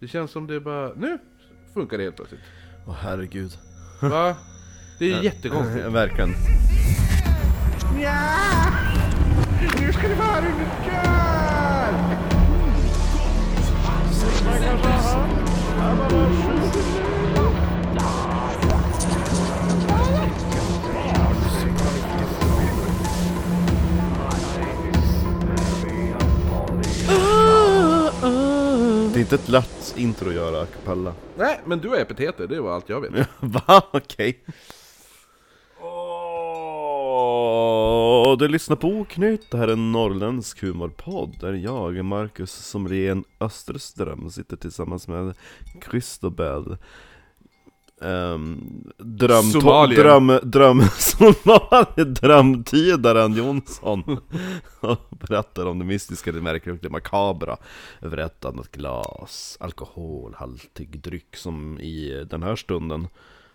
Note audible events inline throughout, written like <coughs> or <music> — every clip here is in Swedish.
Det känns som det bara, nu funkar det helt <laughs> plötsligt. Åh herregud. Va? Det är jättekonstigt. <laughs> Verkligen. Nu ska det vara under kör! Det är inte ett lätt intro att göra a cappella. Nej, men du har epiteter, det var allt jag vet. <laughs> Va? Okej. Åh, Du lyssnar på Oknytt, det här är en norrländsk humorpodd där jag, Marcus Somrén Österström, sitter tillsammans med Christobel Um, dröm, Somalier. dröm, dröm, <laughs> Somalier, drömtydaren Jonsson <laughs> och berättar om det mystiska, det märkliga och det makabra över ett annat glas alkoholhaltig dryck som i den här stunden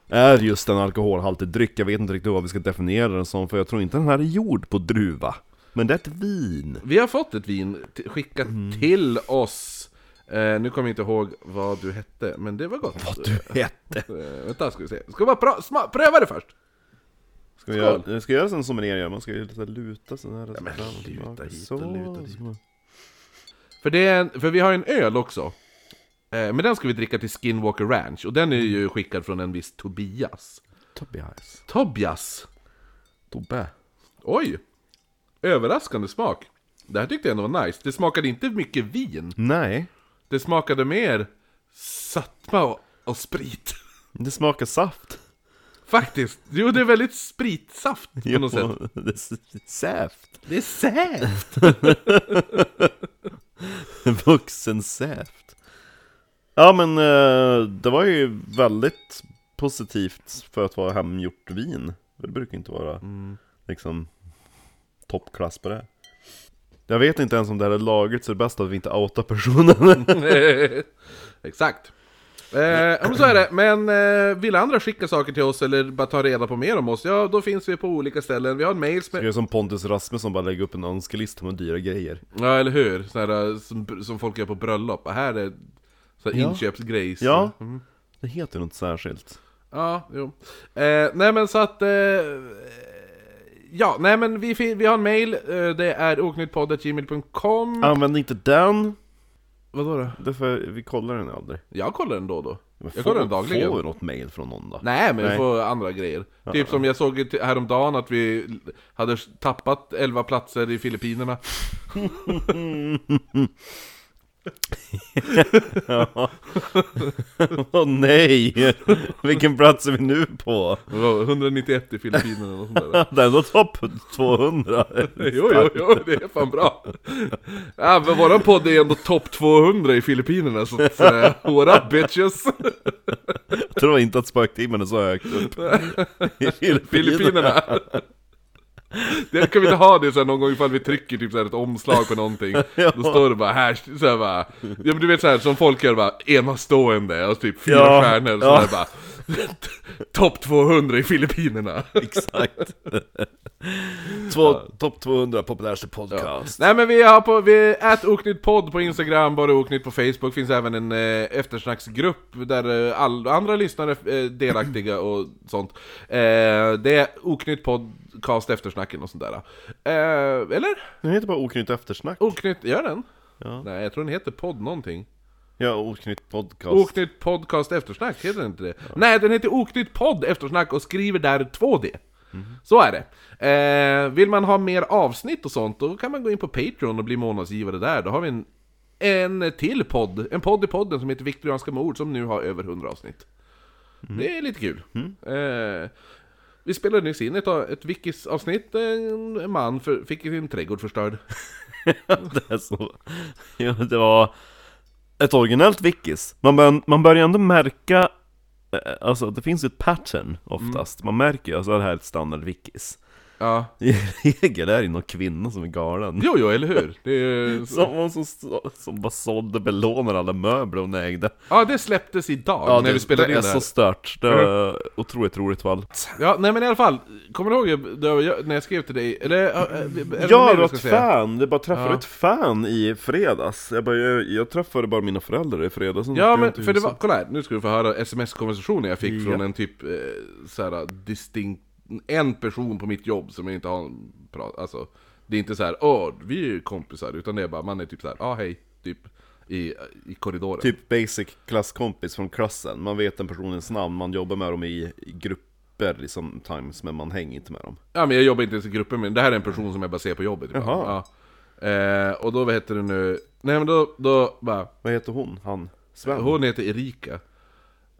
är just en alkoholhaltig dryck. Jag vet inte riktigt vad vi ska definiera den som, för jag tror inte den här är gjord på druva. Men det är ett vin. Vi har fått ett vin t- skickat Mm. till oss. Eh, nu kommer jag inte ihåg vad du hette, men det var gott. Vad du hette! Eh, vänta, ska vi se. Ska vi bara pra- sma- pröva det först? Ska vi göra, det ska göras en sommelier gör, man ska ju lite luta sådär. Ja, men luta hit och luta dit. För, det är en, för vi har en öl också. Eh, men den ska vi dricka till Skinwalker Ranch, och den är ju skickad från en viss Tobias. Tobias. Tobias! Tobbe. Oj! Överraskande smak. Det här tyckte jag ändå var nice. Det smakade inte mycket vin. Nej, Det smakade mer sötma och, och sprit. <laughs> det smakar saft. Faktiskt. Jo, det är väldigt spritsaft på något sätt. <laughs> det är s- säft. <laughs> Det är sävt! Vuxen säft. Ja men eh, det var ju väldigt positivt för att vara hemgjort vin. Det brukar inte vara Mm. liksom toppklass på det. Jag vet inte ens om det här är lagligt så det är bäst att vi inte outar Mm. personen. <laughs> Exakt. Eh, ja, men så är det. Men eh, vill andra skicka saker till oss eller bara ta reda på mer om oss, ja då finns vi på olika ställen. Vi har en mail <laughs> Det är som Pontus Rasmusson bara lägger upp en önskelista med dyra grejer. Ja, eller hur? Sådär, eh, som, som folk gör på bröllop. Och Här är så här Ja. inköpsgrejs. Ja, Mm. det heter något särskilt. Ja, jo. Eh, nej men så att... Eh, ja, nej men vi, fi- vi har en mail, eh, det är oknyttpodd.gmail.com Använd inte den, Vadå då? därför vi kollar den aldrig. Jag kollar den då och då. Men Jag kollar den Får dagligen. vi något mail från någon då? Nej men vi Nej. får andra grejer. Typ som jag såg i- häromdagen att vi hade tappat 11 platser i Filippinerna. Åh <laughs> nej! Vilken plats är vi nu på? <laughs> Det var 191 i Filippinerna och sånt där. Det är ändå topp 200! Jo, jo, jo, det är fan bra! Ja, men våran podd är ändå topp 200 i Filippinerna, så att, <laughs> eh, våra bitches! Jag tror inte att spöktimmen är så högt upp i Filippinerna. Filippinerna! <laughs> Det kan vi inte ha det så här någon gång ifall vi trycker typ så här ett omslag på <laughs> någonting Då står det bara här, så här bara, ja, men du vet så här som folk gör bara enastående och typ fyra Ja, stjärnor så ja. här bara <laughs> Topp 200 i Filippinerna! <laughs> Exakt! Två, topp 200 populäraste <laughs> podcast. Nej men vi har på, vi ät oknytt podd på Instagram, bara oknytt på Facebook, finns även en eh, eftersnacksgrupp där eh, all, andra lyssnare är eh, delaktiga och sånt. Eh, det är oknytt podcast eftersnacken och sånt där. Eh, eller? Den heter bara Oknytt Eftersnack. Oknytt, gör den? Ja. Nej jag tror den heter podd någonting. Ja, Oknytt Podcast. Oknytt podcast eftersnack, heter den inte det? Nej den heter oknytt podd eftersnack och skriver där 2D. Så är det. Eh, vill man ha mer avsnitt och sånt, då kan man gå in på Patreon och bli månadsgivare där. Då har vi en, en till podd, en podd i podden som heter Viktorianska mord, som nu har över 100 avsnitt. Det är lite kul. Eh, vi spelade nyss in ett, ett Vickis-avsnitt, en en man för, fick sin trädgård förstörd. <laughs> det är så. Ja, det var ett originellt Vickis. Man, bör, man börjar ändå märka, Mm. eh, alltså det finns ju ett pattern oftast. Man märker ju, alltså det här är ett standard Vickis. Ja. I regel är det någon kvinna som <laughs> är galen. Jo, jo, eller hur? Det är ju... Som, hon som, som bara sålde belånade alla möbler hon ägde. Ja, det släpptes idag när det, vi spelade det in är det så här. Mm. stört. Det är otroligt roligt fall. Ja, nej men i alla fall. Kommer du ihåg det jag- när jag skrev till dig? Eller, äh, äh, är det mer du Jag var ska ett säga? fan, jag bara träffade Ja. ett fan i fredags. Jag, bara, jag, jag träffade bara mina föräldrar i fredags. sen Ja åkte men jag till för det var, huset. kolla här, nu ska du få höra sms-konversationer jag fick Ja. från en typ eh, såhär distinkt, en person på mitt jobb som jag inte har en pra- alltså Det är inte så här, åh vi är kompisar, utan det är bara, man är typ så här, ja ah, hej, typ i, i korridoren Typ basic klasskompis från klassen. Man vet den personens namn, man jobbar med dem i i grupper liksom, times, men man hänger inte med dem. Ja men jag jobbar inte ens i grupper men det här är en person som jag bara ser på jobbet ibland. Jaha. ja. eh, Och då, vad heter det nu, nej men då, då bara Vad heter hon? Han? Sven? Hon heter Erika.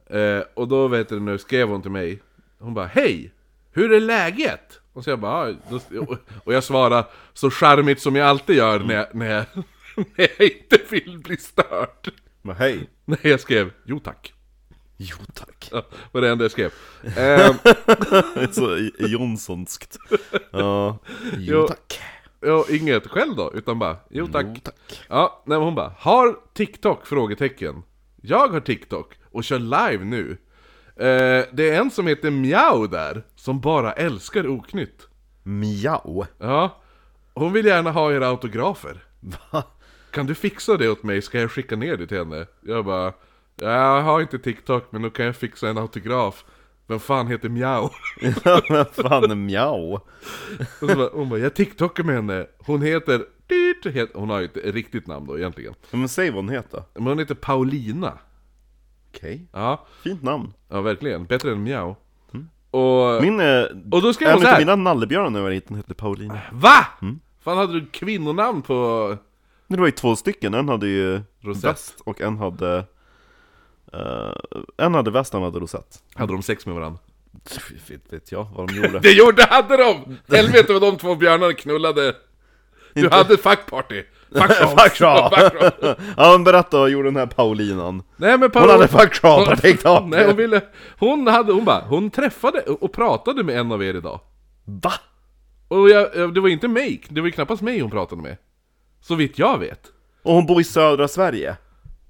Eh, och då vet du nu, skrev hon till mig. Hon bara Hej! Hur är läget? Och så jag bara "Ah, då, och- Och jag svarar så charmigt som jag alltid gör när jag, när jag, <laughs> när jag inte vill bli störd. Men hej! Nej, jag skrev Jo tack. Jo tack! Ja, var det enda jag skrev. Eh, <laughs> Så i- i Jonssonskt. Ja. <laughs> Jo. Jo tack! och inget själv då, utan bara Jo tack. Jo, tack. Ja, nej, men hon bara Har TikTok? Frågetecken. Jag har TikTok och kör live nu. Eh, det är en som heter Miao där, som bara älskar oknytt. Miau! <laughs> Ja. Hon vill gärna ha era autografer. Va? Kan du fixa det åt mig? Ska jag skicka ner det till henne? Jag bara, jag har inte TikTok men då kan jag fixa en autograf. Vem fan heter Miao? Ja, men fan är miau? <laughs> Och så bara, hon bara, jag TikTokar med henne. Hon heter... dyrt, het- Hon har ju ett riktigt namn då egentligen. Men säg vad hon heter. Men hon heter Paulina. Okej. Ja, Fint namn. ja verkligen. Bättre än Miao. Och... Min... eh, Och då skrev en hon så utav här. mina nallebjörnar när jag var liten hette Paulina. Va? Fan hade du kvinnonamn på... Det var ju två stycken, en hade ju Rosett. väst och en hade... eh, en hade väst, en hade rosett. Hade de sex med varandra? Vet, vet jag vad de <laughs> gjorde. Det gjorde, hade de! Helvete vad de två björnarna knullade! Du hade fuckparty! Fuck <laughs> Fuck ja. off! <laughs> ja men berätta, vad gjorde den här Paulinan? Nej men Hon Paolo... hade fuck ja på TikTok! Nej hon ville... Hon hade, hon bara, hon träffade och pratade med en av er idag. Va? Och jag, jag- det var inte mig, det var ju knappast mig hon pratade med. Så vitt jag vet. Och hon bor i södra Sverige?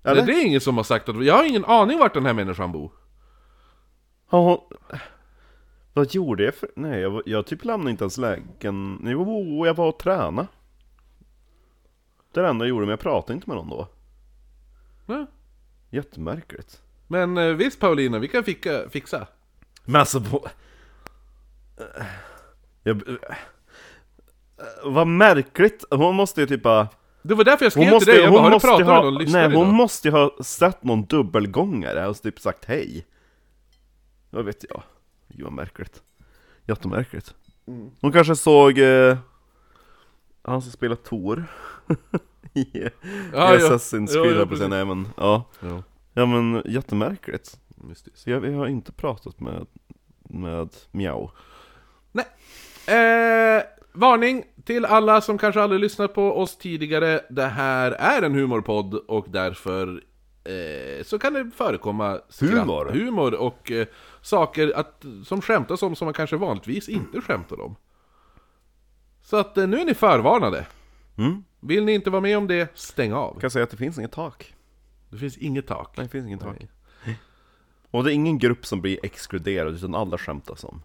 Det, Eller? det är ingen som har sagt att, jag har ingen aning vart den här människan bor. Har hon... Vad gjorde jag för... Nej, jag, var- jag typ lämnade inte ens lägen... Jo, jag var och tränade. Det är det enda jag gjorde, men jag pratade inte med någon då. Ja. Jättemärkligt. Men eh, visst Paulina, vi kan fixa, fixa. Men alltså på... Jag... Vad märkligt, hon måste ju typ bara... Det var därför jag skrev Hon till måste, dig, jag bara, hon har du måste pratat ju med ha, någon lyssnare nej, idag? hon måste ju ha sett någon dubbelgångare och typ sagt hej. Vad vet jag? Gud vad märkligt. Jättemärkligt. Hon kanske såg eh, han som spelar Tor <laughs> i Ah, E Ja, ja. Assassin's Ja, Creed, ja, ja, ja, nej men ja. Ja, Ja men jättemärkligt. mystiskt. Så jag, jag har inte pratat med, med Miao. Nej. Eh, varning till alla som kanske aldrig lyssnat på oss tidigare. Det här är en humorpodd och därför eh, så kan det förekomma skratt, Humor? humor och eh, saker att, som skämtas om som man kanske vanligtvis inte skämtar om. Så att eh, nu är ni förvarnade. Mm. Vill ni inte vara med om det, stäng av. Kan jag säga att det finns inget tak. Det finns inget tak. Nej, det finns inget tak. Och det är ingen grupp som blir exkluderad, utan alla skämtas om.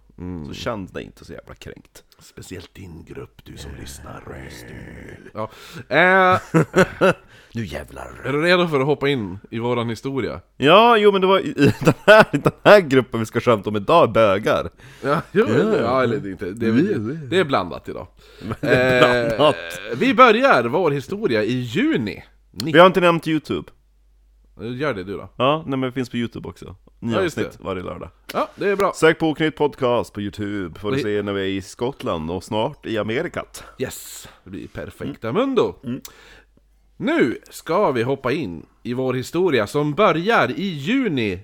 Så känn dig inte så jävla kränkt. Speciellt din grupp, du som lyssnar. Eh. Ja. <laughs> Eh, Nu jävlar! är du redo för att hoppa in i våran historia? Ja, jo men det var i- i <laughs> den här, den här gruppen vi ska skämta om idag, är bögar. Ja, jo, Ja. ja eller det är inte. Det är, Vi- vi- det är blandat <laughs> idag. blandat. Eh, vi börjar vår historia i juni. Ni- Vi har inte nämnt YouTube. Gör det du då. Ja, nej men det finns på YouTube också. Nya Ja, just avsnitt varje lördag. Ja, det är bra. Sök på Oknytt Podcast på YouTube, får du Vi- se när vi är i Skottland och snart i Amerikat. Yes, Mm. det blir perfekta mundo. Nu ska vi hoppa in i vår historia som börjar i juni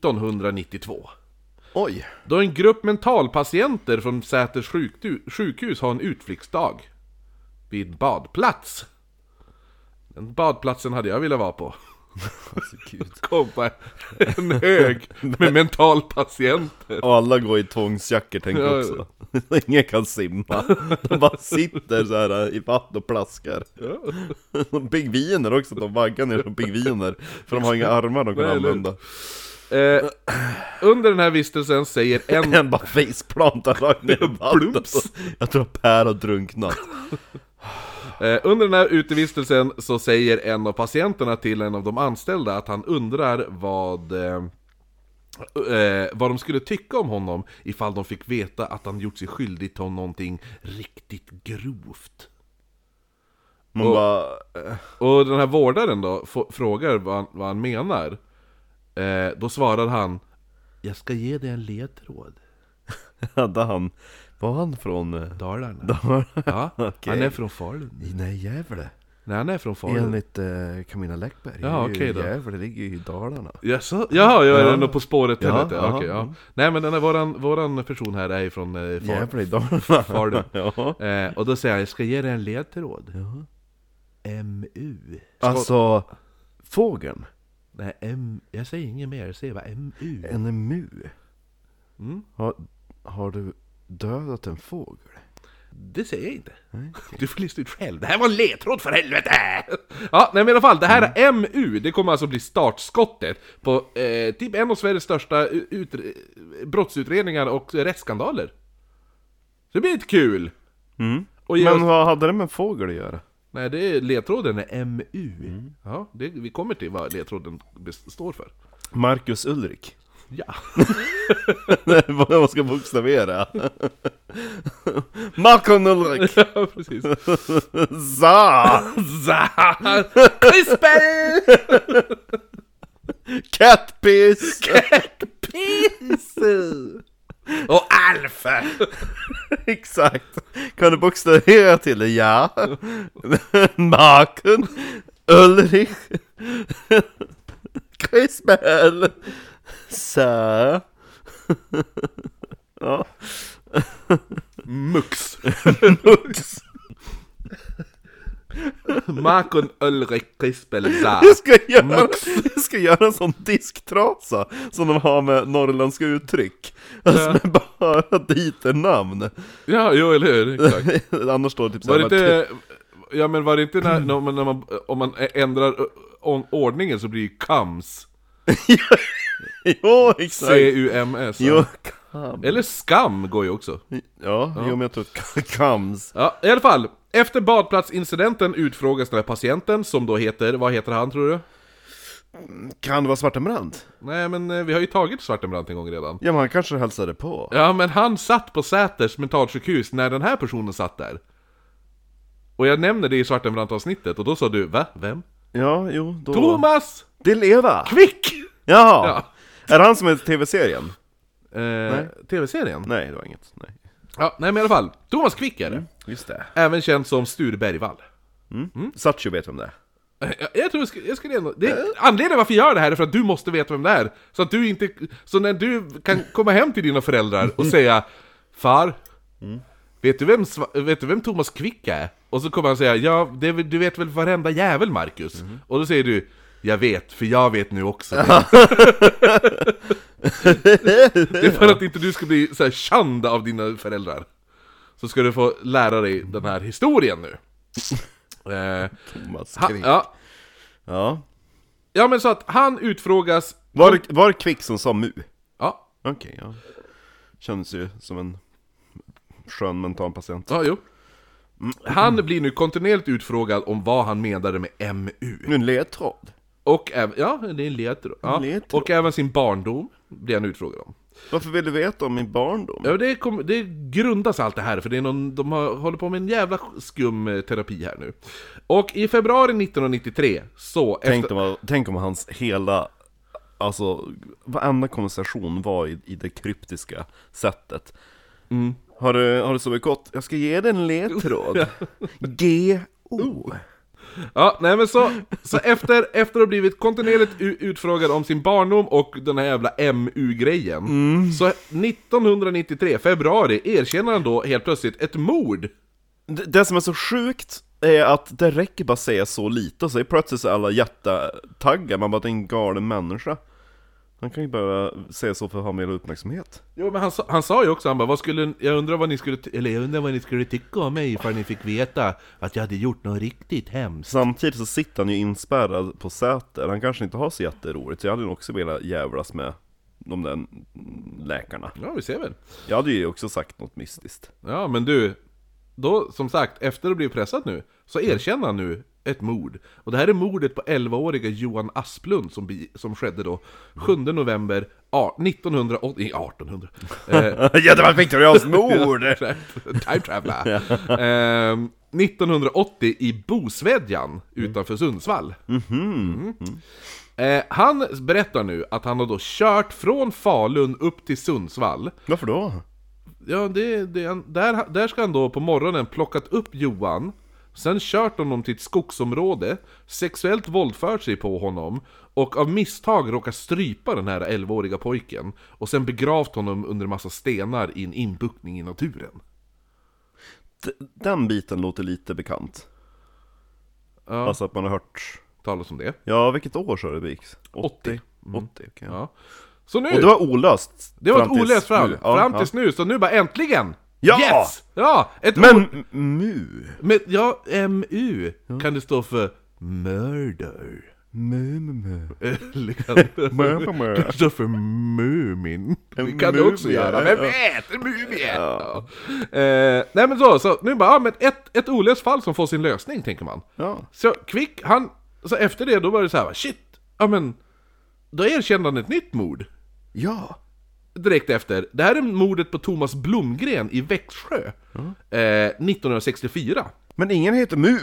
1992. Oj! Då en grupp mentalpatienter från Säters sjuktu- sjukhus har en utflyktsdag. Vid badplats. Den badplatsen hade jag velat vara på. <laughs> Alltså, gud. komma en hög med mentalpatienter. Och alla går i tångsjackor tänker jag också. <laughs> Ingen kan simma. De bara sitter så här i vattnet och plaskar. De Pingviner också, de vaggar ner som pingviner. För de har inga armar de kan Nej, eller hur? använda. Eh, under den här vistelsen säger en... En bara faceplantar rakt ner i vattnet. Plumps. Jag tror att Per har drunknat. Eh, under den här utevistelsen så säger en av patienterna till en av de anställda att han undrar vad... Eh, eh, vad de skulle tycka om honom ifall de fick veta att han gjort sig skyldig till någonting riktigt grovt. Man Och- bara... eh, Och den här vårdaren då få- frågar vad han, vad han menar. Eh, då svarar han Jag ska ge dig en ledtråd. Hade han... Var han från... eh, Dalarna. Dalarna? <laughs> Ja, Okej. han är från Falun. Nej, Gävle. Nej, han är från Falun. Enligt eh, Camilla Läckberg. Ja, Det är ju okej då. Gävle ligger ju i Dalarna. Jaså? Jaha, jag är ändå På spåret till Ja, ja, ja. ja. Okej, ja. Nej men den här, våran, våran person här är ju från eh, Fal- Gävle i Dalarna. Falun. <laughs> Ja. Eh, och då säger han, jag ska ge dig en ledtråd. MU. Ska- Alltså, fågeln. Nej, M, jag säger inget mer, jag säger bara MU. En emu. Mm. Har, har du dödat en fågel? Det säger jag inte. Du får lista ut själv. Det här var en ledtråd för helvete! Ja, nej men i alla fall, det här är MU, det kommer alltså bli startskottet på eh, typ en av Sveriges största u- utre- brottsutredningar och rättsskandaler. Så det blir lite kul! Och ge Men oss- vad hade det med fågel att göra? Nej, det är ledtråden är MU. Ja, det, vi kommer till vad ledtråden bes- står för. Marcus <laughs> Ulrik. Ja. vad man ska bokstavera. <laughs> Marcus Ulrik! <laughs> ja, <laughs> precis. Za! Zah! Crispel! Catpiss! Piss! Och Alf! <laughs> Exakt! Kan du bokstavera till det? Ja! <laughs> Marcus <laughs> Ulrich Krisbell Sä Ja, Mux! Mux Makon Ulrik Crispel Zah! Jag ska göra, jag ska göra en sån disktrasa som de har med norrländska uttryck Alltså med bara dit ett namn Ja, jo eller hur, exakt. Annars står det typ Var det såhär inte... Ja men var det inte när, när man, när man, om man ändrar ö, o- ordningen så blir det ju kams. <laughs> Jo, exakt! C-U-M-S. Jo, ja. Eller skam går ju också. Ja, jo men jag tror att Kams Ja, i alla fall. Efter badplatsincidenten utfrågas den här patienten som då heter, vad heter han tror du? Kan det vara Svartenbrand? Nej men eh, vi har ju tagit Svartenbrandt en gång redan. Ja men han kanske hälsade på Ja men han satt på Säters mentalsjukhus när den här personen satt där. Och jag nämner det i Svartenbrandt-avsnittet och då sa du, va? Vem? Ja, jo då... Thomas Det leva! Quick! Jaha! Ja. Är det han som är tv-serien? Eh, TV-serien? Nej, det var inget, nej Ja, nej men i alla fall. Thomas Quick är det. Just det Även känd som Sture Bergvall. Satcho vet vem det är Jag, <laughs> jag tror jag skulle, jag skulle ändå... Det, Anledningen varför jag gör det här är för att du måste veta vem det är. Så att du inte... Så när du kan komma hem till dina föräldrar och säga Far, vet, du vem, Sva- vet du vem Thomas Quick är? Och så kommer han säga Ja, det, är väl- du vet väl varenda jävel Marcus? Och då säger du Jag vet, för jag vet nu också det. det är för att inte du ska bli så här känd av dina föräldrar. Så ska du få lära dig den här historien nu. Eh, Thomas ha, Quick. ja, Ja Ja men så att han utfrågas... Var det, var det Quick som sa mu? Ja, Okej, ja Känns ju som en skön mental patient ja jo. Han blir nu kontinuerligt utfrågad om vad han menade med MU. Nu en ledtråd Och även, ja, det är en ledtråd. Ja. En ledtråd. Och även sin barndom blir han utfrågad om. Varför vill du veta om min barndom? Ja, det, kom, det grundas allt det här, för det är någon, de har, håller på med en jävla skum eh, terapi här nu. Och i februari 1993, så... Tänk om, tänk om hans hela, alltså varenda konversation var i, i det kryptiska sättet. Har du, har du sovit gott? Jag ska ge dig en ledtråd. G-O. Ja, nej men så, så efter, efter att ha blivit kontinuerligt u- utfrågad om sin barndom och den här jävla MU-grejen Så 1993, februari, erkänner han då helt plötsligt ett mord Det, det som är så sjukt är att det räcker bara säga så lite, så är plötsligt så är alla jättetaggar, man bara det är en galen människa. Han kan ju bara säga så för att ha mer uppmärksamhet. Jo men han, sa- han sa ju också, han bara, vad skulle, jag undrar vad ni skulle, ty- eller jag undrar vad ni skulle tycka om mig ifall ni fick veta att jag hade gjort något riktigt hemskt. Samtidigt så sitter han ju inspärrad på Säter, han kanske inte har så jätteroligt, så jag hade nog också velat jävlas med de där läkarna. Ja, vi ser väl. Jag hade ju också sagt något mystiskt. <laughs> Ja, men du, då som sagt, efter att ha blivit pressad nu, så erkänner han nu ett mord. Och det här är mordet på 11-åriga Johan Asplund som, bi- som skedde då 7 november a- 1980, eh, 1800. Eh, Jättebra Victorias mord! Time traveler. Ehm, 1980 i Bosvedjan utanför Sundsvall. Mhm. Eh, han berättar nu att han har då kört från Falun upp till Sundsvall. Varför då? Ja, det, det, han- där, där ska han då på morgonen plockat upp Johan, sen kört honom till ett skogsområde, sexuellt våldfört sig på honom och av misstag råkat strypa den här 11-åriga pojken och sen begravt honom under en massa stenar i en inbuktning i naturen. D- den biten låter lite bekant. Ja. Alltså att man har hört... talas om det. Ja, vilket år sa du det gick? 80. 80, okej. Ja. Så nu, Och det det var, var olöst? ett tills olöst fram, nu. Ja, fram ja. tills nu, så nu bara äntligen! Ja! Yes! Ja! Ett men... Men m- mu? men ja, MU kan det stå för murder. Mu, mu, mu. Eller kan det Mö, mö, mö. stå för Mumin? Det En kan det också mumie, göra, vem ja. vet? En mumie! Ja. Eh, nej men så, så nu bara, ja, men ett, ett olöst fall som får sin lösning tänker man. Ja. Så Kvick, han, så efter det då var det så här, va, shit, ja men, då erkände han ett nytt mord. Ja. direkt efter. Det här är mordet på Thomas Blomgren i Växjö. Eh, 1964. Men ingen heter mu!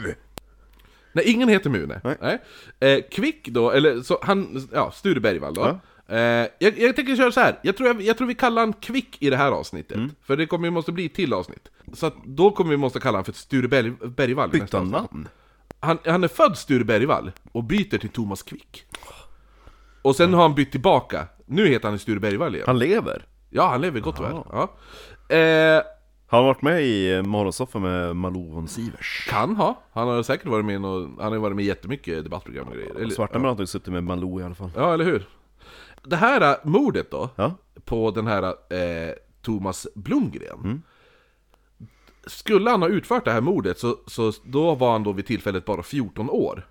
Nej, ingen heter Mune. Nej. Nej. Eh, Kvick då, eller så han, ja, Sture Bergvall då. Eh, jag, jag tänker köra så här. Jag tror, jag, jag tror vi kallar han Kvick i det här avsnittet. Mm. För det kommer ju måste bli ett till avsnitt. Så att då kommer vi måste kalla han för Sture Berg, Bergvall. i nästa Byta avsnitt. namn? Han, han är född Sture Bergvall och byter till Thomas Kvick. Och sen har han bytt tillbaka. Nu heter han Sture Bergvall igen. Han lever? Ja, han lever gott och väl. Ja. Eh, Han har varit med i eh, Morgonsoffan med Malou von Sivers. Kan ha. Han har säkert varit med i nå- han har ju varit med i jättemycket debattprogram och grejer. Eller, Svarta har suttit med Malou i alla fall. ja, eller hur? Det här eh, mordet då, Ja. på den här eh, Thomas Blomgren. Skulle han ha utfört det här mordet så, så då var han då vid tillfället bara 14 år.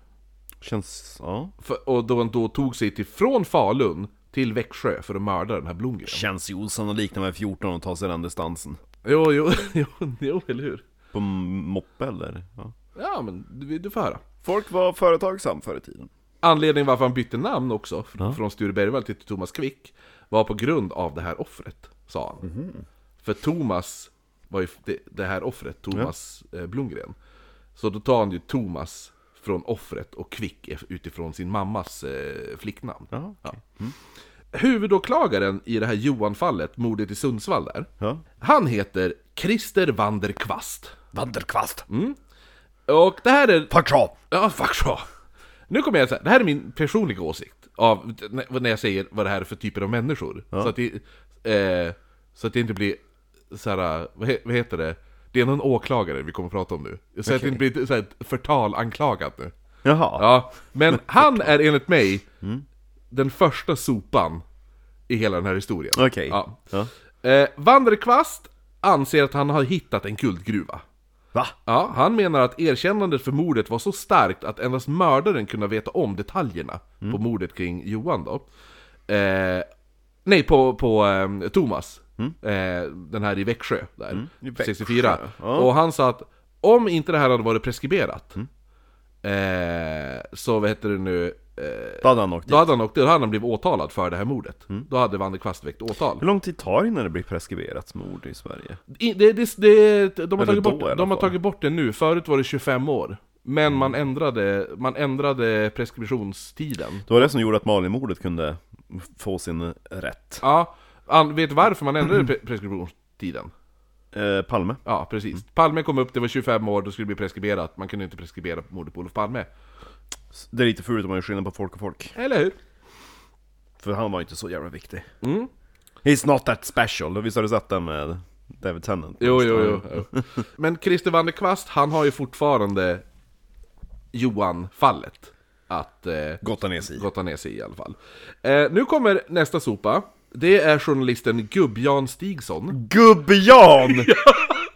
Känns... Ja. För, och då han då tog sig till, från Falun till Växjö för att mörda den här Blomgren. Känns ju osannolikt när man är 14 och tar sig den distansen. Jo, jo, <laughs> jo, jo eller hur? På m- moppe eller? Ja. Ja, men du, du får höra. Folk var företagsam förr i tiden. Anledningen varför han bytte namn också, fr- från Sture Bergvall till Thomas Quick, var på grund av det här offret, sa han. För Thomas var ju f- det, det här offret, Thomas eh, Blomgren. Så då tar han ju Thomas från offret och Quick ef- utifrån sin mammas eh, flicknamn. Ja, Ja. Mm. Huvudåklagaren i det här Johan-fallet, mordet i Sundsvall där, Ja. han heter Christer Vanderkvast. Vanderkvast! Och det här är Fuck off! Ja, fuck så. Nu kommer jag säga, det här är min personliga åsikt av, när jag säger vad det här är för typer av människor. Så, att det, eh, så att det inte blir så här, vad, he, vad heter det? Det är någon åklagare vi kommer att prata om nu. Så att det inte blir så här, ett förtal anklagat nu. Jaha. Ja, <laughs> men han är enligt mig Mm. den första sopan i hela den här historien. Okej. Ja. Ja. Eh, Vanderkvast anser att han har hittat en guldgruva. Va? Ja, han menar att erkännandet för mordet var så starkt att endast mördaren kunde veta om detaljerna på Mm. mordet kring Johan då. Eh, nej, på, på eh, Thomas. Eh, den här i Växjö, där. Mm. i Växjö, 64. ja. Mm. Och han sa att om inte det här hade varit preskriberat, eh, så vad heter det nu, eh, Då hade han åkt då dit. hade han, åkt- då hade han blivit åtalad för det här mordet. Mm. Då hade Vanderkvast väckt åtal. Hur lång tid tar det innan det blir preskriberat mord i Sverige? I- Det, det, det, de har, Eller tagit då bort, i alla de har fall. Mm. tagit bort det nu, förut var det 25 år. Men man, ändrade, man ändrade preskriptionstiden. Det var det som gjorde att Malinmordet kunde få sin rätt. Ja, an, vet varför man ändrade pre- preskriptionstiden? Eh, Palme. Ja, precis. Palme kom upp, det var 25 år, då skulle det bli preskriberat. Man kunde inte preskribera mordet på Olof Palme. Det är lite fult om man gör skillnad på folk och folk. Eller hur? För han var ju inte så jävla viktig. He's not that special. Visst har du sett den med David Tennant? Jo, jo, jo. Men Christer van der Kvast, han har ju fortfarande Johan-fallet att eh, Gotta ner sig i. gotta ner sig i, i alla fall. Eh, nu kommer nästa sopa. Det är journalisten Gubb-Jan Stigson. Gubb-Jan!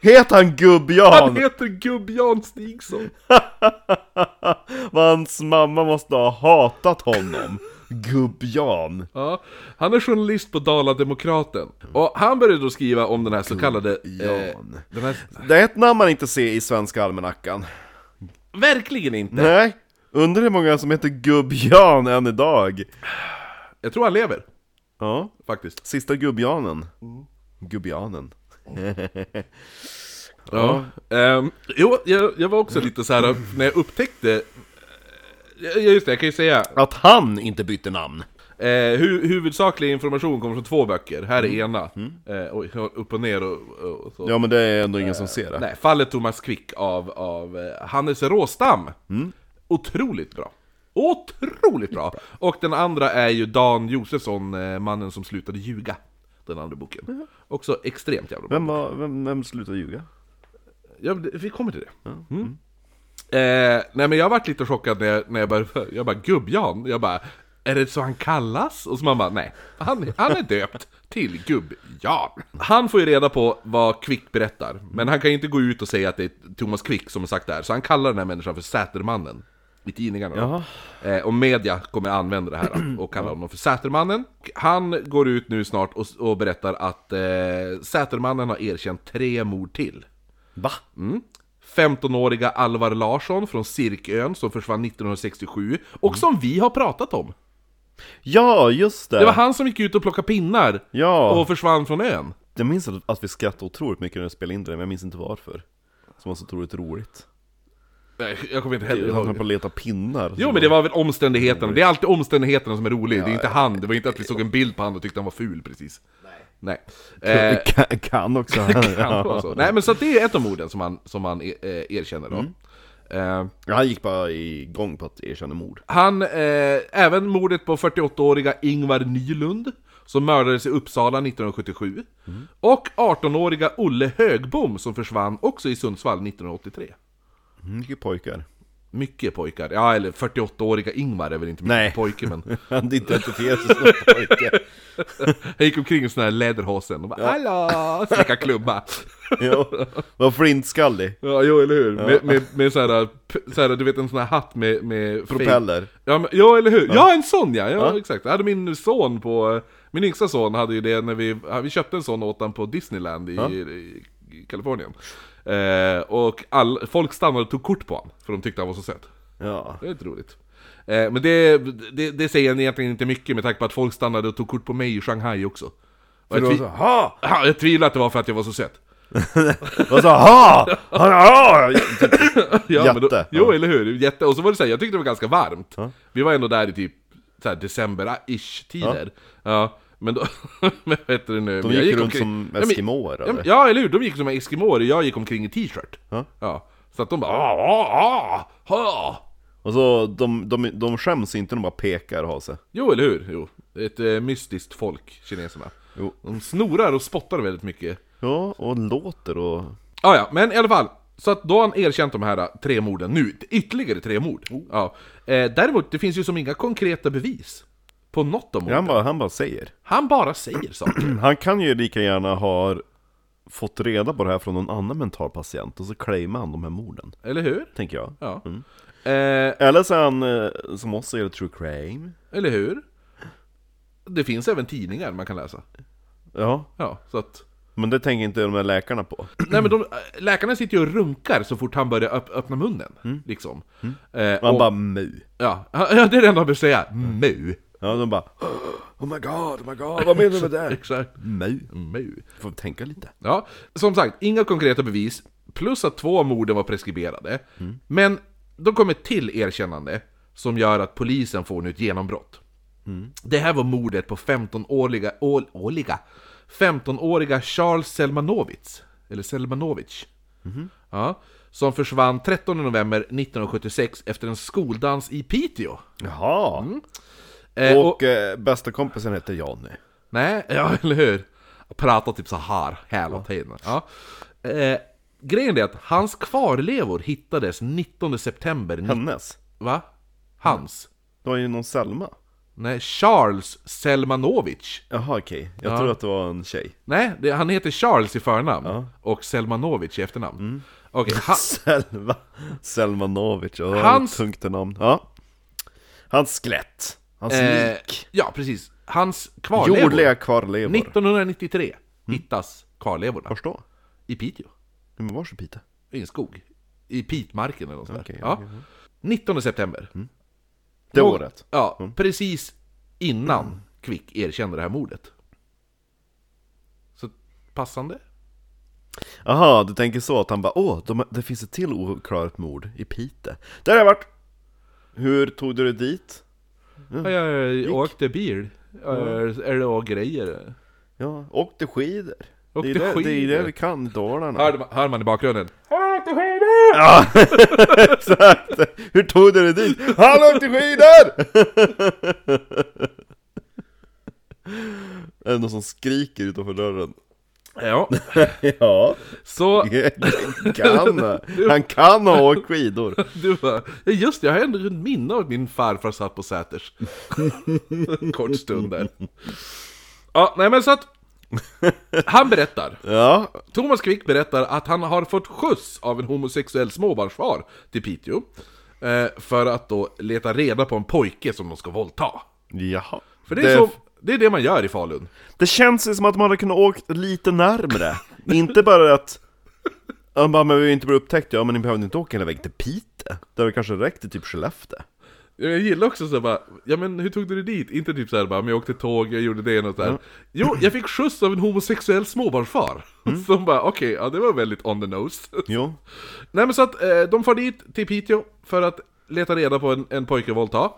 Heter han Han Gubb-Jan? heter Gubb-Jan Stigson. Vad Hans mamma måste ha hatat honom. Gubb-Jan. Ja, han är journalist på Dala-Demokraten. Och han började då skriva om den här så kallade... Eh, Jan. den här, Det är ett namn man inte ser i svenska almanackan. verkligen inte! Nej, undrar hur många som heter Gubb-Jan än idag. Jag tror han lever, Ja, faktiskt. sista Gubb-Janen. Mm. Gubb-Janen. Ja. ehm, jo, jag, jag var också lite så här eh, när jag upptäckte... eh, Ja, just det, jag kan ju säga. Att han inte bytte namn. Eh, hu huvudsaklig information kommer från två böcker, här är ena. Eh, oj, upp och ner och, och så. Ja men det är ändå ingen som ser det. Nej, fallet Thomas Quick av, av eh, Hannes Råstam. Otroligt bra. Otroligt bra! Och den andra är ju Dan Josefsson, eh, mannen som slutade ljuga. Den andra boken. Också extremt jävla bra. Vem, var, vem, vem slutade ljuga? Ja, men det- vi kommer till det. Mm. Eh, nej men jag varit lite chockad när jag, när jag bara, jag bara Gubb-Jan, jag bara Är det så han kallas? Och så man bara nej, han, han är döpt till Gubb-Jan Han får ju reda på vad Quick berättar, men han kan ju inte gå ut och säga att det är Thomas Quick som har sagt det här Så han kallar den här människan för Sätermannen i tidningarna då. eh, Och media kommer använda det här och kalla honom för Sätermannen Han går ut nu snart och, och berättar att eh, Sätermannen har erkänt tre mord till Va? Mm. 15-åriga Alvar Larsson från Sirkön som försvann 1967 och som vi har pratat om. Ja, just det! Det var han som gick ut och plockade pinnar Ja, och försvann från ön. jag minns att- att vi skrattade otroligt mycket när vi spelade in det, men jag minns inte varför. Som var så otroligt roligt. Nej, Jag kommer inte heller Han höll på ihåg. att leta pinnar. Jo men det var väl omständigheterna, det är alltid omständigheterna som är roliga, det är inte han, det var inte att vi såg en bild på han och tyckte han var ful precis. <laughs> Nej. Eh, <laughs> Det kan, kan också. kan vara så. Nej men så att det är ett av morden som han, som han eh, erkänner då. Eh, Ja, Han gick bara igång på att erkänna mord. Han, eh, även mordet på 48-åriga Ingvar Nylund, som mördades i Uppsala 1977. Och 18-åriga Olle Högbom, som försvann också i Sundsvall 1983. Mycket pojkar. <laughs> Mycket pojkar. Ja, eller 48-åriga Ingvar är väl inte mycket Nej. pojke, men... Han identifierar sig som pojke. <laughs> Han gick omkring i sån här läderhosen och bara ”Hallå!” slickade klubba. Ja, var flintskallig. Ja, jo, eller hur? Med, med, med så här, p- så här, du vet en sån här hatt med... med Propeller. Ja, men, ja eller hur? Ja, en sån ja! ja, exakt. Jag hade min son på... Min yngsta son hade ju det när vi... Vi köpte en sån åt honom på Disneyland i, i, i Kalifornien. Eh, och all, folk stannade och tog kort på honom, för de tyckte han var så söt. Ja. Det är lite roligt. Eh, men det, det, det säger en egentligen inte mycket med tanke på att folk stannade och tog kort på mig i Shanghai också. Och För jag, det var så, tvi- ha! Ja, jag tvivlar att det var för att jag var så söt. Och så, <laughs> ha! Han, ha! Ja, men då, Jätte. jo, Ja. eller hur? Jätte. Och så var det så här, jag tyckte det var ganska varmt. Ja. Vi var ändå där i typ så här, december-ish tider. Ja. men då... <laughs> men vad heter det nu? De Jag gick runt omkring- som Ja, men- eskimåer Ja, men, eller? ja, eller hur? De gick som eskimoer och jag gick omkring i t-shirt. Ja. Så att de bara... "Ah, ah, ah, ah." Och så, de, de, de skäms inte, de bara pekar och har sig. Jo, eller hur? Jo. Ett eh, mystiskt folk, kineserna. Jo. De snorar och spottar väldigt mycket. Ja, och låter och... Ah, ja, men i alla fall. Så att då har han erkänt de här ah, tre morden nu, ytterligare tre mord. Ja. Eh, däremot, det finns ju som inga konkreta bevis på något av morden. Han bara, han bara säger. <clears throat> Han bara säger saker. Han kan ju lika gärna ha fått reda på det här från någon annan mental patient och så claimar han de här morden, Eller hur? tänker jag. Ja. Eh, Eller så är han, eh, som oss, säger true crime. eller hur? Det finns även tidningar man kan läsa. Ja, Ja, så att... <clears throat> men det tänker inte de här läkarna på. Nej men de, eh, läkarna sitter ju och runkar så fort han börjar öpp, öppna munnen. Liksom. Eh, Man och, bara mu. ja, <laughs> ja, det är det enda han behöver säga. Mu. Ja, de bara Oh my god, oh my god, vad menar du med det? Exakt. Mu. Mu. Får tänka lite. Ja, som sagt, inga konkreta bevis. Plus att två av morden var preskriberade. Men då kom ett till erkännande som gör att polisen får nu ett genombrott. Det här var mordet på 15-åriga, ål, åliga, 15-åriga Charles Selmanovits. Eller Selmanovic. Ja, som försvann 13 november 1976 efter en skoldans i Piteå. Jaha! Eh, Och, Mm. eh, bästa kompisen heter Johnny. <laughs> Nej, ja eller hur? Jag pratar typ så här hela tiden. Ja. Eh, Grejen är att hans kvarlevor hittades 19 september... ni- Hennes? Va? Hans? Det var ju någon Selma. Nej, Charles Selmanovic. Jaha okej, jag tror att det var en tjej. Nej, det, han heter Charles i förnamn och Selmanovic i efternamn. Mm. <laughs> Okej, ha, Selma Selmanovic, och Hans- Hans... tungt namn. Ja. Hans skelett. Hans eh, lik. ja precis. Hans kvarlevor. Jordliga kvarlevor. Mm. 1993 hittas kvarlevorna. Vars då? I Piteå. Men vars i Piteå? I en skog. I pitmarken eller något sånt där. Okej, ja. 19 september. Det Nå- året. Ja, precis innan Quick erkänner det här mordet. Så passande. Aha, du tänker så att han bara åh, de, det finns ett till oklarat mord i Piteå. Där har jag varit! Hur tog du dig dit? Jag åkte bil. Eller och grejer. Ja, åkte skidor. Åkte det, är det, det är skidor. det vi kan, Dalarna. Hör, man- hör man i bakgrunden? Ja, exakt! <laughs> Hur tog du dig dit? Han åkte skidor! <laughs> Är det någon som skriker utanför dörren? Ja, <laughs> Ja, så kan Han kan ha åkt skidor! Du bara, "Ja, just det, jag har ändå ett minne av att min farfar satt på Säters. <laughs> en kort stund där. Ja, nej men så att... Han berättar, Ja, Thomas Quick berättar att han har fått skjuts av en homosexuell småbarnsfar till Piteå. Eh, för att då leta reda på en pojke som de ska våldta. jaha. För det är, så, det, är det man gör i Falun. det känns ju som att man hade kunnat åkt lite närmre. inte bara att... Han bara, men vi har ju inte blivit upptäckta. Ja, men ni behövde inte åka hela vägen till Piteå. Det hade kanske räckt till typ Skellefteå. Jag gillar också såhär bara, ja men hur tog du dig dit? Inte typ såhär bara, men jag åkte tåg, jag gjorde det och sådär. Jo, jag fick skjuts av en homosexuell småbarnsfar. <laughs> Som bara, okej, ja det var väldigt on the nose. Jo. Nej men så att eh, de far dit till Piteå för att leta reda på en, en pojke att våldta.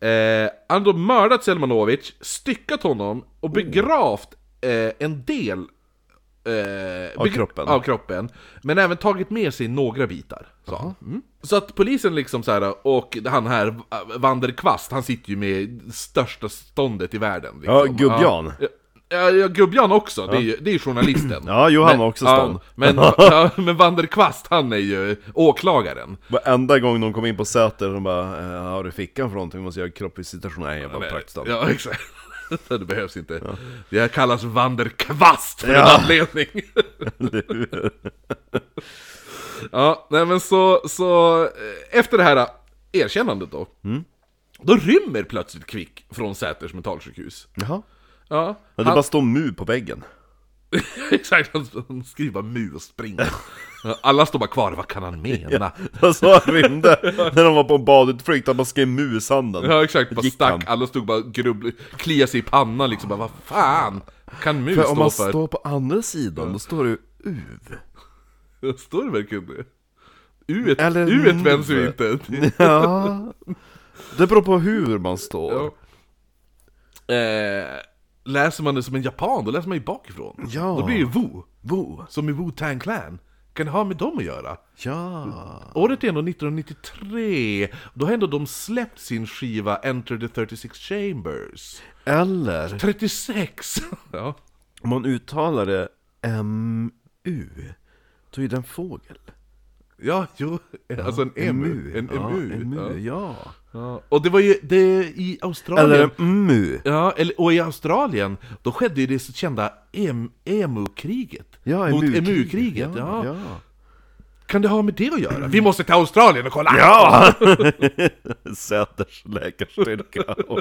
Eh, han har då mördat Selmanovic, styckat honom Oh. och begravt eh, en del eh, Av beg- kroppen. av kroppen. Men även tagit med sig några bitar. Så, han. mm. så att polisen liksom så här och han här eh, Vander Kvast, han sitter ju med största ståndet i världen. Liksom. Ja, Gubbjan. Ja. Ja, ja, Gubbjan också, det är ju det är ju journalisten. <clears throat> Ja, jo, han har också stånd. Ja, <laughs> men, ja, men Vanderkvast, han är ju åklagaren. Varenda gång de kom in på Säter, de bara eh, har du fickan för någonting? Vi måste göra kroppsvisitation. Nej, jag bara praktstånd. Ja, exakt. <laughs> Det behövs inte. Det kallas Vanderkvast för Ja. en anledning. <laughs> ja, nej men så, så eh, efter det här erkännandet då. Mm. Då rymmer plötsligt Kvick från Säters mentalsjukhus. Jaha. Ja, Ja, det bara står mu på väggen. <laughs> <laughs> exakt. Han- Han skriver bara mu och springer. Alla står bara kvar, vad kan han mena? Det var så han <laughs> rymde när de var på en badutflykt, han bara skrev mu i sanden. Ja exakt, bara Gick stack, han. alla stod bara grubbla, kliade sig i pannan liksom, bara vad fan kan mus För om stå man för? står på andra sidan, då står det ju uv. <laughs> Står det verkligen det? U-et, Eller U-et vänds ju nu. inte! <laughs> <laughs> Ja. Det beror på hur man står. Ja. Ja, Eh, läser man det som en japan, då läser man ju bakifrån. Ja. Då blir det Wu, Bo. som i Wu-Tang Clan. Kan det ha med dem att göra? Ja. Året är ändå 1993, då har ändå de släppt sin skiva Enter the 36 Chambers. Eller, 36! Ja. om man uttalar det mu, då är ju den fågel. Ja, jo, alltså en emu. En ja, emu. en ja. mu, ja. Ja, och det var ju det i Australien. Eller mu. Ja, eller, och i Australien, då skedde ju det så kända em, emu-kriget. Ja, mot emu-kriget, emu-kriget. Ja, Ja. ja. Kan det ha med det att göra? Vi måste till Australien och kolla! Ja! <laughs> Säters läkarstyrka och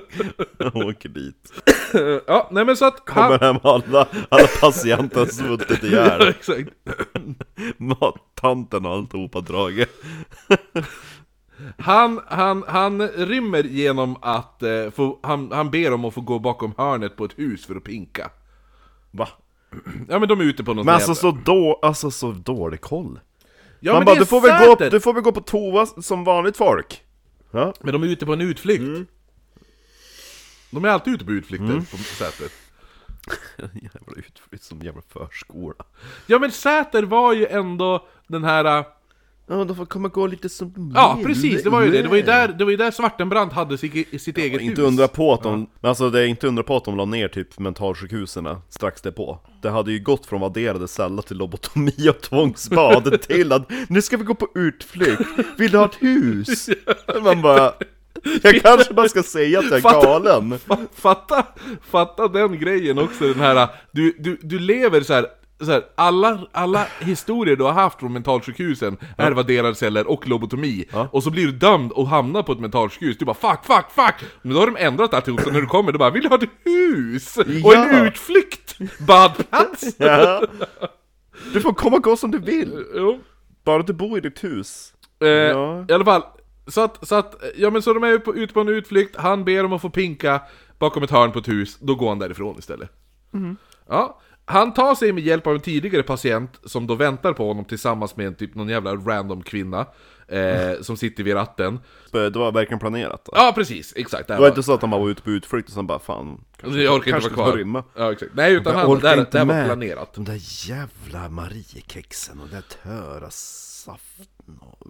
och åker dit. <laughs> ja nej men så att... <laughs> Han, Kommer hem alla, alla patienter har svultit ja, ihjäl. exakt. Mattanten och alltihopa draget. Han, han, han rymmer genom att... Eh, få, han, han ber om att få gå bakom hörnet på ett hus för att pinka. Va? Ja men de är ute på någon Men jävla- alltså så, då, alltså så dålig koll. ja, Man men bara, det är du får, väl gå, Säter. du får väl gå på toa som vanligt folk. Ja. Men de är ute på en utflykt. De är alltid ute på utflykter på Säter. Jävla utflykt som jävla förskola. Ja men Säter var ju ändå den här... äh, Ja, de får komma gå lite som... Ja, precis, det var ju det. Det var ju där, det var ju där Svartenbrandt hade sitt, sitt eget Inte hus. undra på att de, men alltså det är inte undra på att de la ner typ mentalsjukhusen strax därpå Det hade ju gått från vadderade celler till lobotomi <laughs> och tvångsbad till att nu ska vi gå på utflykt, vill du ha ett <laughs> hus? Man bara, jag kanske bara ska säga att jag är Fattar- <laughs> galen Fa- Fatta, fatta den grejen också, den här, du, du, du lever så här. Så här, alla, alla historier du har haft från mentalsjukhusen är vadderade celler och lobotomi Och så blir du dömd och hamnar på ett mentalsjukhus Du bara 'fuck, fuck, fuck' Men då har de ändrat alltihop, så när du kommer du bara 'vill du ha ett hus?' Och Ja. en utflykt! Badplats! ja. Du får komma och gå som du vill, Jo. bara du bor i ditt hus Eh, Ja. I alla fall, så att, så att, ja men så de är ju på, ute på en utflykt, han ber om att få pinka bakom ett hörn på ett hus, då går han därifrån istället. Mhm. Ja. Han tar sig med hjälp av en tidigare patient som då väntar på honom tillsammans med en typ någon jävla random kvinna eh, som sitter vid ratten. Det var verkligen planerat då. Ja precis, exakt. Där Det var inte så att han bara var ute på utflykt och sen bara fan, Alltså, jag orkar kanske inte vara ska kvar. rymma. Ja, exakt. Nej, utan Jag han, orkar där, inte där var med. planerat. De där jävla Mariekexen och den där töra saften och...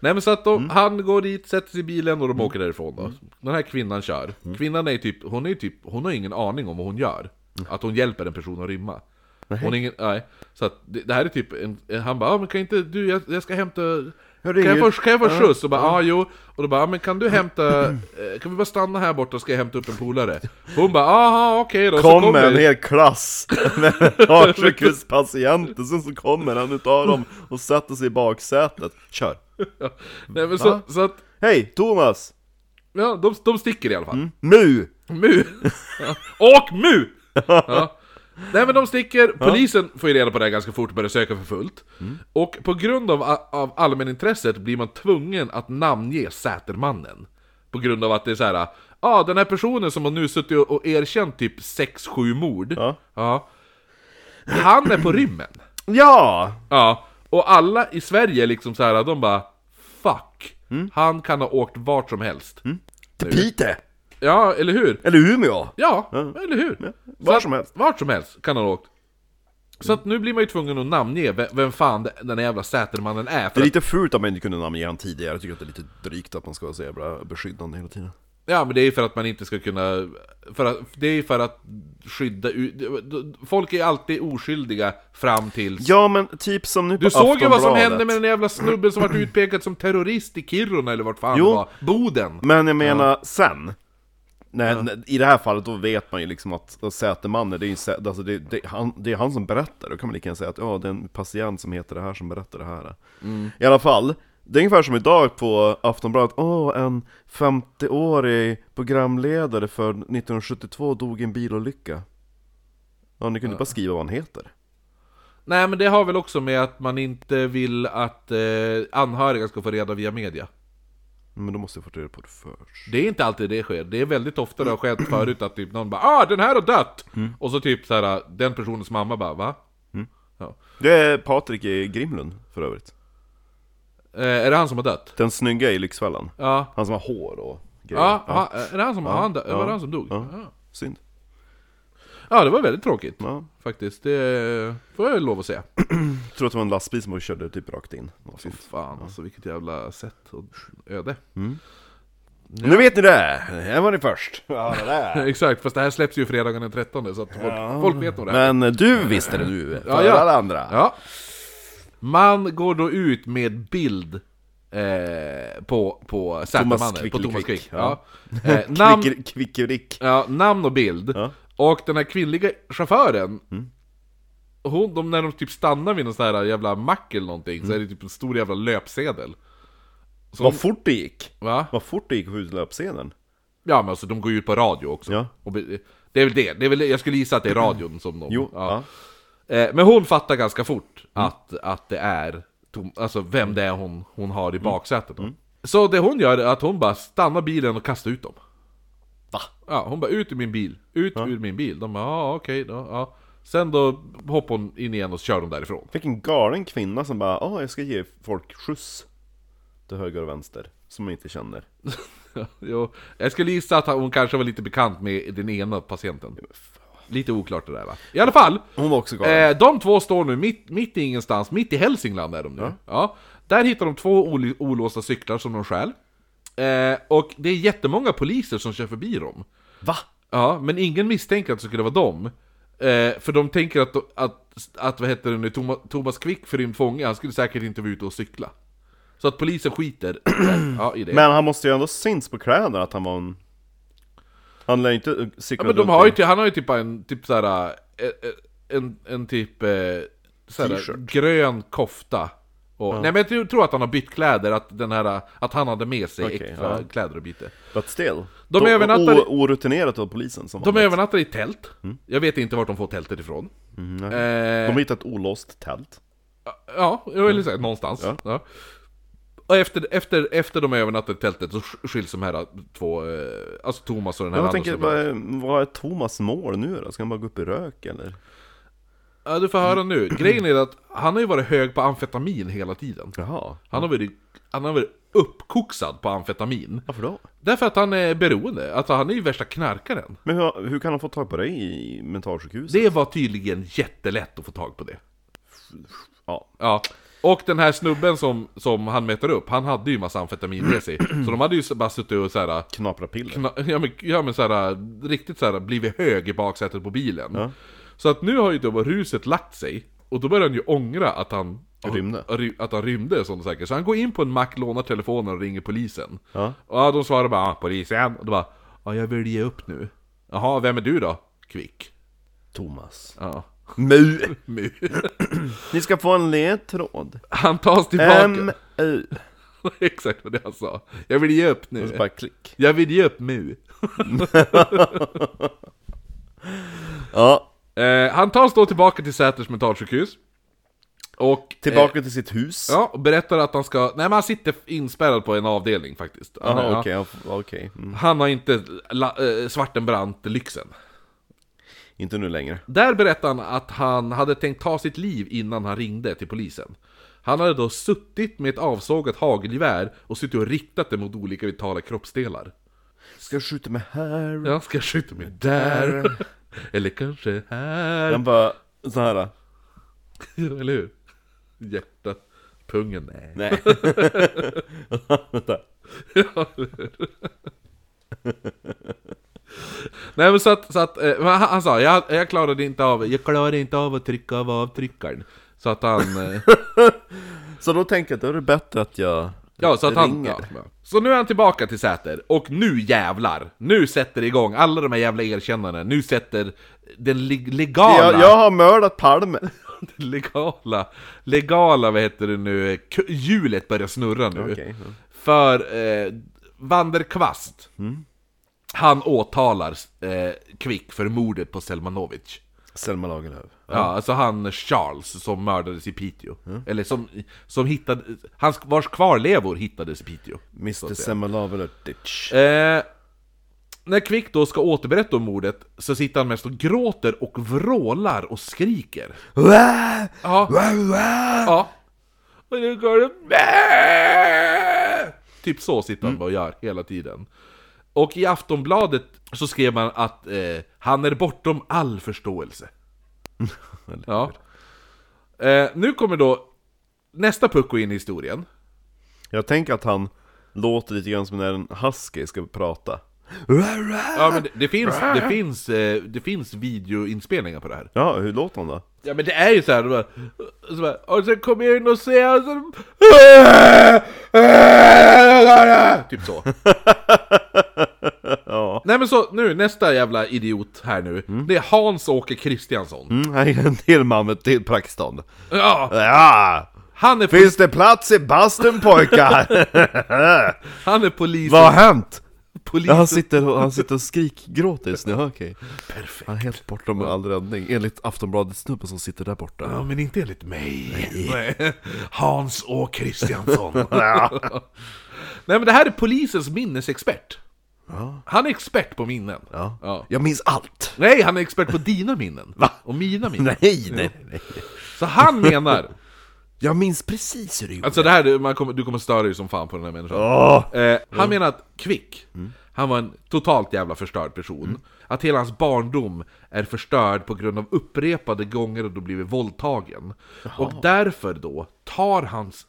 Nej men så att de, han går dit, sätter sig i bilen och de åker därifrån då. Den här kvinnan kör. Kvinnan är typ, hon är typ, hon har ingen aning om vad hon gör. Att hon hjälper en person att rymma. Hon är ingen, Mm. nej. Så att det, det här är typ en, han bara ah, men kan inte du, jag, jag ska hämta Jag kan jag, ringer." få, kan jag få skjuts? Och bara, ja ah, jo. Och då bara, "Ah, men kan du hämta, <clears throat> eh, kan vi bara stanna här borta ska jag hämta upp en polare? Hon bara, aha okej då. Så Kommer en hel klass <laughs> med mentalsjukhuspatienter, sen så kommer han utav dem och sätter sig i baksätet. Kör! Nej men så, Va? så att, Hej Thomas! ja de, de sticker i alla fall. Nu! Mu! <laughs> Ja. Och mu! Ja. Nej men de sticker, polisen får ju reda på det här ganska fort och börjar söka för fullt. Och på grund av, av allmänintresset blir man tvungen att namnge Sätermannen. På grund av att det är så här. ja ah, den här personen som har nu suttit och och erkänt typ 6-7 mord, Ja. Ja. han är på rymmen. Ja! Ja, och alla i Sverige liksom så här, de bara 'fuck' Han kan ha åkt vart som helst. Till Piteå! Ja, eller hur? Eller Umeå! Ja, eller hur? vart Så att- som helst. Mm. Vart som helst kan han ha åkt. Så att nu blir man ju tvungen att namnge ve- vem fan de- den här jävla Sätermannen är. Det För är att, lite fult att man inte kunde namnge han tidigare, jag tycker att det är lite drygt att man ska vara så jävla beskyddande hela tiden. ja, men det är ju för att man inte ska kunna... För att, det är ju för att skydda... u- Folk är alltid oskyldiga fram till... Ja men typ som nu på Du såg ju vad som Aftonbladet. hände med den jävla snubben som vart utpekad som terrorist i Kiruna eller vart fan Jo. det var. Boden. Men jag menar sen, när, när, i det här fallet då vet man ju liksom att att Sätermannen, det är, ju, Sä- alltså det, det, han, det är han som berättar, då kan man lika gärna säga att ja, det är en patient som heter det här som berättar det här. I alla fall, det är ungefär som idag på Aftonbladet, åh en 50-årig programledare för 1972 dog i en bilolycka. Ja, ni kunde bara skriva vad han heter. Nej men det har väl också med att man inte vill att eh, anhöriga ska få reda via media. Men då måste jag få reda på det först. Det är inte alltid det sker, det är väldigt ofta det har skett Mm. förut att typ någon bara ah den här har dött! Och så typ så här den personens mamma bara va? Ja. Det är Patrik i Grimlund för övrigt. Eh, är det han som har dött? Den snygga i Lyxfällan. Ja, Han som har hår och grejer. ja, ha- är det han som, har han, dö- Ja. var det han som dog? Ja. Ja. Synd. ja, det var väldigt tråkigt Ja. faktiskt, det får jag lov att säga. Jag tror att det var en lastbil som körde typ rakt in. Något sånt. Fan alltså vilket jävla sätt och öde. <laughs> Nu vet ni det! Här var ni först. Ja, det där. Exakt, fast det här släpps ju fredagen den 13 så att folk, folk vet nog det. här. Men du visste det nu, för Ja, ja. alla andra. Ja. Man går då ut med bild eh, på, på Sätermannen, på Quick- Thomas Quick, Quick. ja. Ja. Eh, <laughs> namn, Kvick- Kvickerick. ja, namn och bild. Ja. Mm. Och den här kvinnliga chauffören, hon, de, när de typ stannar vid någon sån här jävla mack eller någonting, så är Mm. det typ en stor jävla löpsedel. Vad fort det gick! Va? Vad fort det gick på utlöpscenen. Ja men alltså de går ju ut på radio också. Ja. Och be- det är väl det, det är väl, jag skulle gissa att det är radion som de... Jo, ja. ja. Eh, Men hon fattar ganska fort att, att det är tom, alltså vem det är hon, hon har i baksätet då. Så det hon gör är att hon bara stannar bilen och kastar ut dem. Va? Ja, hon bara ut ur min bil, ut ur min bil. De bara ja okej då, ja. Sen då hoppar hon in igen och kör dem därifrån. <laughs> Vilken galen kvinna som bara ah jag ska ge folk skjuts. Till höger och vänster. Som man inte känner. jo, jag skulle gissa att hon kanske var lite bekant med den ena patienten. Lite oklart det där va? I alla fall! Hon var också galen. Eh, de två står nu mitt, mitt i ingenstans, mitt i Hälsingland är de nu. Ja. Där hittar de två ol- olåsta cyklar som de stjäl. Eh, och det är jättemånga poliser som kör förbi dem. Va? Ja, men ingen misstänker att det skulle vara dem. Eh, för de tänker att, att, att vad heter det nu, Thomas, Thomas Quick, förrymd fånge, han skulle säkert inte vara ute och cykla. Så att polisen skiter <clears throat> ja, i det. Men han måste ju ändå syns på kläderna att han var en... Han lär ju inte eh, cykla Ja, men de har ju, ty- han har ju typ en typ såhär, eh, eh, en, en typ eh, såhär, T-shirt. grön kofta. Och, Nej men jag tror- tror att han har bytt kläder, att, den här, eh, att han hade med sig Okej, extra ja. kläder och byte. But still. De övernattar- o- Orutinerat av polisen som De vanligt. övernattar i tält, jag vet inte vart de får tältet ifrån. Mm. nej. Eh, De har hittat ett olåst tält. Ja, eller så, här, någonstans. Ja. Ja. Och efter, efter, efter de har övernattat i tältet så sk- skiljs de här två, eh, alltså Thomas och den här Men jag andra tänker, snubben. vad är, vad är Thomas mål nu då? Ska han bara gå upp i rök eller? Ja, du får höra nu. Grejen är att han har ju varit hög på amfetamin hela tiden. Jaha. Han har varit, han har varit uppkoksad på amfetamin. Varför då? Därför att han är beroende, alltså han är ju värsta knarkaren. Men hur, hur kan han få tag på dig i mentalsjukhuset? Det var tydligen jättelätt att få tag på det. Ja. Ja. Och den här snubben som, som han möter upp, han hade ju massa amfetamin med sig. Så de hade ju bara suttit och såhär Knapra piller. kna- <laughs> ja men, ja, men så här, äh, riktigt så här, blivit hög i baksätet på bilen. Ja. Så att nu har ju då ruset lagt sig, och då börjar han ju ångra att han Rymde. ry- Att han rymde sånt säkert. Så han går in på en mack, lånar telefonen och ringer polisen. Ja. Och ja, de svarar bara ah, 'Polisen' och då bara 'Ja, jag vill ge upp nu' Jaha, vem är du då? Kvick. Thomas. Ja. Mu! <laughs> Mu. Ni ska få en ledtråd. Han tas tillbaka. M-U. <laughs> Exakt vad det han sa. Jag vill ge upp Och så nu. bara klick. Jag vill ge upp mu. Ja. Eh, han tas då tillbaka till Säters mentalsjukhus. Och eh, Tillbaka till sitt hus. Ja, och berättar att han ska... Nej men han sitter inspärrad på en avdelning faktiskt. Han, Jaha, ja. okej. ja, f- okej. Mm. han har inte la, eh, Svartenbrandt-lyxen. Inte nu längre. Där berättar han att han hade tänkt ta sitt liv innan han ringde till polisen. Han hade då suttit med ett avsågat hagelgevär och suttit och riktat det mot olika vitala kroppsdelar. Ska jag skjuta mig här? Jag ska skjuta mig <laughs> där. Eller kanske här. Den bara så här. Eller hur? Hjärtat. Pungen. Nej. <laughs> Nej. Vänta. <laughs> Nej men så att, så att eh, men han, han sa jag, jag klarade inte av, jag klarade inte av att trycka av avtryckaren. Så att han, eh, Så då tänker jag att då är det bättre att jag ja så att han, ringer. ja, ja. Så nu är han tillbaka till Säter, och nu jävlar! Nu sätter det igång, alla de här jävla erkännandena, nu sätter den leg- legala, Jag, jag har mördat Palme. den <laughs> legala, legala vad heter det nu, k- hjulet börjar snurra nu. Okej, ja. För eh, Vanderkvast, Mm. han åtalar eh, Kvick för mordet på Selmanovic. Selma Lagerlöf. Ja, alltså han Charles som mördades i Piteå. Eller som, som hittade, hans, vars kvarlevor hittades i Piteå. Mr Selma Lagerlöf ditch. Eh, när Kvick då ska återberätta om mordet så sitter han mest och gråter och vrålar och skriker. Ja, ja. Och nu går det... Typ så sitter han och gör hela tiden. Och i Aftonbladet så skrev man att eh, han är bortom all förståelse. ja. eh, nu kommer då nästa pucko in i historien. Jag tänker att han låter lite grann som när en husky ska prata. Ja, men det, det, finns, det, finns, eh, det finns videoinspelningar på det här. Ja, hur låter han då? Ja men det är ju såhär, bara, och så bara, och sen kommer jag in och alltså." ser, och så... Typ så. Nej men så, nu nästa jävla idiot här nu, det är Hans-Åke Kristiansson. Mm, här är en till man med ett till praktstånd. Ja, Ja! han är, pol- Finns det plats i bastun <laughs> pojkar? han är polis, Vad har hänt? polis Ja, han, sitter och, han sitter och skrikgråter just nu, ja, okej. Perfekt. Han är helt bortom all räddning, enligt Aftonbladet-snubben som sitter där borta. Ja, men inte enligt mig. <laughs> Nej. Hans och Kristiansson. Nej men det här är polisens minnesexpert. Han är expert på minnen. Ja. Ja. Jag minns allt! Nej, han är expert på dina minnen. Va? Och mina minnen. Nej, nej, nej. Så han menar, Jag minns precis hur det gjorde. alltså det här, man kommer, du kommer störa dig som fan på den här människan. Åh! Eh, han menar att Kvick, Han var en totalt jävla förstörd person. Att hela hans barndom är förstörd på grund av upprepade gånger och då blivit våldtagen. Och därför då tar hans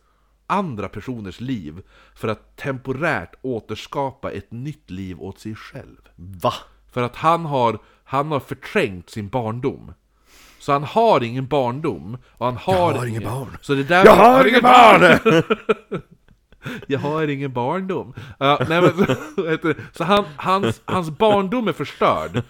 andra personers liv för att temporärt återskapa ett nytt liv åt sig själv. Va? För att han har, han har förträngt sin barndom. Så han har ingen barndom. Och han har har inget barn. Så det där Jag har inget barn! <laughs> jag har ingen barndom. Ja, nej, men, så <laughs> heter det. så han, hans, hans barndom är förstörd.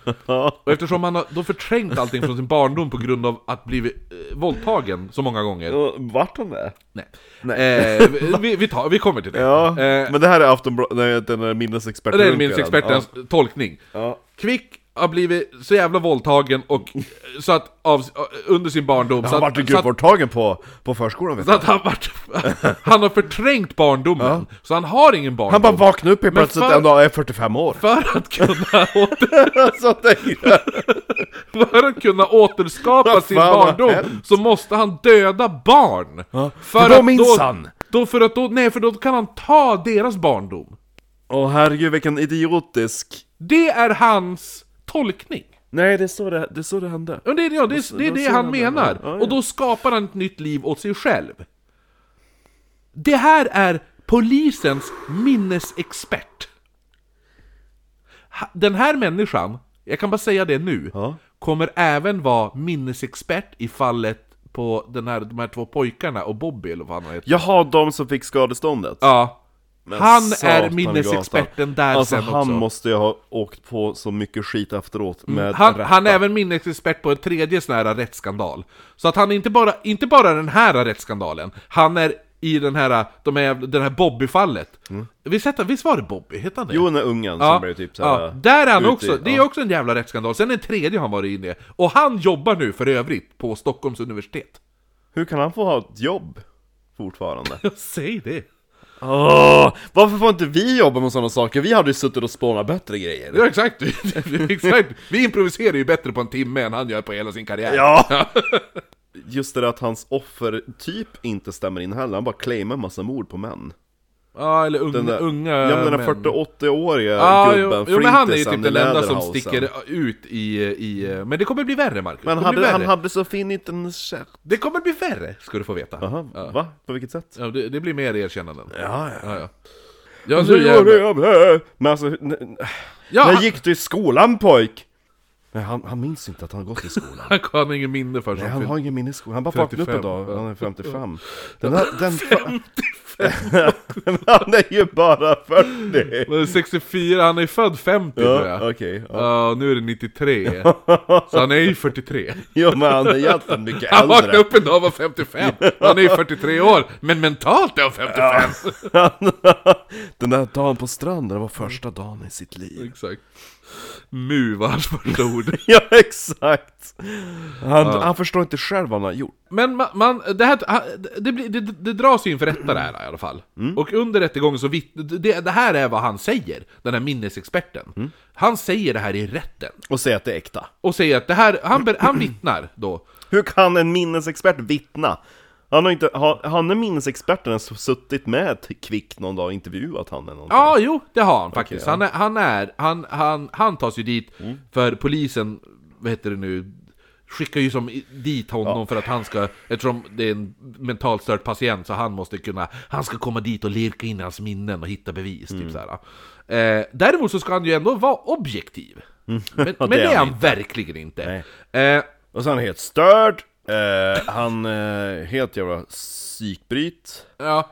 Och eftersom han har då förträngt allting från sin barndom på grund av att bli eh, våldtagen så många <laughs> gånger. Vart hon är? Nej. Eh, vi, vi, tar, vi kommer till det. Ja, Eh, men det här är Aftonbladet, nej den är minnesexperten det är minnesexpertens tolkning. Ja. Kvick har blivit så jävla våldtagen och så att av, under sin barndom så Han att, vart ju så att, gruppvårdtagen på, på förskolan vet så du. att han, vart, han har förträngt barndomen, så han har ingen barndom. Han bara vaknade upp helt Men plötsligt för- en dag och är 45 år. för att kunna, <laughs> åter, <laughs> så tänkte jag, för att kunna återskapa Vad sin fan har barndom hänt? så måste han döda barn! för då minsann. Då, för att då, nej för då kan han ta deras barndom. Åh herregud vilken idiotisk... Det är hans tolkning. Nej det är så det, det, är så det hände. Ja, det, är- ja, det, är- det är då det ser han han menar. det. Ja, ja. Och då skapar han ett nytt liv åt sig själv. Det här är polisens minnesexpert. Ha- Den här människan, jag kan bara säga det nu, Ja. kommer även vara minnesexpert i fallet på den här, de här två pojkarna och Bobby eller vad han heter. Jaha, de som fick skadeståndet? Ja. Men han satan i är minnesexperten gatan. där alltså, sen han också. Mm. måste ju ha åkt på så mycket skit efteråt med Han, rätta. han är även minnesexpert på en tredje sån här rättsskandal. Så att han är inte bara, inte bara den här rättsskandalen, han är i den här, de här, den här Bobby-fallet. Visst, hette- visst var det Bobby? Hette han det? Mm. Jo, den där ungen Ja, som blev typ såhär... ja, där är han ute i- också, det är ja. också en jävla rättsskandal. Sen en tredje har han varit inne i. Och han jobbar nu för övrigt på Stockholms universitet. Hur kan han få ha ett jobb? Fortfarande. Jag säger det! Åh, varför får inte vi jobba med sådana saker? Vi hade ju suttit och spånat bättre grejer. Ja, exakt! <laughs> exakt. Vi improviserar ju bättre på en timme än han gör på hela sin karriär. Ja! <laughs> Just det där att hans offertyp inte stämmer in heller, han bara claimar en massa mord på män. Ja, eller unga, Den där, unga ja, men Ah, den där män. 40-80-åriga Ja, gubben, jo, jo, men han är ju flintisen typ i den enda som Läderhausen. sticker ut i, i... Men det kommer bli värre, Marcus. Men det, kommer bli hade, han värre. hade så fin liten kärt. det kommer bli värre, ska du få veta. Jaha, va? På vilket sätt? Alltså, Ja, det, det blir mer erkännanden. Ja, Alltså, ja. Ja, ja. Ja, så jävla... Men alltså, n- n- ja när han, gick du i skolan pojk? Nej, han, han minns inte att han gått i skolan. han han har ingen minne för sig. Nej, han har ingen minnesskola, han bara 55, vaknade upp en <laughs> dag, ja. han är 55. Den här, den... 55 <laughs> Han är ju bara 40! Men 64, han är född 50 tror jag. Ja, Ja, okej. ja. nu är det <laughs> 93. så han är ju 43. Jo men han är <laughs> egentligen mycket Han vaknade äldre. upp en dag och var 55. Han är ju 43 år, men mentalt är han 55. <laughs> Den där dagen på stranden var första dagen i sitt liv. Exakt. Mu var hans första ord. Ja, exakt! Han, han förstår inte själv vad han har gjort. Men man, man det, här, det, blir, det, det dras ju inför rätta det här i alla fall. Och under rättegången så vitt, det, det här är vad han säger, den här minnesexperten. Han säger det här i rätten. Och säga att det är äkta. Och säger att det här, han, ber- han vittnar då. Hur kan en minnesexpert vittna? Han har inte, har, han är minnesexperten som suttit med ett Kvick någon dag och intervjuat han eller någonting. Ja, jo, det har han faktiskt. Han är, han, är, han, han, han tas ju dit för polisen, vad heter det nu, skickar ju som i- dit honom för att han ska, eftersom det är en mentalt störd patient så han måste kunna, han ska komma dit och lirka in hans minnen och hitta bevis. Typ så här. Eh, däremot så ska han ju ändå vara objektiv. <laughs> Men, men Mm. det är han verkligen inte. Eh, Och så är han helt störd, eh, han eh, helt jävla psykbryt. ja.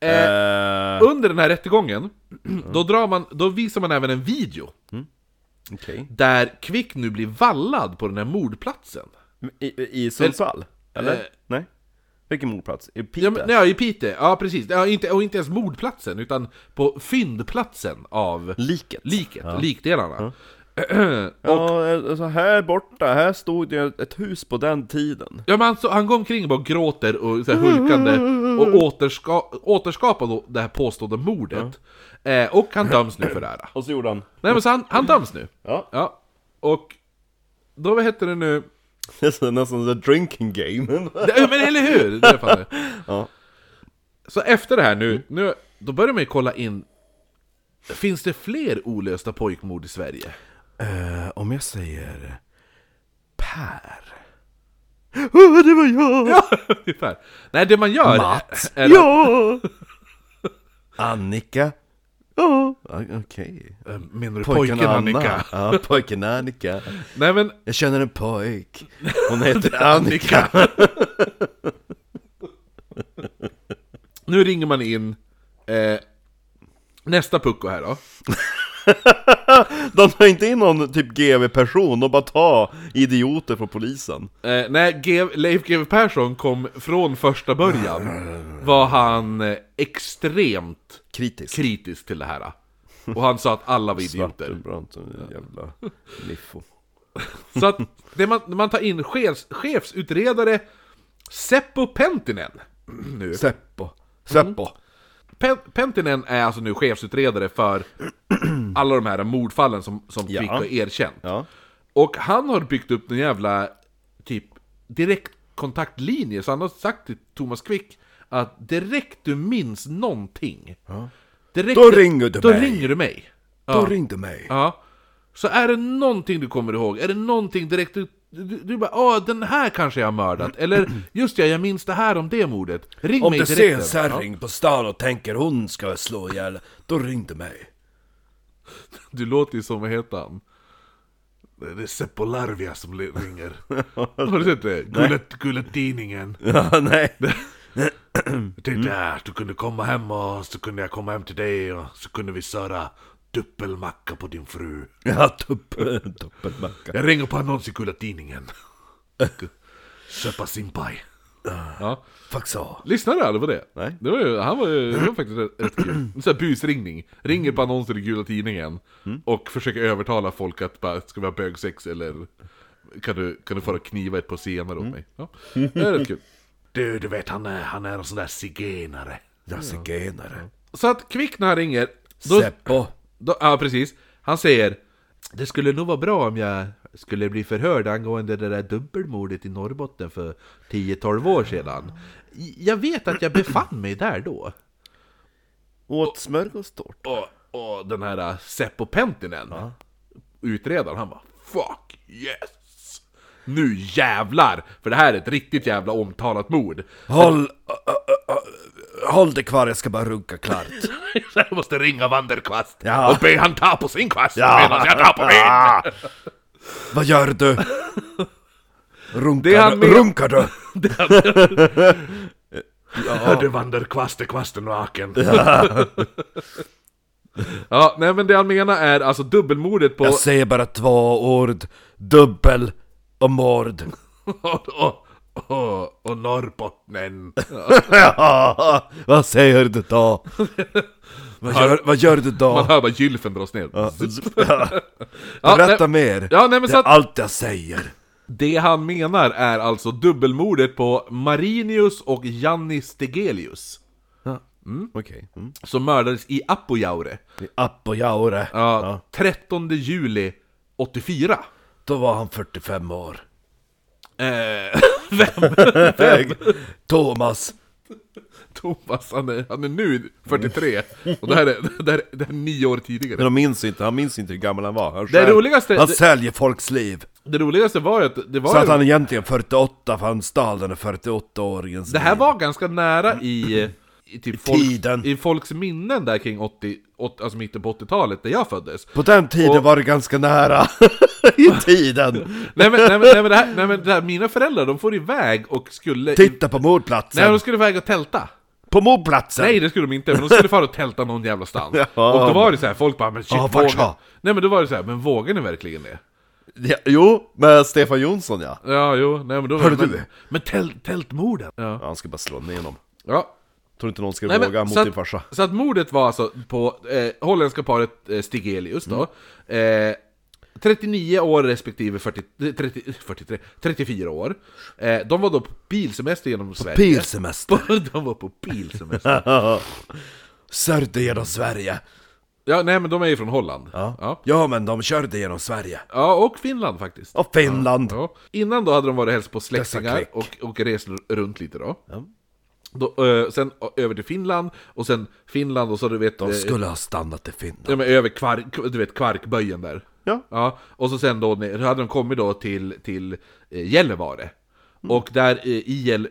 Eh, eh, Mm. under den här rättegången, <clears throat> då, drar man, då visar man även en video Okej. där Kvick nu blir vallad på den här mordplatsen. I, I Sundsvall? Eller? eh, Nej? Vilken mordplats? I Piteå? Ja, men, nej, i Piteå. Ja, precis. Ja, inte, och inte ens mordplatsen, utan på fyndplatsen av Liket? liket, likdelarna. Ja, alltså här borta, här stod det ett hus på den tiden. Ja, men han, så, han går omkring och bara gråter och så här, hulkande och återska, återskapar då det här påstådda mordet. Eh, och han döms nu för det här. Och så gjorde han... <laughs> Nej, men så han, han döms nu. Ja, Ja, och då, vad heter det nu? det är så- nästan the drinking game. Det- Ja, men eller hur! Det är fan det. <laughs> Ja. Så efter det här nu, nu, då börjar man ju kolla in Finns det fler olösta pojkmord i Sverige? <laughs> Eh, om jag säger Per. Åh, det var jag! Ungefär. Nej, det man gör... Mats. Är, är Ja! <laughs> Annika. Ja. Okej. att- Menar du pojken, Pojken, Anna. Annika? Ja, pojken Annika. Nej men, Jag känner en pojk. <laughs> Hon heter Annika. nu ringer man in eh, nästa pucko här då. De tar inte in någon typ GV-person och bara ta idioter från polisen. Eh, nej, G- Leif GW Persson kom från första början var han eh, extremt Kritisk. kritisk till det här. Och han sa att alla var idioter. Svartenbrandt som <laughs> en jävla liffo. Så att det man, man tar in chefs, chefsutredare Seppo Pentinen. Nu. Seppo. Seppo. Mm. Pen, Pentinen är alltså nu chefsutredare för <clears throat> alla de här mordfallen som, som Ja. Kvicke har erkänt. Ja. Och han har byggt upp en jävla typ direktkontaktlinje, så han har sagt till Thomas Quick att direkt du minns någonting, direkt, Då ringer du då mig. ringer du mig. Då ringde mig. Ja. Så är det någonting du kommer ihåg, är det någonting direkt du, du, du bara åh den här kanske jag har mördat, eller just ja, jag minns det här om det mordet. Ring Om mig du direkt. ser en Ja. kärring på stan och tänker hon ska jag slå ihjäl, då <laughs> ringde mig. Du låter ju som, vad heter han? Det är Seppo Larvia som le- ringer. <laughs> Har du sett det? Gullet, gullettidningen. Ja, nej. Jag tänkte att du kunde komma hem och så kunde jag komma hem till dig och så kunde vi söra dubbelmacka på din fru. <laughs> Ja, tupp, tuppelmacka. Jag ringer på annons i <laughs> Gullettidningen. Köpa simpaj. Ja. Fuck så. Lyssnade du aldrig på det? Nej. Det var ju, han var ju, det var faktiskt rätt, rätt kul. En sån här busringning. Ringer på annonser i Gula Tidningen. Och försöker övertala folk att bara, ska vi ha bögsex eller kan du, kan du fara och kniva ett par senare åt mig? Ja. Det är rätt kul. Mm. <laughs> Du, du vet han är, han är en sån där zigenare. Jag zigenare. Så att Kvick när han ringer, då, Seppo. då, ja precis. Han säger Det skulle nog vara bra om jag skulle bli förhörd angående det där dubbelmordet i Norrbotten för 10-12 år sedan. Jag vet att jag befann mig där då. Åt smörgåstårta. Och, och den här äh, Seppo Pentinen, utredaren, han bara Fuck yes! Nu jävlar! För det här är ett riktigt jävla omtalat mord. Håll, ö, ö, ö, ö, håll dig kvar, jag ska bara <laughs> runka klart. Så jag måste ringa Vanderkvast Ja. och be han ta på sin kvast Ja. medan jag tar på min! Ah. <laughs> Vad gör du? Runkar, Det är han med- runkar du? Hörde vandrar kvaste kvasten naken. Ja. <laughs> ja, nej men det han menar är alltså dubbelmordet på... Jag säger bara två ord. Dubbel och mord. <laughs> <laughs> och, och, och, och Norrbotten. Ja, vad säger du då? Vad gör, vad gör du Man då? hör bara gylfen dras ner. Ja, Berätta nej- mer. Ja, nej, men det så är att- allt jag säger. Mm. Det han menar är alltså dubbelmordet på Marinius och Janni Stegelius. Okej. Mm. Som mördades i Apojaure. I Appojaure. Ja, 13 juli 84. Då var han 45 år. Eh, <laughs> <laughs> Thomas. Thomas, han är, han är nu 43. Och det här är, det här, det här är nio år tidigare. Men de minns inte, han minns inte hur gammal han var. Han Det roligaste- Han det- säljer folks liv. Det roligaste var ju att det var Så att ju, han egentligen 48, för han stal den 48-åringens Det här liv. var ganska nära i, i, typ tiden. Folks, i folks minnen där kring 80, 80 alltså mitten på 80-talet där jag föddes. På den tiden Och- var det ganska nära. <laughs> I tiden. nej, men, nej, men, nej, men, det här, nej, men det här, mina föräldrar de får iväg och skulle... Titta på nej, mordplatsen. de skulle iväg och tälta. På mordplatsen! Nej, det skulle de inte, men de skulle fara och tälta någon jävla stans. <laughs> Ja. Och då var det så här, folk bara men shit, Ja, vart vågar... sa? Nej men då var det så här, men vågar ni verkligen det? Ja, jo, med Stefan Jonsson ja. Ja, jo, nej men då... Hörde men, du? Men tält, tältmorden! Ja. ja. Han ska bara slå ner honom. ja. Tror inte någon skulle Nej, men, våga mot så, din att, farsa. så att mordet var alltså på eh, holländska paret eh, Stigelius då. Eh, 39 år respektive 40, 30, 43, 34 år. Eh, de var då på bilsemester genom Sverige. Pilsemester. <laughs> de var på bilsemester. <laughs> Körde genom Sverige. ja, nej men de är ju från Holland. Ja. Ja. ja, men de körde genom Sverige. Ja, och Finland faktiskt. Och Finland. Ja. Innan då hade de varit och hälsat på Dessa släktingar klick. och, och rest runt lite då. Då, eh, sen över till Finland, och sen Finland och så du vet... eh, De skulle ha stannat i Finland. Ja, men över kvark, du vet, Kvarkböjen där. Ja. Ja, och så sen då, då hade de kommit då till, till eh, Gällivare. Mm. Och där eh, i, Gäll,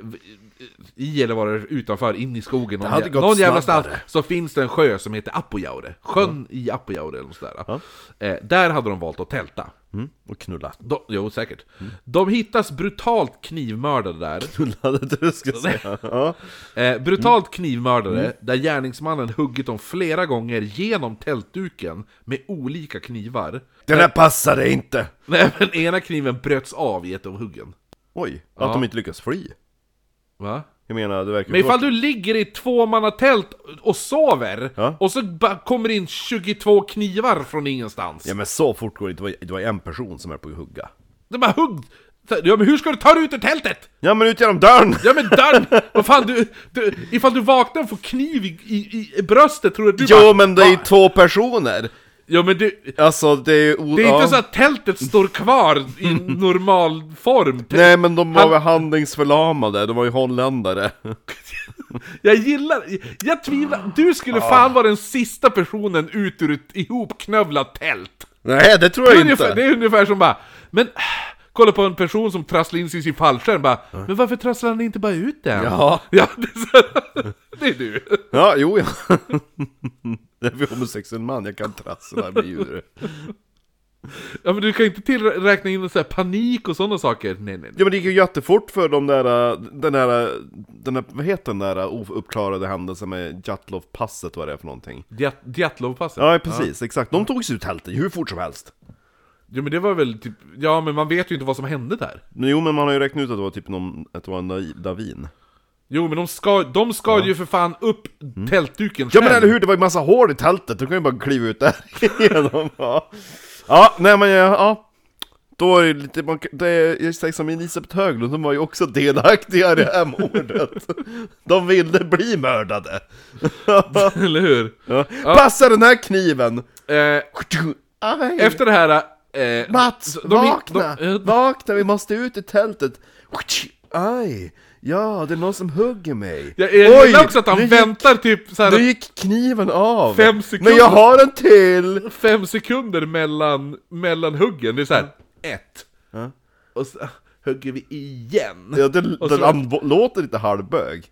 i Gällivare utanför, in i skogen, någon, hade jä- gått någon jävla snabbare. Mm. stans, så finns det en sjö som heter Apojaure. Sjön i Apojaure eller något sådär. Eh, där hade de valt att tälta. Mm. Och knulla. De, jo, säkert. Mm. De hittas brutalt knivmördade där. Knullade du ska säga. Ja. Eh, Mm. brutalt knivmördade, där gärningsmannen huggit dem flera gånger genom tältduken med olika knivar. Den här passade inte! Nej, men ena kniven bröts av i ett av huggen. Oj, att de inte lyckas fly. Va? Jag menar, det verkar Men ju ifall du ligger i ett tvåmannatält och sover, Ja. och så ba- kommer in 22 knivar från ingenstans. Ja men så fort går det inte, Det var- det var en person som är på att hugga. Det är bara hugg! Ja men hur ska du ta dig ut ur tältet? Ja men ut genom dörren! Ja men <laughs> dörren! Vad fan du, du... Ifall du vaknar och får kniv i, i, i bröstet tror du att du Jo bara- men det är ju Va? två personer! Ja men du... Alltså det är ju... o- Det är ja. inte så att tältet står kvar <laughs> i normal form. Nej men de var Han- väl handlingsförlamade, de var ju holländare. Jag gillar... Jag tvivlar... Du skulle fan vara den sista personen ut ur ett ihopknövlat tält. Nej det tror jag Ungefär, det inte! är ungefär som bara... Men... äh, Kolla på en person som trasslar in sig i sin fallskärm bara Men varför trasslar han inte bara ut den? Ja. ja det, är så, <laughs> det är du. Ja, <laughs> jo ja. Det är för homosexuell man, jag kan trassla med djur. Ja men du kan inte tillräkna in så här panik och sådana saker. Nej nej. nej. Ja men det gick ju jättefort för de där, äh, den där, äh, den där vad heter den där äh, ouppklarade händelsen med Jatlov-passet vad det är för någonting? Djat- Djatlovpasset. Ja precis, exakt. De tog sig ut tältet hur fort som helst. Ja men det var väl typ... Ja men man vet ju inte vad som hände där. Men jo men man har ju räknat ut att det var typ någon, att det var en naiv- davin. Jo men de ska, de ska ju för fan upp tältduken Mm. Ja själv. men eller hur, det var ju massa hål i tältet, du kan ju bara kliva ut där <laughs> igenom. Ja, ja nej men ja, ja. Då är det lite, man, det är, jag säger som Elisabeth Höglund, de var ju också delaktiga i det här <laughs> mordet. De ville bli mördade. <laughs> eller hur? Ja. Passa den här kniven! Eh, Aj. efter det här... Eh, Mats, de- de- vakna! de- eh, Vakna, vi måste ut ur tältet! Aj! Ja, det är någon som hugger mig! jag jag gillar också att han nu gick- väntar typ så Nu här gick kniven av! Fem sekunder. Men jag har en till! fem sekunder mellan, mellan huggen. Det är så här, ett. Ja. Och så hugger vi igen. Ja, den, Och så- den, han bo- låter inte halvbög.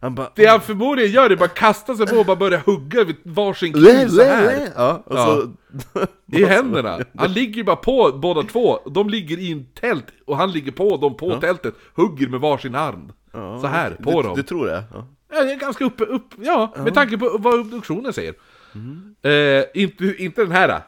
Han bara... Det han förmodligen gör är bara att kasta sig på och bara börja hugga vid varsin Lä, kniv så lä, här lä. Ja, och så... <laughs> I händerna. Han ligger ju bara på båda två. De ligger i en tält och han ligger på dem på tältet. Hugger med varsin hand. så här, på du, dem. Du tror det? Ja. <laughs> Ja, det är ganska uppe, upp, ja, med tanke på vad obduktionen säger. Mm. Eh, inte, inte den <laughs> här.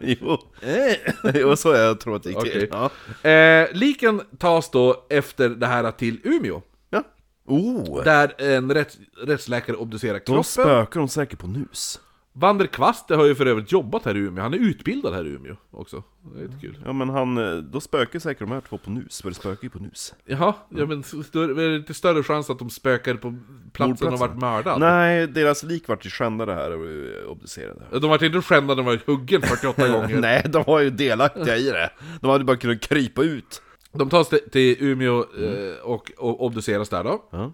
Jo. <laughs> jo, så jag tror att det gick till. Eh. Okej. Ja. Eh, liken tas då efter det här till Umeå, ja. Oh! där en rätts, rättsläkare obducerar Då kroppen. spökar de säkert på nus. Vander Kvaste har ju för övrigt jobbat här i Umeå, han är utbildad här i Umeå också. Det är lite kul. Ja men han, eh, då spökar säkert de här två på nus, för det spökar ju på nus. Jaha, ja, men större, det är lite större chans att de spökade på platsen och Mordplatsen. varit mördade. Nej, deras lik vart ju skändade här och eh, obducerade. De vart inte skändade, de var huggen 48 gånger. <laughs> Nej, de var ju delaktiga i det. De hade bara kunnat krypa ut. De tas till, till Umeå eh, och, och obduceras där då. Mm. Ja.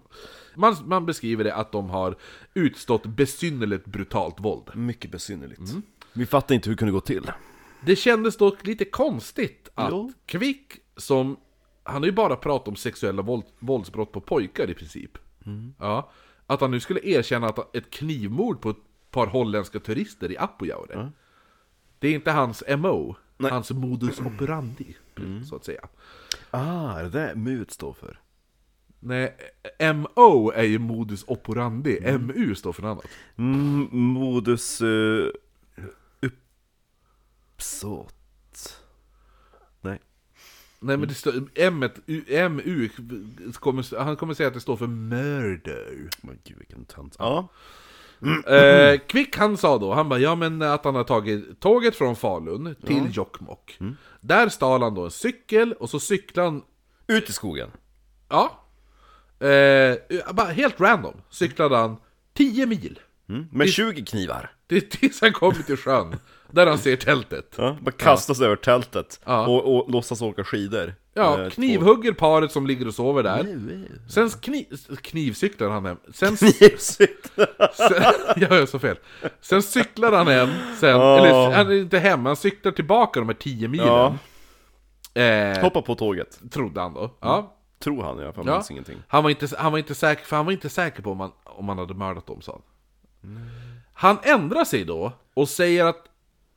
Man, man beskriver det att de har utstått besynnerligt brutalt våld. Mycket besynnerligt. Mm. Vi fattar inte hur det kunde gå till. Det kändes dock lite konstigt att Jo. Kvick, som... Han har ju bara pratat om sexuella våld, våldsbrott på pojkar i princip. Mm. Ja, att han nu skulle erkänna att ett knivmord på ett par holländska turister i Apojaure. Det är inte hans MO, Nej. Mm. hans modus operandi, så att säga. Ah, det där MUT står för. Nej, MO är ju modus operandi, MU står för något annat. Mm, modus uh, uppsåt. Nej. Nej men det står, Mm. M, MU, kommer, han kommer säga att det står för murder. Men gud vilken tönt. Ja. Mm. Eh, Kvick han sa då, han bara ja men att han har tagit tåget från Falun till Jokkmokk. Mm. Där stal han då en cykel och så cyklade han, Ut i skogen. ja. Eh, bara helt random cyklade han 10 mil. Mm. Med 20 knivar. Det är tills han kommer till sjön, där han ser tältet. Ja, bara kastas över tältet Ja. och, och låtsas åka skidor. Ja, Eh, <laughs> knivhugger paret som ligger och sover där. två- Sen kni, knivcyklar han hem. Sen, sen, Knivcyklar. <laughs> jag gör så fel. Sen cyklar han hem, sen, Ja. eller han är inte hem, han cyklar tillbaka de här 10 milen. Ja, Eh, hoppa på tåget. trodde han då. Ja. Tror han i alla fall, Ja. Mm. minns ingenting. Han var inte, han var inte säker, för han var inte säker på om han, om han hade mördat dem, sa han. Han ändrar sig då och säger att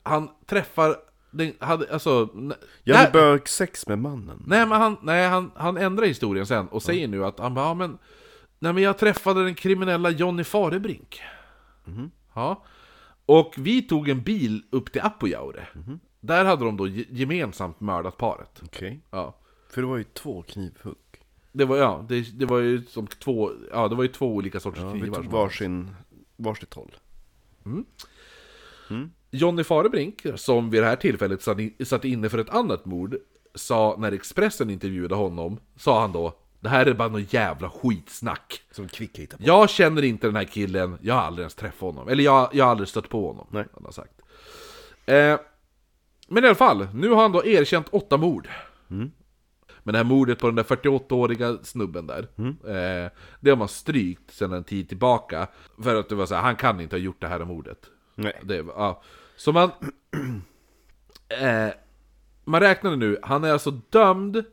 han träffar den, hade, alltså... n- Jag hade nej, bögsex med mannen. nej, men han, nej, han, han ändrar historien sen och säger nu att han bara, ja, men... Nej, men jag träffade den kriminella Johnny Farebrink. Mhm. Ja. Och vi tog en bil upp till Apojaure. Mhm. Där hade de då ge- gemensamt mördat paret. Okej. Ja. För det var ju två knivhugg. Det var, ja, det, det var ju som två, ja, det var ju två olika sorters Ja, vi knivar. tog som- varsin, varsitt håll. Jonny Farebrink, som vid det här tillfället satt in- satt inne för ett annat mord, sa när Expressen intervjuade honom, sa han då Det här är bara något jävla skitsnack. Som Kvick hittade på. Jag känner inte den här killen, jag har aldrig ens träffat honom. Eller jag, jag har aldrig stött på honom. Nej. Han har sagt. Eh, men i alla fall, nu har han då erkänt åtta mord. Men det här mordet på den där 48-åriga snubben där, eh, det har man strykt sedan en tid tillbaka. För att det var så här, han kan inte ha gjort det här mordet. Nej. Det, var- ja. Så man... <clears throat> eh, man räknade nu, han är alltså dömd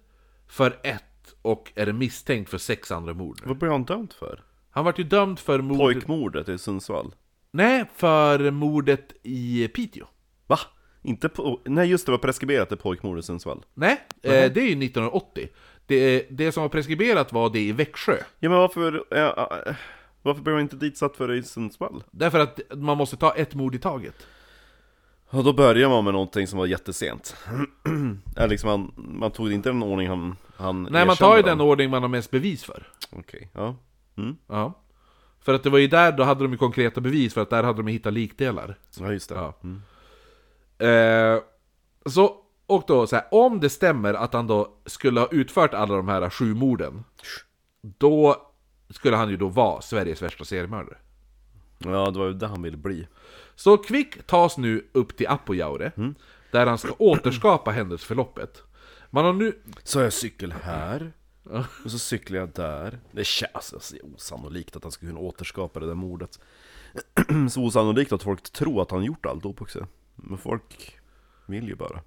för ett och är misstänkt för sex andra mord. nu. Vad blev han dömd för? Han vart ju dömd för mord... Pojkmordet i Sundsvall? Nej, för mordet i Piteå. Va? Inte på... Nej just det, var preskriberat det pojkmordet i Sundsvall. Nej, eh, det är ju 1980. Det, det som var preskriberat var det i Växjö. Ja men varför... eh, eh, varför blev han inte ditsatt för det i Sundsvall? Därför att man måste ta ett mord i taget. Ja, då började man med någonting som var jättesent. <clears throat> Eller liksom man, man tog inte den ordning han, han Nej, man erkände tar ju dem. den ordning man har mest bevis för. Okej, ja. Mm. Ja. För att det var ju där, då hade de ju konkreta bevis, för att där hade de ju hittat likdelar. ja, just det. Ja. Eh, så, och då så här, om det stämmer att han då skulle ha utfört alla de här sju morden, då skulle han ju då vara Sveriges värsta seriemördare. Ja, det var ju det han ville bli. Så Kvick tas nu upp till Apojaure, där han ska återskapa händelseförloppet. Man har nu... Så jag cykel här, och så cyklar jag där. Det känns alltså, det är osannolikt att han skulle kunna återskapa det där mordet. <clears throat> så osannolikt att folk tror att han gjort alltihop också. Men folk vill ju bara.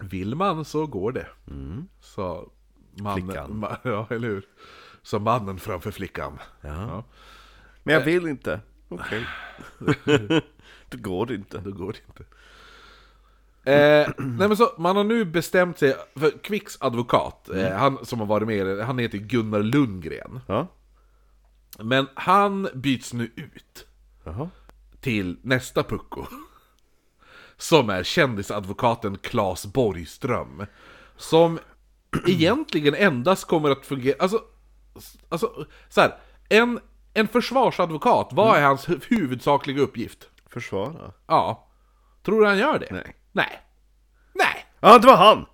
Vill man så går det. Sa mannen... Flickan. Ma, <laughs> ja, eller hur? Sa mannen framför flickan. Ja, Men jag vill inte. <laughs> Okej. då går det inte. då går det inte. Eh, nej men så, man har nu bestämt sig, för Kvicks advokat, eh, han som har varit med i det, han heter Gunnar Lundgren. Ja. Men han byts nu ut Jaha. till nästa pucko. Som är kändisadvokaten Claes Borgström. Som egentligen endast kommer att fungera... Alltså, alltså så här, en, en försvarsadvokat, vad är hans hu- huvudsakliga uppgift? Försvara. Ja. Tror du han gör det? Nej. Nej. Nej. Ja, det var han!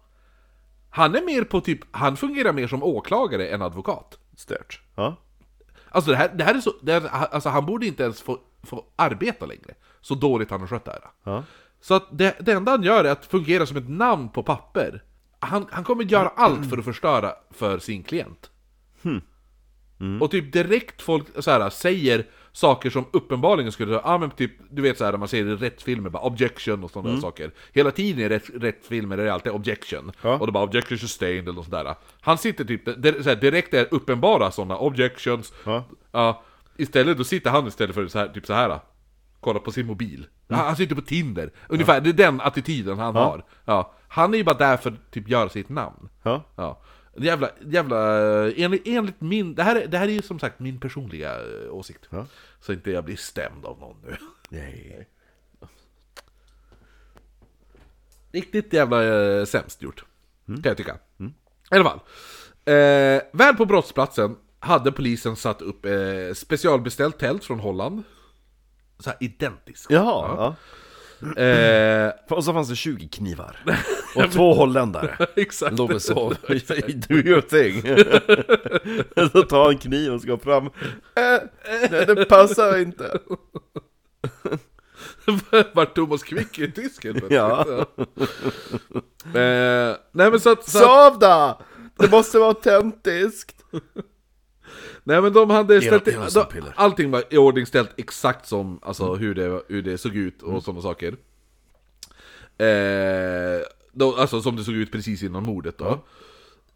Han är mer på typ, han fungerar mer som åklagare än advokat. Stört. Ja. Alltså det här, det här är så, det här, alltså han borde inte ens få, få arbeta längre. Så dåligt han har skött det här. Ja. Så att det, det enda han gör är att fungera som ett namn på papper. Han, han kommer göra allt för att förstöra för sin klient. Mm. Och typ direkt folk så här, säger saker som uppenbarligen skulle... Ja men typ, du vet så här när man ser i rättsfilmer, bara objection och Mm. sådana där saker. Hela tiden i rätt, rättsfilmer är det alltid objection. Ja. Och det bara objection sustained eller något sånt där. Han sitter typ di- så här, direkt är uppenbara sådana objections. Ja. Ja, istället, då sitter han istället för så här, typ så här. Kolla på sin mobil. Mm. Han, han sitter på Tinder. Ungefär, det är den attityden han har. Ja, han är ju bara där för att typ göra sitt namn. Ja. Ja. Jävla, jävla, eh, enligt, enligt min, det här, är- det här är ju som sagt min personliga eh, åsikt. Ja. Så inte jag blir stämd av någon nu. <laughs> Nej. Riktigt jävla eh, sämst gjort. Mm. Kan jag tycka. I alla fall. Eh, väl på brottsplatsen hade polisen satt upp eh, specialbeställt tält från Holland. Så här identiskt. Jaha, ja. <laughs> Eh, Och så fanns det 20 <laughs> knivar. Och två holländare. exakt. Låg och <laughs> sov. Do your thing. <laughs> så tar en kniv och ska fram. Eh, nej, det passar <laughs> inte. <laughs> Vart Thomas Quick är tysk helt plötsligt. Ja. Eh, nej men så att... Så att Sovda! Det måste vara autentiskt. nej men de hade Era- ställt... i- era de- stampiller. allting var iordningställt exakt som, alltså hur, det, hur det såg ut och sådana saker. Eh, då, alltså som det såg ut precis innan mordet då.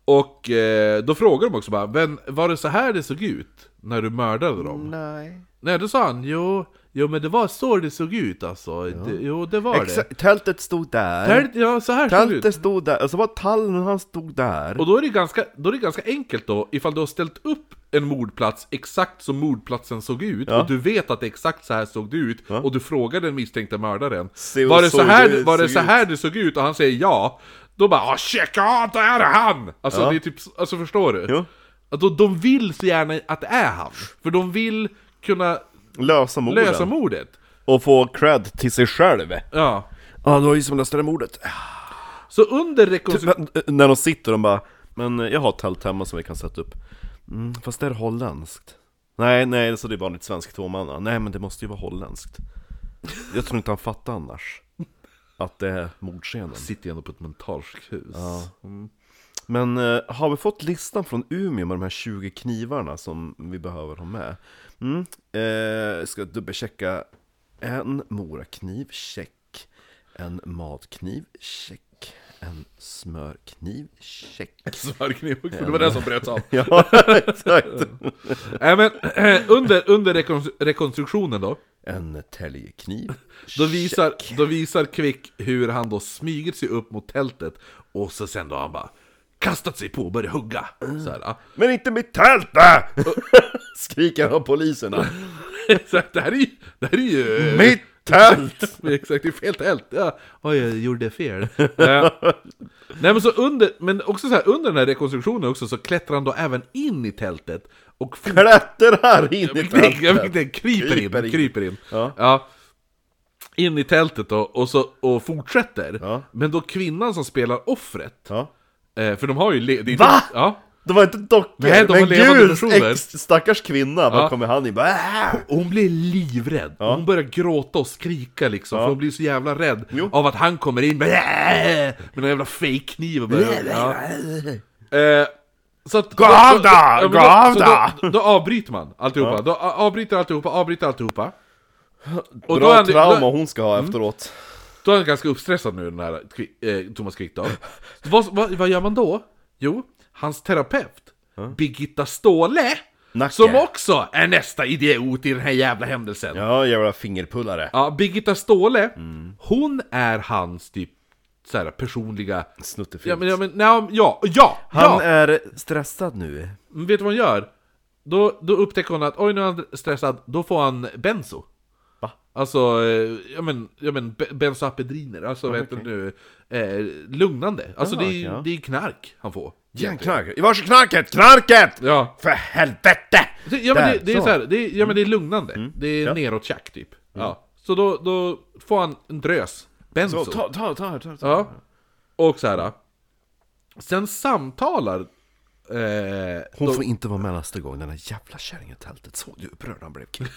Och eh, då frågade de också bara, men var det så här det såg ut? När du mördade dem? Nej. Nej, då sa han, jo, jo men det var så det såg ut alltså. Det, jo, det var det. Exakt, tältet stod där. Tält, ja, så här såg det ut. Tältet stod där, och så var tallen han stod där. Och då är, det ganska, då är det ganska enkelt då, ifall du har ställt upp en mordplats exakt som mordplatsen såg ut, och du vet att det exakt så här såg det ut, och du frågar den misstänkta mördaren Se och Var det så såg här det det, var det, såg så här det såg ut? Och han säger ja, då bara ah, 'Checka av, det här är han!' Alltså det är typ, alltså förstår du? Jo. Att de, de vill så gärna att det är han, för de vill kunna Lösa morden. lösa mordet. Och få cred till sig själv. Ja. Ja, det var ju som löste det mordet. Så under rekonstruktionen... Men, eh, När de sitter de bara Men eh, jag har ett tält hemma som vi kan sätta upp mm, Fast det är holländskt Nej, nej, så det är vanligt svenskt tvåmanna Nej men det måste ju vara holländskt Jag tror inte han fattar annars Att det är mordscenen Sitter jag ändå på ett mentalsjukhus. <laughs> Men eh, har vi fått listan från Umeå med de här 20 knivarna som vi behöver ha med? Mm. Eh, ska dubbelchecka en morakniv, check. En matkniv, check. En smörkniv, check. Svarkniv, för det var den som bröts <laughs> av. Ja, exakt. Nej men, <clears throat> under, under rekon- rekonstruktionen då, En täljkniv. då visar, då visar Quick hur han då smyger sig upp mot tältet och så sen då har han bara kastat sig på och börjat hugga. Så här, ja. <laughs> Men inte mitt tält! va? <laughs> Skriker han av poliserna. så här, det här är ju... Det här är ju mitt tält! <laughs> Exakt, det är fel tält! Ja. Oj, jag gjorde <laughs> fel. Eh, Nej men så under, men också så här, under den här rekonstruktionen också så klättrar han då även in i tältet <laughs> och fort- Klättrar in i Jag fick det, jag fick tältet! det. Kryper, Kryper in, in. kryper in. Ja. In i tältet då, och, så, och fortsätter. Ja. Men då kvinnan som spelar offret, Ja. eh, för de har ju... Le- det är Va? Ja. De var inte dockor, Nej, de var men levande gud, personer. ex- stackars kvinna, vad Ja. kommer han in? Bara, "Äh!" Hon blir livrädd, hon börjar gråta och skrika liksom, för hon blir så jävla rädd av att han kommer in med, med någon jävla fejkkniv och börjar... Ja. Eh, så att, Gå av då! Ja, men Gå av så då! då! Då avbryter man alltihopa, då a- avbryter alltihopa, avbryter alltihopa. Och Bra han- Mm. trauma hon ska ha efteråt. Då är han ganska uppstressad nu den här Qui- eh, Thomas Quick då. vad, vad, vad gör man då? Jo, hans terapeut Birgitta Ståhle Nacke. Som också är nästa idiot i den här jävla händelsen Ja, Ja, Mm. jävla fingerpullare. Birgitta Ståhle Hon är hans typ så här, personliga Snuttefilt. Ja, men, ja, men, nej, ja, ja, Han ja. är stressad nu. Men Vet du vad hon gör? Då, då upptäcker hon att oj nu är han stressad, då får han benzo Va? Alltså, eh, ja men, ja men be- benzoapendriner, alltså vad heter det nu, eh, lugnande. Alltså Ah, det, är, ju- okej, ja. det är ju knark han får. Knark. Vars är knarket? Knarket! Ja. För helvete! Det- Ja men Där, det, det är så. Mm. så här, det är, ja men det är lugnande. Det är neråtjack typ. Ja. Så då, då får han en drös benzo. Så, ta, ta, ta, ta, ta. Ja. Och så här. Sen samtalar... Eh, <laughs> Hon får inte vara med nästa gång, den där jävla kärringen i tältet. Såg du hur upprörd han blev? <laughs> Kul.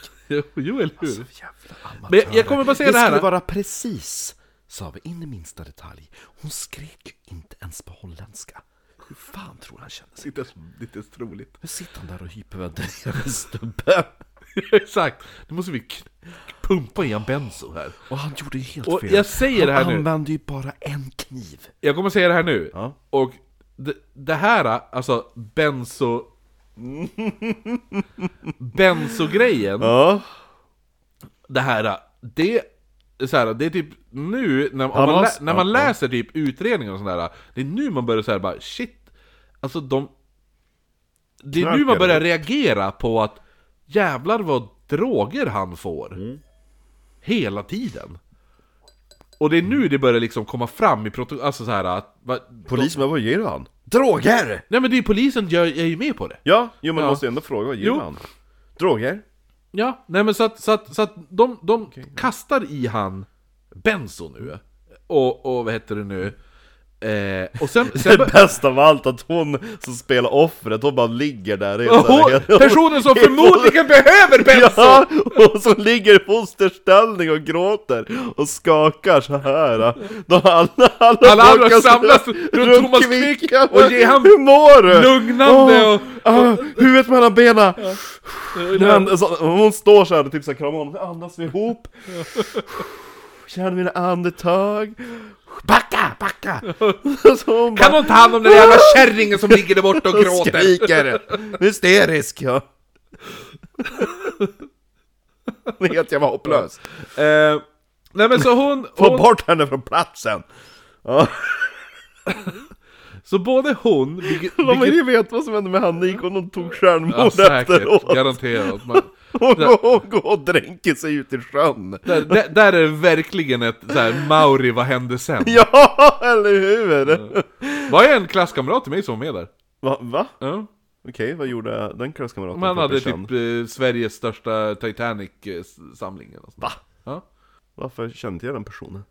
jo eller Alltså, hur? Jävla Men amatörer. jag- jag kommer bara säga det det här. skulle vara precis, sa vi in i minsta detalj. Hon skrek ju inte ens på holländska. Hur fan tror han känner sig? Inte ens- inte ens troligt. Nu sitter han där och hyperventilerar snubbe. <laughs> Exakt, nu måste vi k- pumpa i en benzo här. Och han gjorde ju helt Och fel. jag säger det här han nu. använde ju bara en kniv. Jag kommer säga det här nu, Ja. och det, det här, alltså benzo... Benzo-grejen, Ja. det här, det... Så här, det är typ nu, när, om Ja, man, man- lä, när man ja, ja. läser typ utredningar och sådär, det är nu man börjar så här bara shit, alltså de... Det är nu man Knarkare. börjar reagera på att jävlar vad droger han får. Hela tiden. Och det är nu det börjar liksom komma fram i protokollet, alltså så här att... Va, Polisen, vad ger du han? Droger! nej men det är ju polisen gör, är ju med på det. Ja, jo men Ja. måste ju ändå fråga, vad ger Jo. han? Droger? Ja, nej men så att, så att, så att de, de kastar i han benzo nu. Och, och vad heter det nu? Eh, och sen... sen Det bästa av allt att hon som spelar offret, hon bara ligger där i så här- Hon, personen som förmodligen behöver benzo! Ja, och som ligger i fosterställning och gråter och skakar så här. Då alla, alla, Alla andra folket- samlas runt Thomas Quick och ger han Hur mår du? lugnande Åh, och- ah, huvudet mellan benen! Men, så, hon står så här och typ så här kramar honom, andas vi ihop Känner mina andetag Backa, <laughs> backa! Så hon Kan bara hon ta hand om den jävla kärringen som ligger där borta och gråter? skriker <laughs> Hysterisk ja Hon är Helt jävla hopplös Eh, nej men så <laughs> hon... Få hon bort henne från <laughs> platsen! Ja, så både hon... <laughs> Vilket, de vill vilket, ju veta vad som hände med Hanna gick hon och tog ja, självmord efteråt säkert, garanterat. Man, <laughs> Hon går, hon går och dränker sig ut i sjön där, där, där är det verkligen ett så här, Mauri, vad hände sen? Ja, eller hur! var ju en klasskamrat till mig som var med där. Va? va? Ja. Okej, vad gjorde den klasskamraten Man för hade känd? typ eh, Sveriges största eh, Titanic-samling. Va? Ja. Varför kände jag den personen?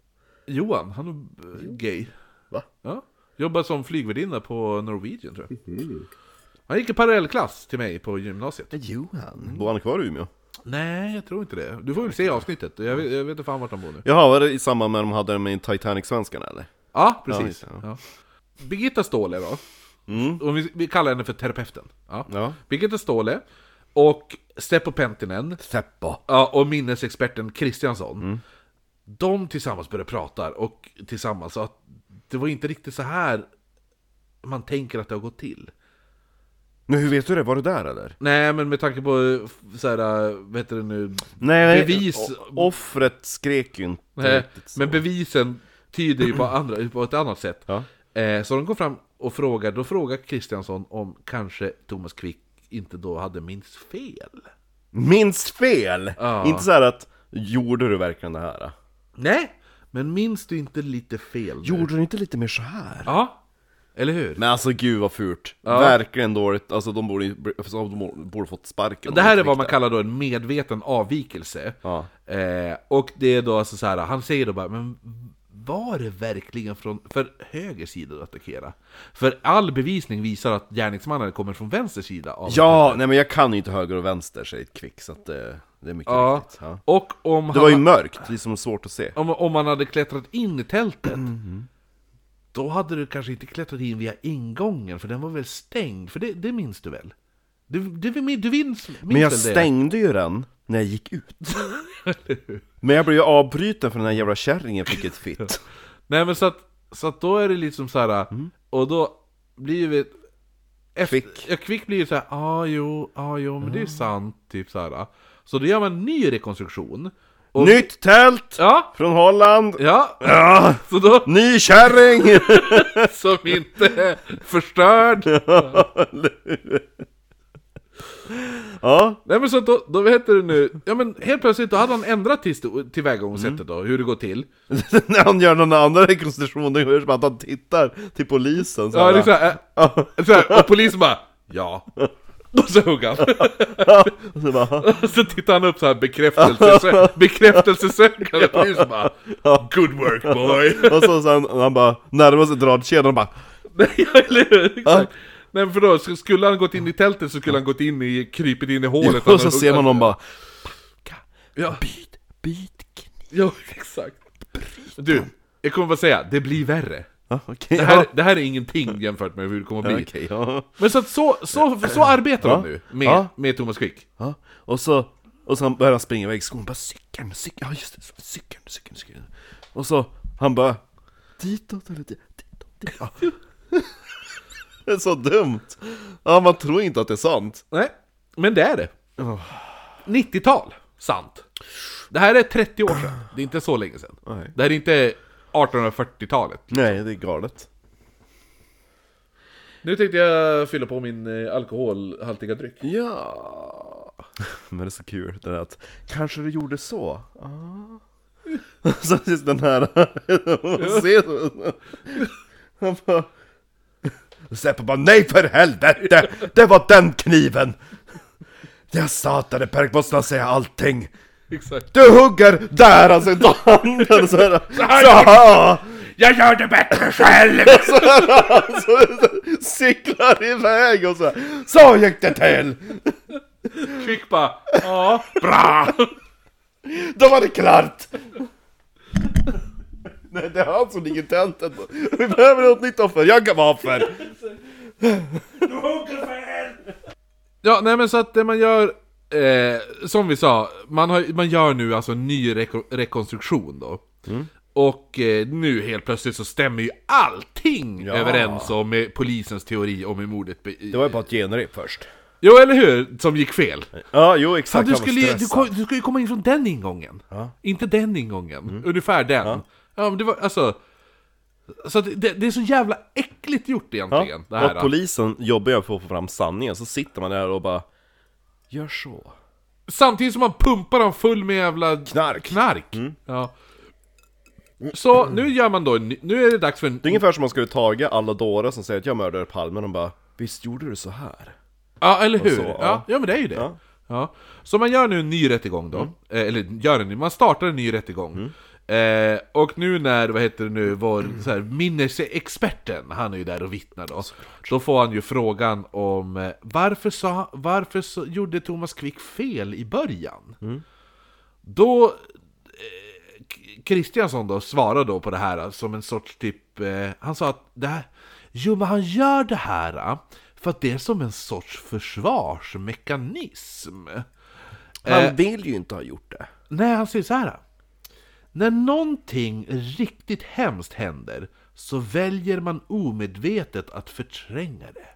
Johan, han är eh, gay. Va? Ja. Jobbar som flygvärdinna på Norwegian tror jag. Han gick i parallellklass till mig på gymnasiet. Johan? Bor han kvar i Umeå? Nej, jag tror inte det. Du får väl se avsnittet. Jag vet, jag vet inte fan vart han bor nu. Jaha, var det i samband med att de hade den med Titanic-svenskarna eller? Ja, Ja, precis. just det, Ja. Birgitta Ståhle då. Och vi, vi kallar henne för terapeuten. Ja. Ja. Birgitta Ståhle och Seppo Penttinen Seppo! ja, och minnesexperten Kristiansson. De tillsammans började prata och tillsammans sa att det var inte riktigt så här man tänker att det har gått till. Men hur vet du det? Var du där eller? Nej, men med tanke på eh, f- så här, eh, vad heter det nu? Bevis. o- Offret skrek ju inte Nej, riktigt så. men bevisen tyder ju på, andra, på ett annat sätt. Ja. Eh, så de kom fram och frågade, då frågade Kristiansson om kanske Thomas Quick inte då hade minst fel. Minns fel! Ja. Inte så här att Gjorde du verkligen det här? Nej, men minns du inte lite fel? nu? du inte lite mer så här? Ja, eller hur? Men alltså gud vad fult! Verkligen dåligt, alltså de borde, ju- alltså, de borde fått sparken om Det här de är vad fick man kallar då en medveten avvikelse. Ja. Eh, och det är då alltså så här, han säger då bara, men var det verkligen från för höger sida att attackera? För all bevisning visar att gärningsmannen kommer från vänster sida av Ja, nej men jag kan ju inte höger och vänster säger Kvick, så att det, det är mycket Ja. riktigt. Ja. Och om Det han, var ju mörkt, det är som svårt att se. om, om han hade klättrat in i tältet Mhm. Då hade du kanske inte klättrat in via ingången för den var väl stängd? För det, det minns du väl? Du, du, du minns, minns Men jag väl det? stängde ju den när jag gick ut. <laughs> men jag blev ju avbruten för den här jävla kärringen fick ett fitt. Nej men så att, så att då är det liksom så här. och då blir ju vi... Efter, Mm. Kvick. ja, kvick blir ju så här, ja ah, jo, ja ah, jo, men det är sant, typ så här. Så då gör man en ny rekonstruktion. Och, Nytt tält! Ja, Från Holland! ja, Ja. så då, Ny kärring! <laughs> som inte är förstörd. ja. Nej men så att då, då vad heter det nu, ja men helt plötsligt då hade han ändrat till, tillvägagångssättet då, hur det går till. när han gör någon annan rekonstruktion, det är som att han tittar till polisen så Ja, här. det är så här, Ja. äh, så här, och polisen bara, ja. Och så hugger han. Och så bara, Och <laughs> så tittar han upp så här bekräftelsesö- bekräftelsesökande polisen bara, ja. Good work boy! <laughs> Och så, så han, han bara närmar sig dragkedjan och bara Nej, eller hur? Exakt. Nej, för då, sk- skulle han gått in i tältet så skulle han gått in i, krypit in i hålet Och så ser man honom dem bara Ja, Byt, byt kniv ja <laughs> exakt Du, jag kommer bara säga, det blir värre Ja, okej, Det här, det här är ingenting jämfört med hur det kommer att ja, bli okej, ja. Men så att så, så, så arbetar de Ja. nu med, Ja. med Thomas Quick ja. Och så, och så han börjar han springa iväg i skogen, bara cykeln, cykeln, ja just det, cykeln, cykeln, cykeln Och så, han bara <laughs> Ditåt eller dit, ditåt, ditåt ja. Det är så dumt! Ja, man tror inte att det är sant Nej, men det är det 90-tal, sant Det här är 30 år sedan, det är inte så länge sedan Nej. Det här är inte 1840-talet Nej, det är galet Nu tänkte jag fylla på min eh, alkoholhaltiga dryck. Ja Men det är så kul det där att Kanske du gjorde så? Ah. <laughs> så just den här <laughs> Man ser så- Han bara <laughs> Och Seppo bara Nej för helvete! Det var den kniven! Jag sa att det Per måste säga allting Exakt. Du hugger där alltså inte <laughs> handen så här. Så här. Jag gör det bättre själv! Så här alltså, cyklar iväg och så här. Så gick det till! Kvick bara, ja, bra! Då var det klart! Nej, det är han som ligger i tältet. Vi behöver något nytt offer. Jag kan vara offer! Ja, nej men så att det man gör, eh, som vi sa, man, har, man gör nu alltså en ny reko- rekonstruktion då. Mm. Och eh, nu helt plötsligt så stämmer ju allting Ja. överens om med polisens teori om hur mordet be- Det var ju bara ett genrep först. Jo, eller hur? Som gick fel. Ja, jo exakt. Fan, du, Jag var skulle ju, du, stressad. kom, du skulle ju komma in från den ingången. Inte den ingången. Mm. Ungefär den. Ja. men det var alltså... Så att det, det är så jävla äckligt gjort egentligen, det här. och polisen jobbar ju för att få fram sanningen, så sitter man där och bara Gör så Samtidigt som man pumpar dem full med jävla Knark! knark. Ja. Så nu gör man då en ny- Nu är det dags för en... Det är ungefär som om man skulle taga alla dårar som säger att jag mördade Palme, och de bara Visst gjorde du så här? Ja, eller hur? så, ja. ja. Ja, men det är ju det. Ja. Ja. Så man gör nu en ny rättegång då, Eh, eller gör en ny, man startar en ny rättegång. Eh, och nu när, vad heter det nu, vår så här, minnesexperten, han är ju där och vittnar då. Då får han ju frågan om eh, varför, sa, varför så, gjorde Thomas Quick fel i början? Då Kristiansson då svarade då på det här alltså, som en sorts typ, eh, han sa att det här, jo men han gör det här eh, för att det är som en sorts försvarsmekanism. Han vill ju inte ha gjort det Nej, han säger så här. eh, När någonting riktigt hemskt händer så väljer man omedvetet att förtränga det.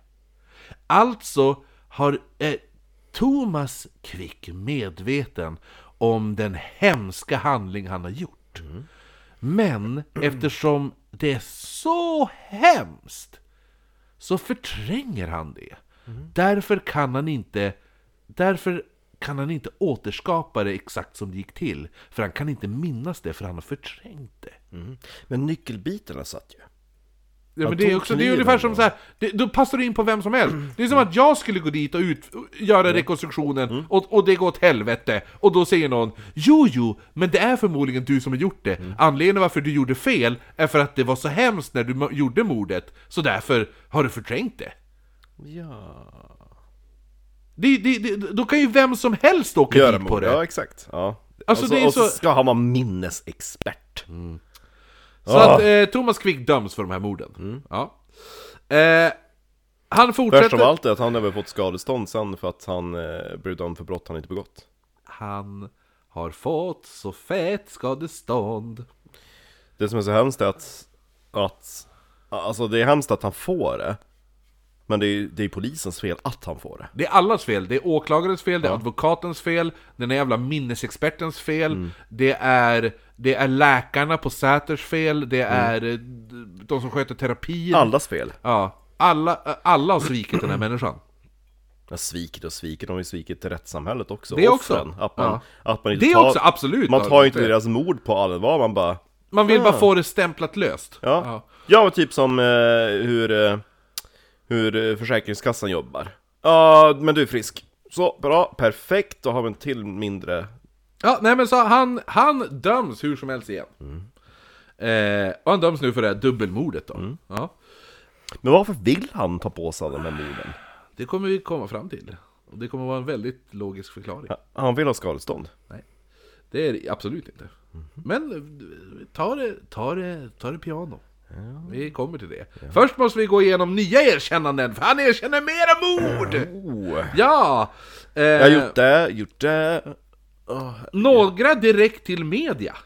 Alltså har eh, Thomas Quick medveten om den hemska handling han har gjort. Men eftersom det är så hemskt så förtränger han det. Därför kan han inte därför kan han inte återskapa det exakt som det gick till. För han kan inte minnas det, för han har förträngt det. Men nyckelbitarna satt ju Ja, Han men det är, tog också, det är kniven ungefär då. Mm. som så här, det, då passar du in på vem som helst. Det är som att jag skulle gå dit och ut, göra rekonstruktionen Mm. och, och det går åt helvete. Och då säger någon Jo, jo, men det är förmodligen du som har gjort det. Mm. Anledningen varför du gjorde fel är för att det var så hemskt när du mo- gjorde mordet, så därför har du förträngt det. Ja Det, det, det. Då kan ju vem som helst åka Gör dit på det det. Ja exakt ja. Alltså, och det är och så- ska ha man minnesexpert Så Ah. att eh, Thomas Quick döms för de här morden. Ja. Eh, han Värst av fortsätter... Mm. allt är att han har väl fått skadestånd sen för att han eh, brydde om för brott han inte begått Han har fått så fett skadestånd. Det som är så hemskt är att, att Alltså det är hemskt att han får det Men det är, det är polisens fel att han får det Det är allas fel. Det är åklagarens fel, det är advokatens fel, den här jävla minnesexpertens fel, det, är, det är läkarna på Säters fel, det är eh, de som sköter terapin. Allas fel Ja, alla, eh, alla har svikit den här människan. Ja, sviker och sviker, de har ju svikit rättssamhället också. Det också. Att man, Ja. att man inte Det tar, också, absolut. Man tar ju inte Det- deras mord på allvar, man bara... Man vill bara få det stämplat löst. Ja, Ja. ja. men typ som eh, hur, eh, hur eh, Försäkringskassan jobbar. Ja, men du är frisk. Så, bra, perfekt, då har vi en till mindre... Ja, nej men så han, han döms hur som helst igen. Eh, och han döms nu för det här dubbelmordet då. Ja, Men varför vill han ta på sig alla de här morden? det kommer vi komma fram till. Och det kommer vara en väldigt logisk förklaring. Han vill ha skadestånd. Nej, det är det absolut inte. Men eh, ta det, ta det, ta det piano. Vi kommer till det. Först måste vi gå igenom nya erkännanden, för han erkänner mera mord! Oh. Ja! Eh, Jag har gjort det, gjort det... Åh, Några direkt till media,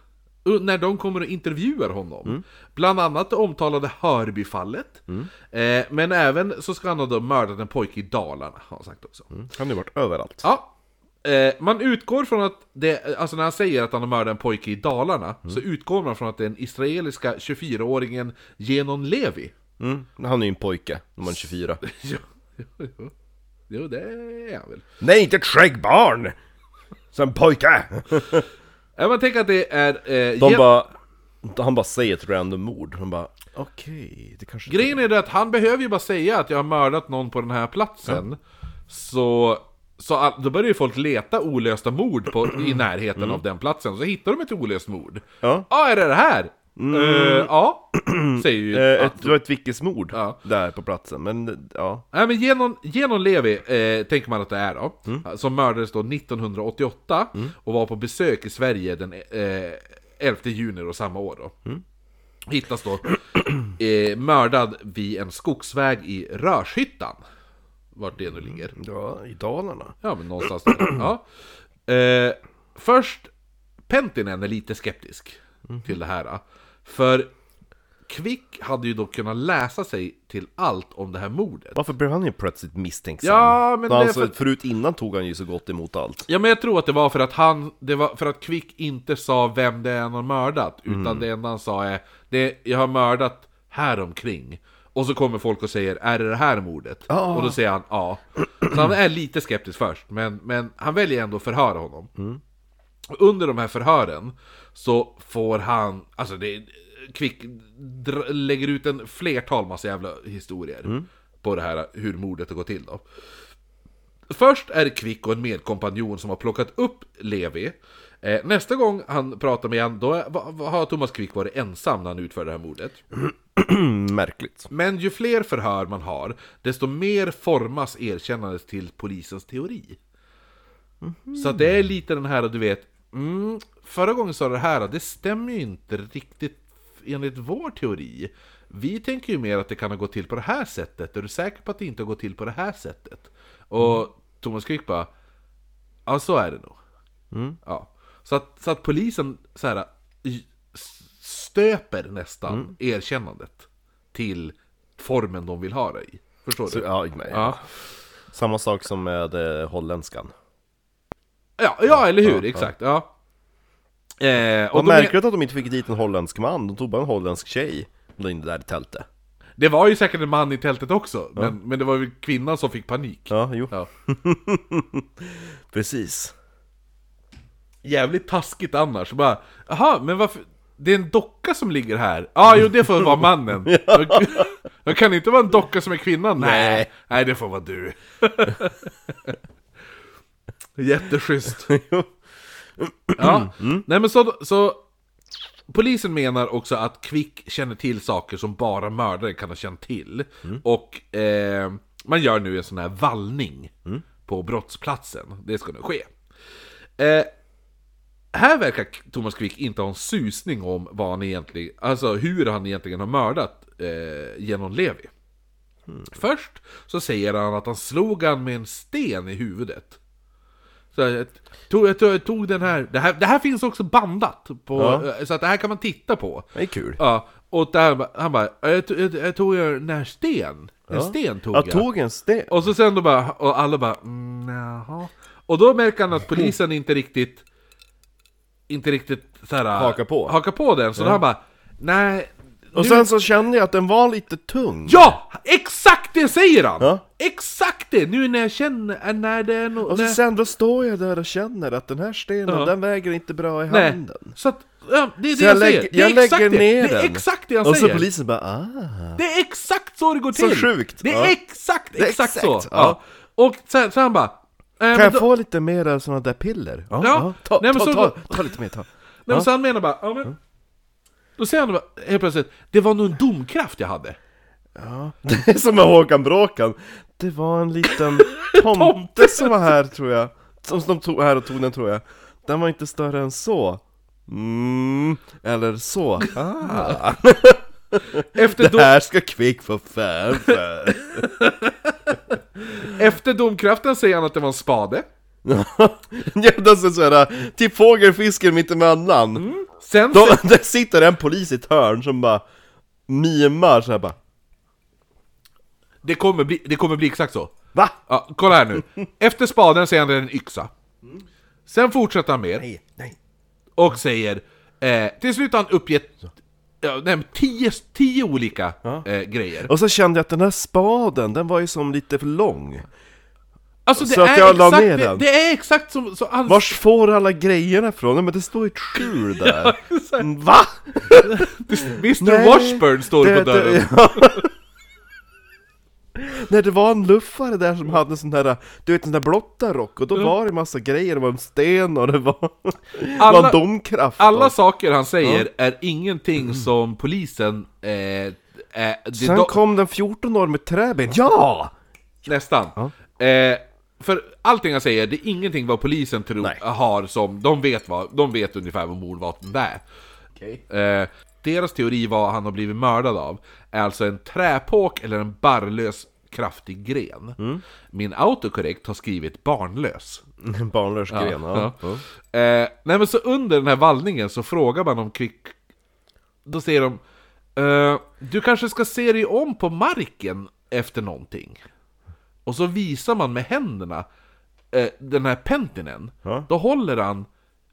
u- när de kommer och intervjuar honom. Bland annat det omtalade Hörbyfallet. Eh, men även så ska han ha då mördat en pojke i Dalarna, har han sagt också. Mm. Han har ju varit överallt. Ja. Eh, man utgår från att det, alltså när han säger att han har mördat en pojke i Dalarna, Mm. så utgår man från att den israeliska 24-åringen Genon Levi. Mm. Han är ju en pojke, när man är 24. jo, jo, jo. jo, det är han väl. <laughs> Nej, inte ett skäggbarn! Sen pojke! Eh, man tänker att det är... Eh, De Gen- bara... Han bara säger ett random mord, de bara Okej, det kanske... Grejen är det att han behöver ju bara säga att jag har mördat någon på den här platsen, så, Så all- då börjar ju folk leta olösta mord på, i närheten Mm. av den platsen, så hittar de ett olöst mord. Ja. ah, är det det här? Eh, ja, säger ju... Mm. Eh, ett, det var ett vickesmord Ja. där på platsen, men ja. Nej men genom, genom Levi eh, tänker man att det är då, som mördades då 1988 och var på besök i Sverige den eh, 11 juni då, samma år då. Hittas då <clears throat> eh, mördad vid en skogsväg i Rörshyttan. Vart det nu ligger. ja. I Dalarna. Ja men någonstans där. Ja. Eh, först, Pentinen är lite skeptisk till det här. då. För Kvick hade ju då kunnat läsa sig till allt om det här mordet. Varför blev han ju plötsligt misstänksam? Ja, men För det är han, så- för- Förut innan tog han ju så gott emot allt. Ja men jag tror att det var för att han, det var för att Quick inte sa vem det är han har mördat Utan det enda han sa är det, Jag har mördat häromkring Och så kommer folk och säger Är det det här mordet? Ah. Och då säger han ja Så han är lite skeptisk först Men, men han väljer ändå att förhöra honom Under de här förhören Så får han Alltså det Quick dr- lägger ut en flertal massa jävla historier På det här hur mordet har gått till då Först är det Kvick och en medkompanjon som har plockat upp Levi. Eh, nästa gång han pratar med han, då är, va, va, har Thomas Kvick varit ensam när han utför det här mordet. Märkligt. Men ju fler förhör man har, desto mer formas erkännandet till polisens teori. Så att det är lite den här, du vet, mm, förra gången sa du det här, det stämmer ju inte riktigt enligt vår teori. Vi tänker ju mer att det kan ha gått till på det här sättet, är du säker på att det inte har gått till på det här sättet? Och Mm. Thomas Quick bara, ja så är det nog. Mm. Ja. Så, att, så att polisen så här, y- stöper nästan Mm. erkännandet till formen de vill ha det i. Förstår Så, du? ja, nej. Ja. Samma sak som med eh, holländskan. Ja, ja, eller hur? Exakt. Ja. Eh, och Vad de men- märkligt att de inte fick dit en holländsk man, de tog bara en holländsk tjej och la in det där i tältet. det var ju säkert en man i tältet också, men, men det var ju kvinnan som fick panik. Ja, jo, Ja. <laughs> precis. Jävligt taskigt annars. Bara, Jaha, men varför? Det är en docka som ligger här. Ja, ah, jo, det får vara mannen. <laughs> Det kan inte vara en docka som är kvinnan. Nej, Nej. Nej det får vara du. <laughs> Jätteschysst. Ja. Nej, men så, så Polisen menar också att Quick känner till saker som bara mördaren kan ha känt till. Och eh, man gör nu en sån här vallning på brottsplatsen. Det ska nu ske. Eh, här verkar Thomas Quick inte ha en susning om vad han egentligen, alltså hur han egentligen har mördat eh, genom Levi. Hmm. Först så säger han att han slog han med en sten i huvudet. Så jag tog, jag tog, jag tog den här. Det, här, det här finns också bandat, på, eh, Ja. så att det här kan man titta på. Det är kul. Ja, och där, ba- han bara, jag, tog- jag, jag tog den här sten, en sten tog jag. Jag tog en sten. Och så sen då bara, och alla bara, mm, jaha. Och då märker han att polisen inte riktigt, inte riktigt så här, Hakar på. hakar på den, så då han bara, nej. Och nu- sen så kände jag att den var lite tung. Ja! Exakt det säger han! Ja. Exakt det! Nu när jag känner, äh, när det är no, Och så när- sen då står jag där och känner att den här stenen, Ja. den väger inte bra i nej. handen. Så att, ja, det är det Så jag, jag, lägger, säger. Det är jag exakt lägger det. ner Det den. är exakt det han Och så säger. polisen bara ah. Det är exakt så det går Så till! sjukt, Det är ja. exakt, är exakt, så! exakt, Ja. ja. Och sen, så han bara... Äh, Kan jag få lite mer sådana där piller? Ja, Ja. Ta, Nej, men ta, så- ta, ta, lite mer, ta. Nej, men så han menar bara, ja men... Då säger han bara, helt plötsligt, det var nog en domkraft jag hade. Det är som med Håkan Bråkan Det var en liten tomte som var här tror jag Som de tog här och tog den tror jag Den var inte större än så Mm, eller så ah, Efter, Det dom, här ska Kvick få fan för efter domkraften säger han att det var en spade. Jävla såhär, till typ fågelfisken mittemellan Sen, Då, sä- <laughs> där sitter en polis i ett hörn som bara mimar såhär bara det, kommer bli, det kommer bli exakt så. Va? Ja, kolla här nu. Efter spaden säger han det är en yxa. Sen fortsätter han mer. Nej, nej och säger eh, Till slut har han uppgett ja, nej, men tio, tio olika eh, grejer. Och så kände jag att den här spaden, den var ju som lite för lång Alltså det så att är, jag la exakt, ner det, den. det är exakt som... Så han, Vars får alla grejerna ifrån? Nej men det står ju ett skjul där <laughs> så här, Mm, Va? <laughs> Eh, Mr Washburn står det, på dörren. ja. när det var en luffare där som hade en sån här, du vet en sån där blottarrock och då var det massa grejer, det var en sten och det var, alla, var Alla- en domkraft Alla och, saker han säger är ingenting som polisen... Eh, eh, det- Mm. Sen de- kom den 14 år med träben, ja! Nästan. Eh, för allting han säger, det är ingenting vad polisen tror, Nej. har som... De vet, vad, de vet ungefär vad mordvapnet är. Eh, deras teori vad han har blivit mördad av är alltså en träpåk eller en barrlös kraftig gren. Mm. Min autokorrekt har skrivit barnlös. En barnlös gren, ja. Ja. Eh, nej men så under den här vallningen så frågar man om kvick... Då säger de eh, Du kanske ska se dig om på marken efter någonting? Och så visar man med händerna eh, den här pentinen. Ja. Då håller han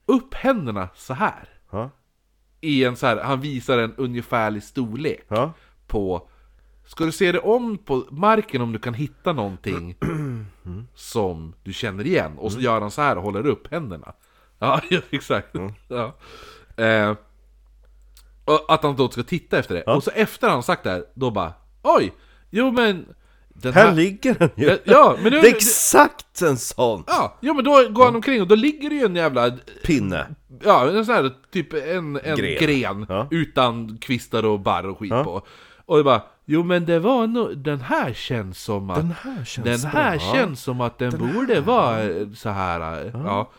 upp händerna så här. Ja. I en så här, han visar en ungefärlig storlek Ja. på Ska du se dig om på marken om du kan hitta <clears throat> någonting Mm. som du känner igen? Och så gör han så här och håller upp händerna. Ja, <laughs> ja, exakt. Mm. Ja. Eh, och att han då ska titta efter det. Och så efter han sagt det här, då bara Oj! Jo men... Den Här ligger den ju! Ja, men nu... Det är exakt en sån Ja, jo, men då går han omkring och då ligger det ju en jävla pinne! Ja, en sån här, typ en, en Gren. gren, Ja. utan kvistar och barr och skit på. Och det bara, jo men det var nog, den här känns som att Den här känns den här bra. känns som att den, borde vara eh, så här. eh, Ja.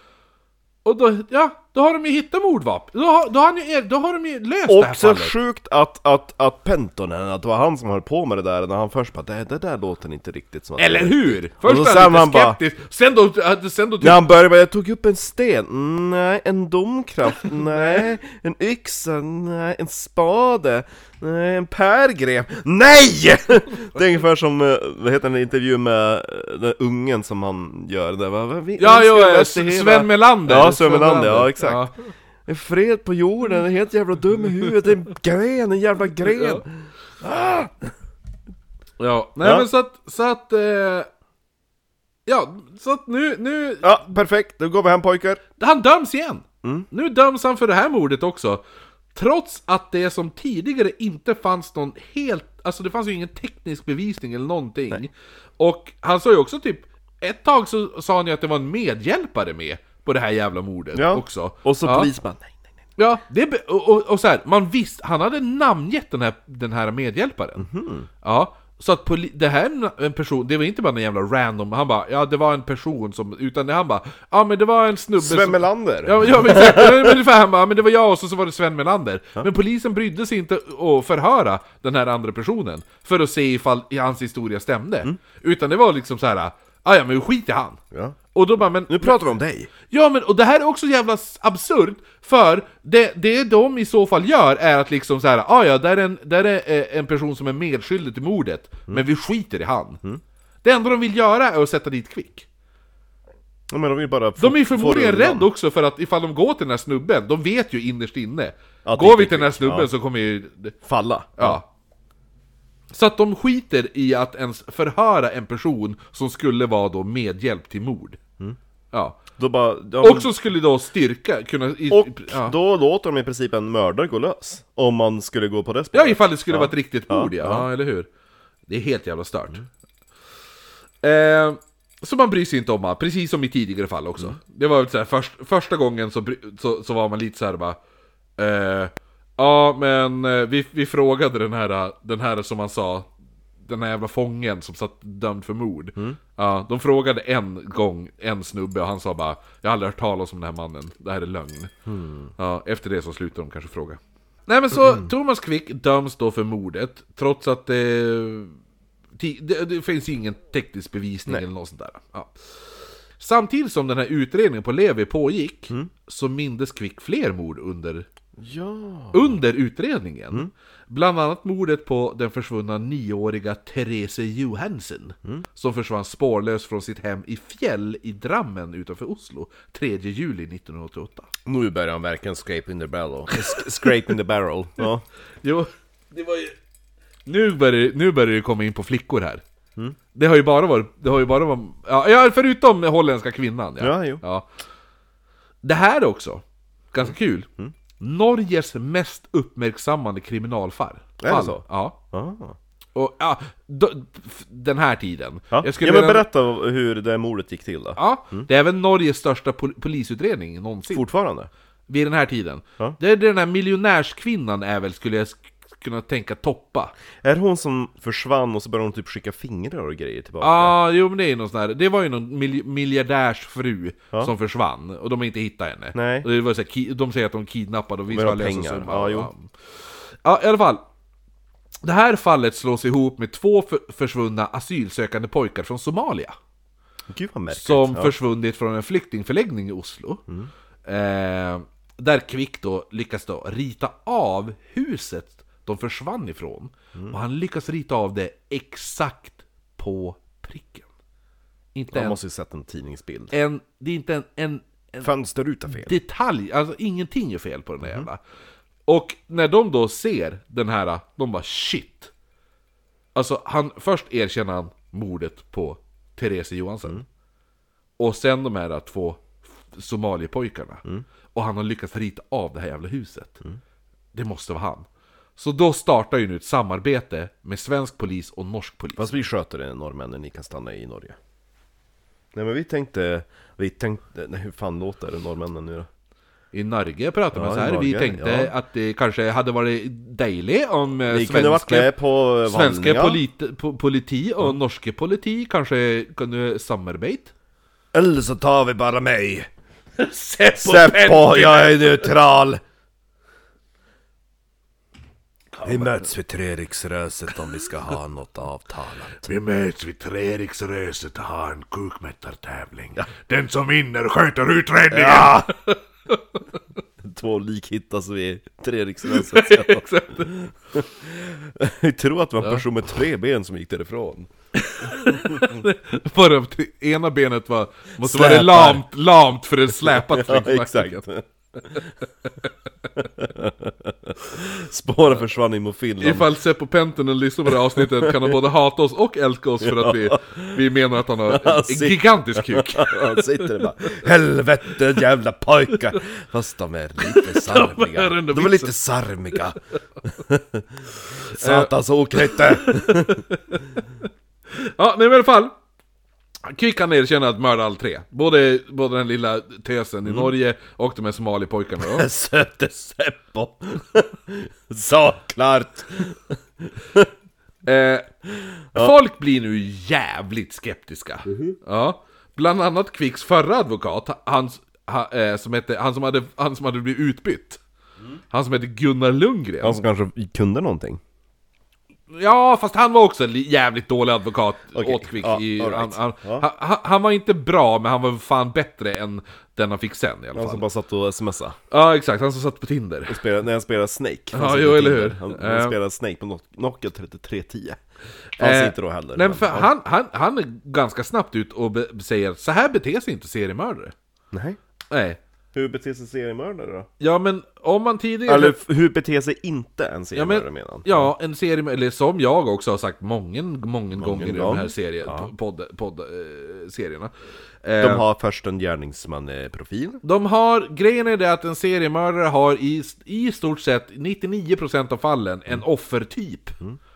Och då, ja, då har de ju hittat mordvapen. Då, har- då, har han ju- då har de ju löst det här Och så fallet. sjukt att, att, att Pentonen, att det var han som höll på med det där när han först bara det, det där låter inte riktigt som att Eller hur? Och Först då var sen han man lite bara- skeptisk, sen då, sen då typ När han började med jag tog upp en sten, Mm, nej, en domkraft, nej, en yxa, nej, en spade, nej, en pärgrev, nej! Det är ungefär som, eh, vad heter den intervjun med eh, den ungen som han gör där, va? Va? Vi Ja, önskar jo, eh, oss det hela- Sven Melander. Ja, Sven Melander, ja exakt Ja. En fred på jorden, en helt jävla dum i huvudet, en gren, en jävla gren! Ah! Ja, nej Ja. men så att, så att, eh, ja, så att nu, nu, Ja, perfekt, då går vi hem pojkar! han döms igen! Nu döms han för det här mordet också. Trots att det som tidigare inte fanns någon helt, alltså det fanns ju ingen teknisk bevisning eller någonting. Och han sa ju också typ, ett tag så sa han ju att det var en medhjälpare med på det här jävla mordet också. Och så ja. polisman, nej, nej, nej. Ja, det, be- och, och, och så här, man visste, han hade namngett den här, den här medhjälparen. Mhm. Ja, så att poli- det här är en- en person, det var inte bara en jävla random, han bara ja det var en person som, utan det- han bara ja men det var en snubbe Sven som... Melander! Ja, ja men exakt, Det var ungefär han bara, "Ja, men det var jag och så, så var det Sven Melander. Men polisen brydde sig inte att förhöra den här andra personen för att se ifall hans historia stämde. Utan det var liksom så här, "Ah, ja men skit i han. Mm. Ja. Och då bara, men Nu pratar vi om dig! Ja men och det här är också jävla s- absurt, för det, det de i så fall gör är att liksom så här, ah, ja där är, en, där är eh, en person som är medskyldig till mordet, Mm. men vi skiter i han. Det enda de vill göra är att sätta dit Kvick. Ja, men de är ju bara De är ju får förmodligen undan. rädda också för att ifall de går till den här snubben, de vet ju innerst inne. Att det går vi inte är till den här Kvick, snubben ja. så kommer ju Falla! Ja. Så att de skiter i att ens förhöra en person som skulle vara då medhjälp till mord. Ja. Då bara, Mm. ja, men- Och som skulle då styrka, kunna... i- och ja. då låter de i princip en mördare gå lös Om man skulle gå på det Ja, spåret ifall det skulle vara ett riktigt mord ja. ja, Mm. eller hur? Det är helt jävla stört. Eh, så man bryr sig inte om honom, precis som i tidigare fall också. Det var väl så här, först, första gången så, bry, så, så var man lite så här bara... Eh, ja, men eh, vi, vi frågade den här, den här som man sa, den här jävla fången som satt dömd för mord. Ja, de frågade en gång en snubbe och han sa bara Jag har aldrig hört talas om den här mannen, det här är lögn. Ja, efter det så slutar de kanske fråga. Nej men så, Thomas Quick döms då för mordet, trots att eh, ti- det, det finns ingen teknisk bevisning eller något sånt där. Ja. Samtidigt som den här utredningen på Levi pågick, så mindes Quick fler mord under Ja. under utredningen. Bland annat mordet på den försvunna nioåriga Therese Johansen. Som försvann spårlöst från sitt hem i Fjäll i Drammen utanför Oslo 3 juli 1988. Nu börjar han verkligen scrape in the <laughs> barrel S- Scrape in the barrel Ja, Jo, det var ju... Nu börjar, nu börjar det komma in på flickor här. Mm. Det har ju bara varit... Det har ju bara varit ja, ja, förutom den holländska kvinnan. Ja, Ja, jo. Ja. Det här också, ganska kul. Mm. Norges mest uppmärksammade kriminalfall. Är det så? Ja. ah. Och ja, då, f- den här tiden. Ja, Jag skulle ja men redan- berätta Mm. hur det mordet gick till då. Ja, det är även Norges största pol polisutredning någonsin. Fortfarande? Vid den här tiden. Ja. Det är den här miljonärskvinnan är väl, skulle jag sk- kunna tänka, toppa. Är det hon som försvann och så började hon typ skicka fingrar och grejer tillbaka? Ja, ah, jo men det är ju någon sån här, det var ju någon mil miljardärsfru som försvann och de har inte hittat henne. Nej. Och det var så här, ki- de säger att de kidnappade och vi Men ska de lösa pengar. summan. Ja, jo. Ja, i alla fall. Det här fallet slås ihop med två för- försvunna asylsökande pojkar från Somalia. Gud vad märkligt. Som ja. Mm. försvunnit från en flyktingförläggning i Oslo. Eh, där Kvick då lyckas då rita av huset de försvann ifrån. Mm. Och han lyckas rita av det exakt på pricken. Inte Man en, måste ju sett en tidningsbild. en, det är inte en, en, en Fönsterruta fel. Mhm. detalj, alltså ingenting är fel på den där jävla. Och när de då ser den här, de bara shit. Alltså han, först erkänner han mordet på Therese Johansson. Mm. Och sen de här två Somaliepojkarna. Mm. Och han har lyckats rita av det här jävla huset. Det måste vara han. Så då startar ju nu ett samarbete med svensk polis och norsk polis. Fast vi sköter det norrmännen, ni kan stanna i Norge. Nej men vi tänkte, vi tänkte, nej hur fan låter det norrmännen nu då? I Norge pratar man Ja, så i här. Vi Norge, tänkte ja. att det kanske hade varit dejligt om eh, Ni kunde varit svenska med på Svenska vandringar. polit, po, politi och norske politi kanske kunde samarbeta? Eller så tar vi bara mig. Se Seppo, jag är neutral! Vi möts vid Treriksröset om vi ska ha något avtalat. Vi möts vid Treriksröset och har en kukmättartävling. Den som vinner sköter utredningen! <laughs> Ja! Två lik hittas vid Treriksröset sen. Jag tror att det var en person med tre ben som gick därifrån. Bara att ena benet var... Måste vara Släpar. lamt, lamt för det släpat <laughs> Ja, liksom. exakt. <laughs> Spåren försvann in mot Finland. Ifall Seppo Pentinen lyssnar på det här avsnittet kan han både hata oss och älska oss för att <laughs> vi, vi menar att han har en, en Sitt. gigantisk kuk. Han sitter där bara Helvete jävla pojkar! Fast de är <laughs> lite sarmiga. är ändå De är vissa. lite sarmiga. Satans oknytte! <laughs> Ja, nej men i alla fall. Kvick kan erkänna att mörda all tre. Både, både den lilla tösen Mm. i Norge och de här somalipojkarna <laughs> då. Söte Seppo! Så klart! Eh, Folk blir nu jävligt skeptiska. Mhm. Ja. Bland annat Kvicks förra advokat, han, han, eh, som hette, han, som hade, han som hade blivit utbytt. Han som hette Gunnar Lundgren. Mm. som kanske kunde någonting. Ja, fast han var också en li- jävligt dålig advokat Okej, åt Quick. ja, i, all right. han, han, Ja. han, han var inte bra, men han var fan bättre än den han fick sen i alla Han fall. som bara satt och smsade. Ja, exakt. Han som satt på Tinder. Och spelade, när han spelade Snake. Han Ja, satt jo, på eller Tinder. hur? Han, Eh. han spelade Snake på Nok- Nokia 3310. Fanns Eh, inte då heller. Nej, men- men för ja. han, han, han är ganska snabbt ut och be- säger så här beter sig inte seriemördare. Nej. Nej. Hur beter sig seriemördare då? Ja, men om man tidigare... Eller f- hur beter sig inte en Ja, seriemördare men, menar han? ja, en serie, eller som jag också har sagt många, många gånger i de gång. här serien, Ja. podd, podd, eh, serierna. De Eh, har först en gärningsman-profil. de har, grejen är det att en seriemördare har i, i stort sett 99% av fallen en offertyp.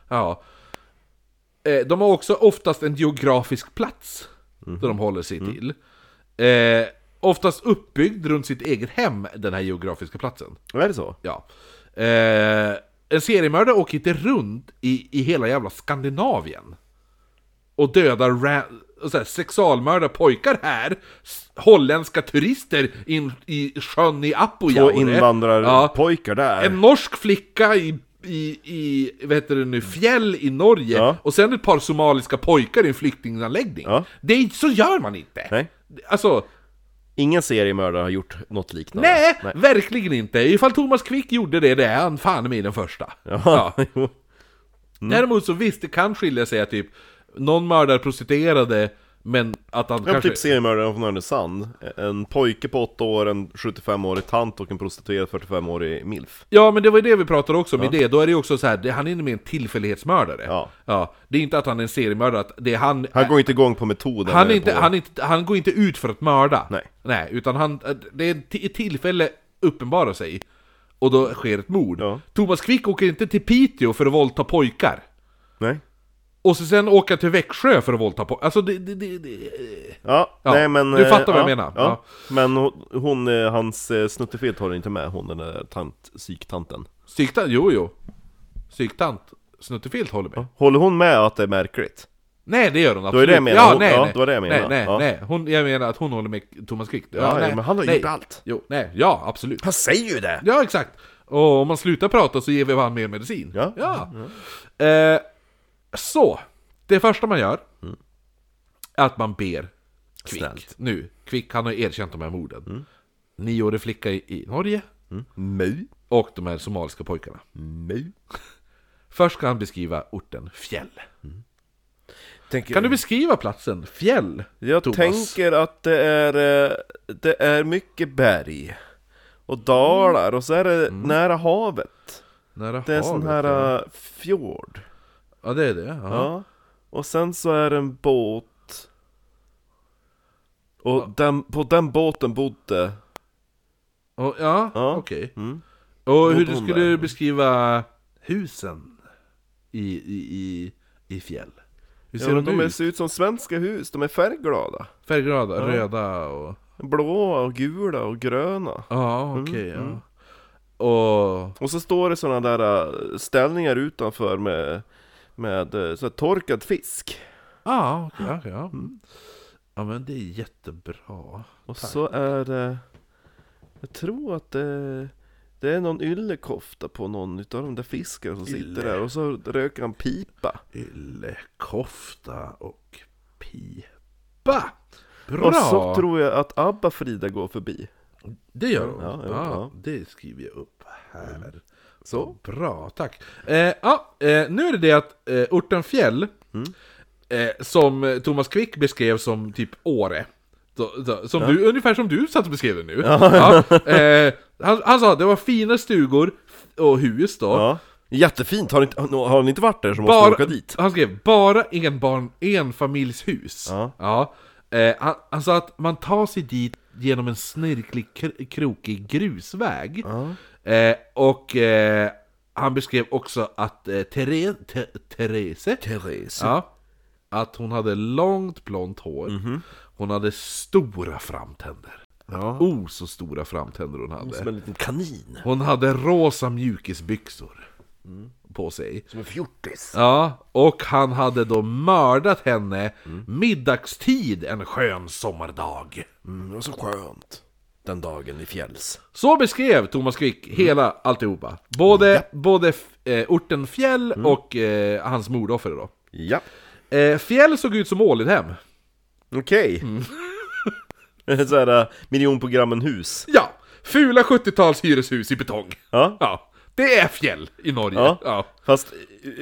Ja. Eh, de har också oftast en geografisk plats där de håller sig till. Eh, oftast uppbyggd runt sitt eget hem, den här geografiska platsen. Är det så? Ja. Eh, en seriemördare åker inte runt i, i hela jävla Skandinavien. Och dödar ra- och så här, sexualmördar pojkar här. s- Holländska turister in, i sjön i Två Apojaure. invandrarpojkar där. En norsk flicka i, i, i vad heter det nu, fjäll i Norge. Ja. Och sen ett par somaliska pojkar i en flyktinganläggning. Ja. Det, är- så gör man inte! Nej. Alltså, Ingen seriemördare har gjort något liknande. Nej, verkligen inte! Ifall Thomas Quick gjorde det, det är han fan med den första. <laughs> Ja, jo. Däremot så visst, det kan skilja sig att typ någon mördar prostituerade, men att han Ja, kanske... typ seriemördaren från Härnösand. En pojke på 8 år, en 75-årig tant och en prostituerad 45-årig milf. Ja, men det var ju det vi pratade också om i det. Då är det ju också så här, det, han är mer en tillfällighetsmördare. Ja. Det är inte att han är en seriemördare, att det är han... Han går inte igång på metoden. han, är eller inte, på... han, är inte, han går inte ut för att mörda. Nej. utan han, det är ett ti- ett tillfälle uppenbarar sig. Och då sker ett mord. Ja. Thomas Quick åker inte till Piteå för att våldta pojkar. Nej. Och så sen åka till Växjö för att våldta på... Alltså det... det, det, det... Ja, Ja, nej men... du eh, fattar vad jag ja, menar. Ja. Men hon, hon eh, hans eh, snuttefilt håller inte med, hon den där tant, psyktanten. Syktant, jo jo. Syktant. Snuttefilt håller med. Håller hon med att det är märkligt? Nej det gör hon var absolut. det jag menade. Ja, Hon- nej, ja, nej. det var det jag Nej, menade. nej, Ja. nej. Hon, jag menar att hon håller med Thomas Quick. Ja, ja, nej, men han har nej. gjort allt. Jo, nej, ja absolut. Han säger ju det! Ja, exakt. Och om man slutar prata så ger vi varandra mer medicin. Ja. Eh, så, det första man gör är att man ber Kvick. Mm. Snällt. Mm. Nu, Kvick han har ju erkänt de här morden. Nioårig flicka i, i Norge Nej, och de här somaliska pojkarna. nej. <laughs> Först ska han beskriva orten Fjäll. Tänker, Kan du beskriva platsen Fjäll? jag Thomas? tänker att det är, eh, det är mycket berg och dalar och så är det nära havet. Nära Det är en sån Mm. havet, ja. här eh, fjord. Ja, det är det. Ja. Ja. Och sen så är det en båt. Och den, på den båten bodde... Och, ja, Ja. okej. Mm. Och hur Bodde du hon skulle där? beskriva husen i, i, i, i fjäll? Hur Ja, ser men de, de är- ut? ser ut som svenska hus, de är färgglada. Färgglada, röda och... Blåa och gula och gröna. Mm, Ja, okej. ja. Och... Och så står det sådana där äh, ställningar utanför med, med äh, så här torkad fisk. Ja, okej. ja, ja. Mm. ja, men det är jättebra. Och så är det... Jag tror att det, det är någon yllekofta på någon utav de där fiskarna som Ylle. sitter där. Och så röker han pipa. Yllekofta och pipa. Bra! Och så tror jag att Abba-Frida går förbi. Det gör hon. Ja, Ja, jo, ja. Det skriver jag upp här. Så. Bra, tack. Eh, ja, eh, nu är det det att eh, orten Fjäll, Mm. eh, som eh, Thomas Quick beskrev som typ Åre, så, så, som du, ungefär som du satt och beskrev det nu. Ja, eh, han, han sa att det var fina stugor och hus då. Ja. Jättefint, har ni, inte- har, har ni inte varit där så måste ni Bara, åka dit. han skrev bara en barn, enfamiljshus. Ja. Eh, han, han sa att man tar sig dit genom en snirklig, kr- krokig grusväg. Eh, och eh, han beskrev också att eh, Therese, Therese, Therese. Ja, att hon hade långt blont hår. Hon hade stora framtänder. Mhm. Ja. Oh, så stora framtänder hon hade. Som en liten kanin. Hon hade rosa mjukisbyxor Mm. på sig. Som en fjortis. Ja, och han hade då mördat henne middagstid en skön sommardag. Mm, det var så skönt. Den dagen i fjälls. Så beskrev Thomas Quick hela alltihopa. Både, både f- eh, orten Fjäll och eh, hans mordoffer då. Ja. Eh, Fjäll såg ut som Ålidhem. Okej. <laughs> Såhär, miljonprogrammen hus. Ja, fula 70-tals hyreshus i betong. Ja. Ja, det är Fjäll i Norge. Ja. Ja. Fast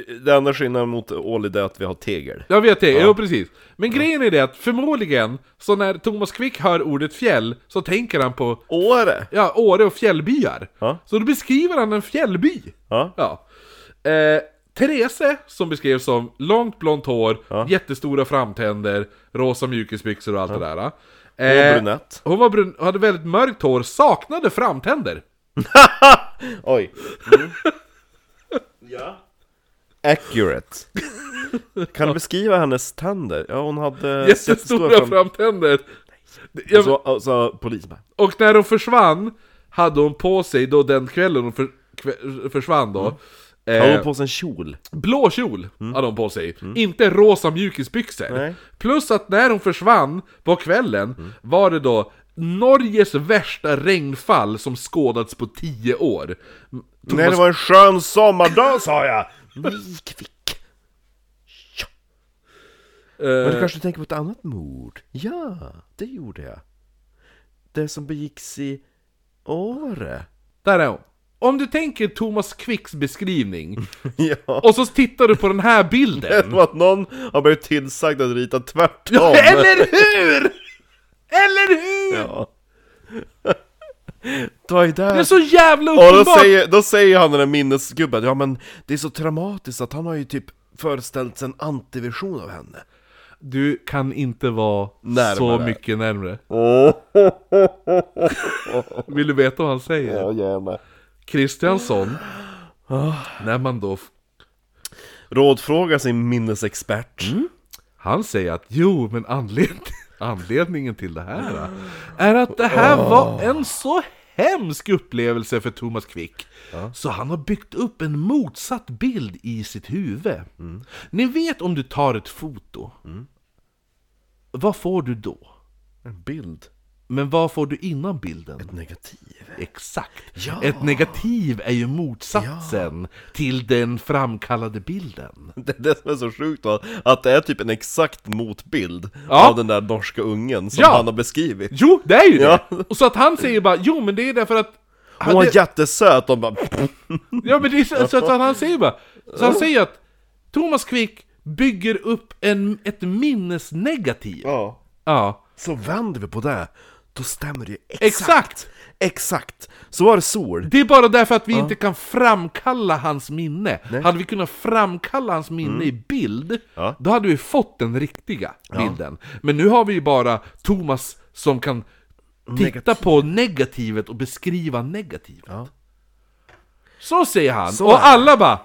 eh, det enda skillnaden mot Ål är det att vi har tegel. Jag vet det, ja. jo precis. Men grejen är det att förmodligen, så när Thomas Quick hör ordet fjäll, så tänker han på Åre! Ja, Åre och fjällbyar. Ja. Så då beskriver han en fjällby. Ja. Ja. Eh, Therese, som beskrevs som långt blont hår, jättestora framtänder, rosa mjukisbyxor och allt det där. var Eh, brunett. Hon var brun hade väldigt mörkt hår, saknade framtänder. Oj. <laughs> ja. Accurate. Kan du beskriva hennes tänder? Ja, Alltså- hon hade... Jättestora framtänder. Och Jag, så, och så polisen bara, Och när hon försvann, hade hon på sig då den kvällen hon för, kve- försvann då. Har eh, hon på sig en kjol? Blå kjol hade hon på sig, inte rosa mjukisbyxor. Mm. Nej. Mm. Plus att när hon försvann på kvällen var det då Norges värsta regnfall som skådats på 10 år. M- Nej, det var en skön sommardag sa jag! Nej, kvick! Ja. Eh, Men du kanske tänker på ett annat mord? Ja, det gjorde jag. Det som begicks i Åre. Där är hon. Om du tänker Thomas Quicks beskrivning, Mm. <laughs> Ja. <laughs> och så tittar du på den här <laughs> bilden. Som att någon har blivit tillsagd att rita tvärtom. Ja, eller hur? Eller hur? Ja. Ta i Det är där. så jävla Och då uppenbart! säger, då säger han den där minnesgubben, ja men det är så traumatiskt att han har ju typ föreställt sig en antiversion av henne. Du kan inte vara så Närmare. mycket närmre. Åh, <laughs> Vill du veta vad han säger? gärna. Kristiansson, när man då f- Rådfråga sin minnesexpert. Mm. Han säger att jo, men anled- anledningen till det här då, är att det här var en så hemsk upplevelse för Thomas Quick. Så han har byggt upp en motsatt bild i sitt huvud. Mm. Ni vet om du tar ett foto, vad får du då? En bild. Men vad får du innan bilden? Negativ. <laughs> Exakt! Ja. Ett negativ är ju motsatsen till den framkallade bilden. Det är det som är så sjukt va? Att det är typ en exakt motbild Ja. av den där norska ungen som Ja. han har beskrivit. Jo, det är ju Ja. det! Och så att han säger bara jo men det är därför att Hon var jättesöt, de bara... Ja men det är så, så att han säger bara Så han säger att Thomas Quick bygger upp en, ett minnesnegativ Ja. Ja, Så vänder vi på det, då stämmer det ju exakt! exakt! Exakt! Så var det sol. Det är bara därför att vi inte kan framkalla hans minne Hade vi kunnat framkalla hans minne i bild Mm. Ja. Då hade vi fått den riktiga bilden Men nu har vi ju bara Thomas som kan Titta på negativet och beskriva negativet Ja. Så säger han, Så är det. och alla bara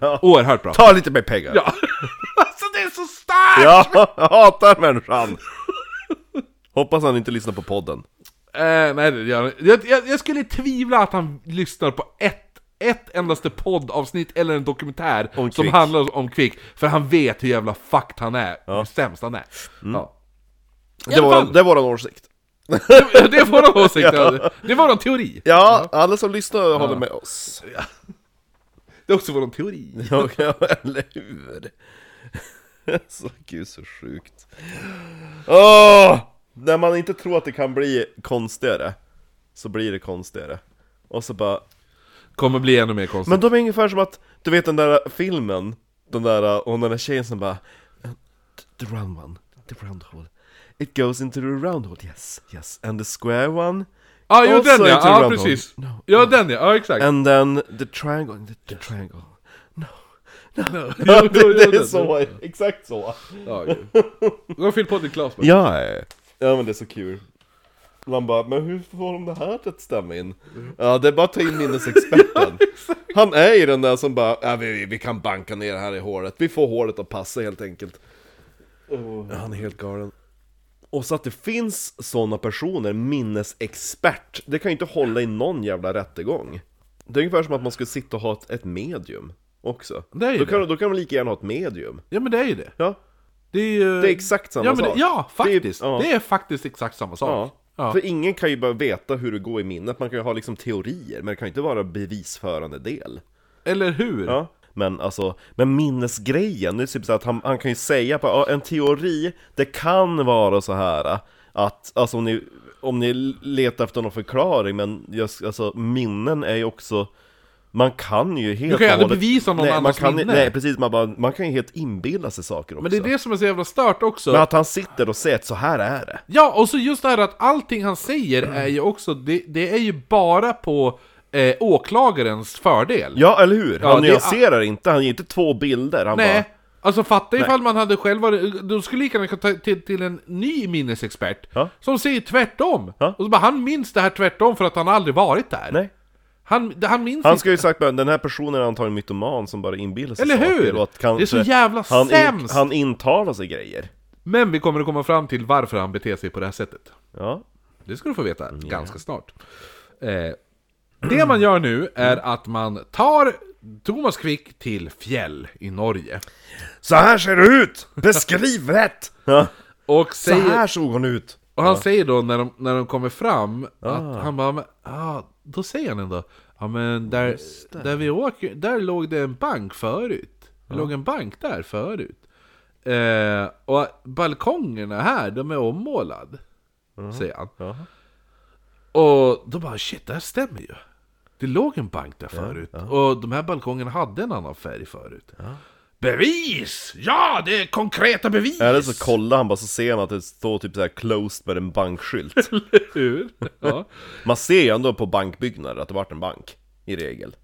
Ja. Oerhört bra Ta lite mer pengar! Ja. <laughs> alltså det är så starkt! Ja, <laughs> jag <laughs> hatar människan! Hoppas han inte lyssnar på podden. Eh, nej, det gör han inte. jag, jag, jag skulle tvivla att han lyssnar på ett, ett endaste poddavsnitt eller en dokumentär Om som Quick. handlar om Quick, för han vet hur jävla fucked han är, hur sämst han är. Mm. Ja. <laughs> I Det alla var, fall, det var vår åsikt. det, det är <laughs> våran åsikt, det är våran teori. Ja, alla som lyssnar håller med oss. Det är också våran teori. <laughs> Ja, ja, eller hur? <laughs> Så gud så sjukt. Åh! När man inte tror att det kan bli konstigare, så blir det konstigare. Och så bara... Kommer bli ännu mer konstigt. Men de är ungefär som att, du vet den där filmen, den där, och den där tjejen som bara... The round one, the round hole. It goes into the round hole, yes, yes. And the square one. Ja, jo also den ja, into the ja round precis. hole. No, Ja den ja, ja exakt. And then the triangle, the, the triangle. Jo, <laughs> det, jo, jo, det är den. så, exakt så. Ja, jo. Du har fyllt på ditt glas bara. Ja, ja, Typ. ja. ja men det är så kul. Man bara, men hur får de det här till att stämma in? Ja, det är bara att ta in <laughs> minnesexperten. Han är ju den där som bara, ja, vi, vi kan banka ner det här i håret. Vi får håret att passa helt enkelt. Oh. Ja, Han är helt galen. Och så att det finns sådana personer, minnesexpert, det kan ju inte hålla i någon jävla rättegång. Det är ungefär som att man skulle sitta och ha ett, ett medium också. Det är ju då, kan, det. då kan man lika gärna ha ett medium. Ja men det är ju det. Ja, Det är ju... Det är exakt samma ja, men det- sak. Ja, Det är- faktiskt. Det är, ja. faktiskt exakt samma Ja. sak. Ja. För ingen kan ju bara veta hur det går i minnet, man kan ju ha liksom teorier, men det kan ju inte vara bevisförande del. Eller hur? Ja. Men alltså, men minnesgrejen, det är typ så att han, han kan ju säga på ja, en teori, det kan vara så här äh, att, alltså om ni, om ni letar efter någon förklaring, men just, alltså minnen är ju också man kan ju helt kan ju aldrig och hållet- bevisa någon nej, man annans kan, ju- minne. Nej precis, man, bara, man kan ju helt inbilla sig saker också Men det är det som är så jävla stört också. Men att han sitter och säger att så här är det Ja, och så just det här att allting han säger är ju också, det, det är ju bara på eh, åklagarens fördel. Ja, eller hur? Han Ja, det- nyanserar inte, han ger inte två bilder, han Nej. bara... Alltså fatta ifall man hade själv varit, då skulle lika gärna kunna ta till, till en ny minnesexpert Ja. Som säger tvärtom! Ja. Och så bara, han minns det här tvärtom för att han aldrig varit där Nej. Han, han minns Han inte- ska ju sagt att den här personen är antagligen mytoman som bara inbillar sig Eller saker hur? och att kanske Det är så jävla han, sämst. han intalar sig grejer. Men vi kommer att komma fram till varför han beter sig på det här sättet Ja. Det ska du få veta ganska snart. Eh, det man gör nu är att man tar Thomas Quick till fjäll i Norge. Så här ser det ut! <laughs> Beskriv rätt! Ja. Och, Så här säger, såg hon ut! och han säger då när de, när de kommer fram att han bara, "Men, ah, då säger han ändå Ja men där, där vi åker, där låg det en bank förut. Det låg en bank där förut. Eh, och balkongerna här, de är ommålade. Säger han. Ja. Och då bara shit, det här stämmer ju. Det låg en bank där förut. Och de här balkongerna hade en annan färg förut. Bevis! Ja, det är konkreta bevis! <laughs> Eller så kollar han bara så ser han att det står typ så här closed med en bankskylt. Hur? Ja. Man ser ju ändå på bankbyggnader att det varit en bank. I regel.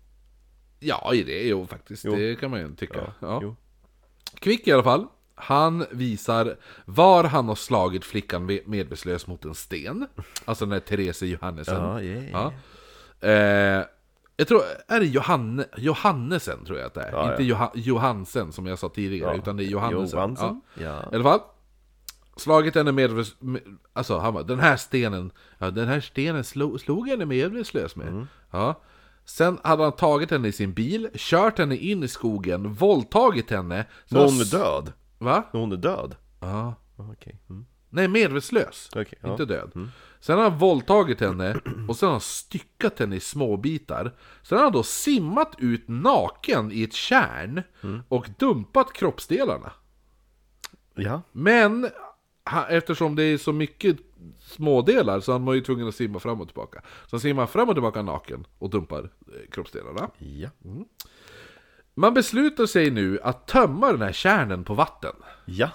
ja, i det jo faktiskt. Det kan man ju tycka. Ja. Jo. Kvick i alla fall. Han visar var han har slagit flickan med- medvetslös mot en sten. Alltså den där Therese Johannesen. Ja, yeah. Ja. Eh, Jag tror, är det Johanne, Johannesen tror jag att det är. Ja, Inte Joha, Johansen som jag sa tidigare, Ja. utan det är Johannesen. Johansen? Ja. Ja. I alla fall. Slagit henne medvetslös, med- alltså han bara, den här stenen, ja, den här stenen slog, slog henne medvetslös med. Mm. Ja. Sen hade han tagit henne i sin bil, kört henne in i skogen, våldtagit henne. Så Så hon är död? Va? Så Hon är död? Ja. Okej. Mm. Nej, medvetslös. Okej, ja. Mm. Inte död. Sen har han våldtagit henne och sen har han styckat henne i små bitar. Sen har han då simmat ut naken i ett kärn Mm. och dumpat kroppsdelarna. Ja. Men ha- eftersom det är så mycket smådelar så han var ju tvungen att simma fram och tillbaka. Så han simmar fram och tillbaka naken och dumpar eh, kroppsdelarna. Mm. Ja. Man beslutar sig nu att tömma den här kärnen på vatten. Ja.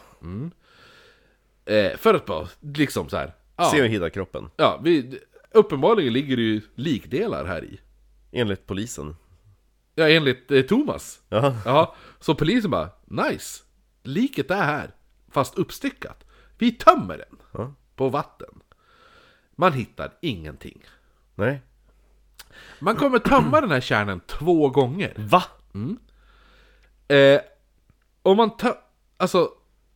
Eh, för att bara, liksom så här. Ja, Se om vi hittar kroppen. ja vi, uppenbarligen ligger det ju likdelar här i. Enligt polisen. Ja, enligt eh, Thomas. Ja. Ja, så polisen bara, nice! Liket är här, fast uppstyckat. Vi tömmer den Ja. på vatten. Man hittar ingenting. Nej. Man kommer tömma den här kärnan två gånger. Mm. Va? Eh, och man tö- alltså,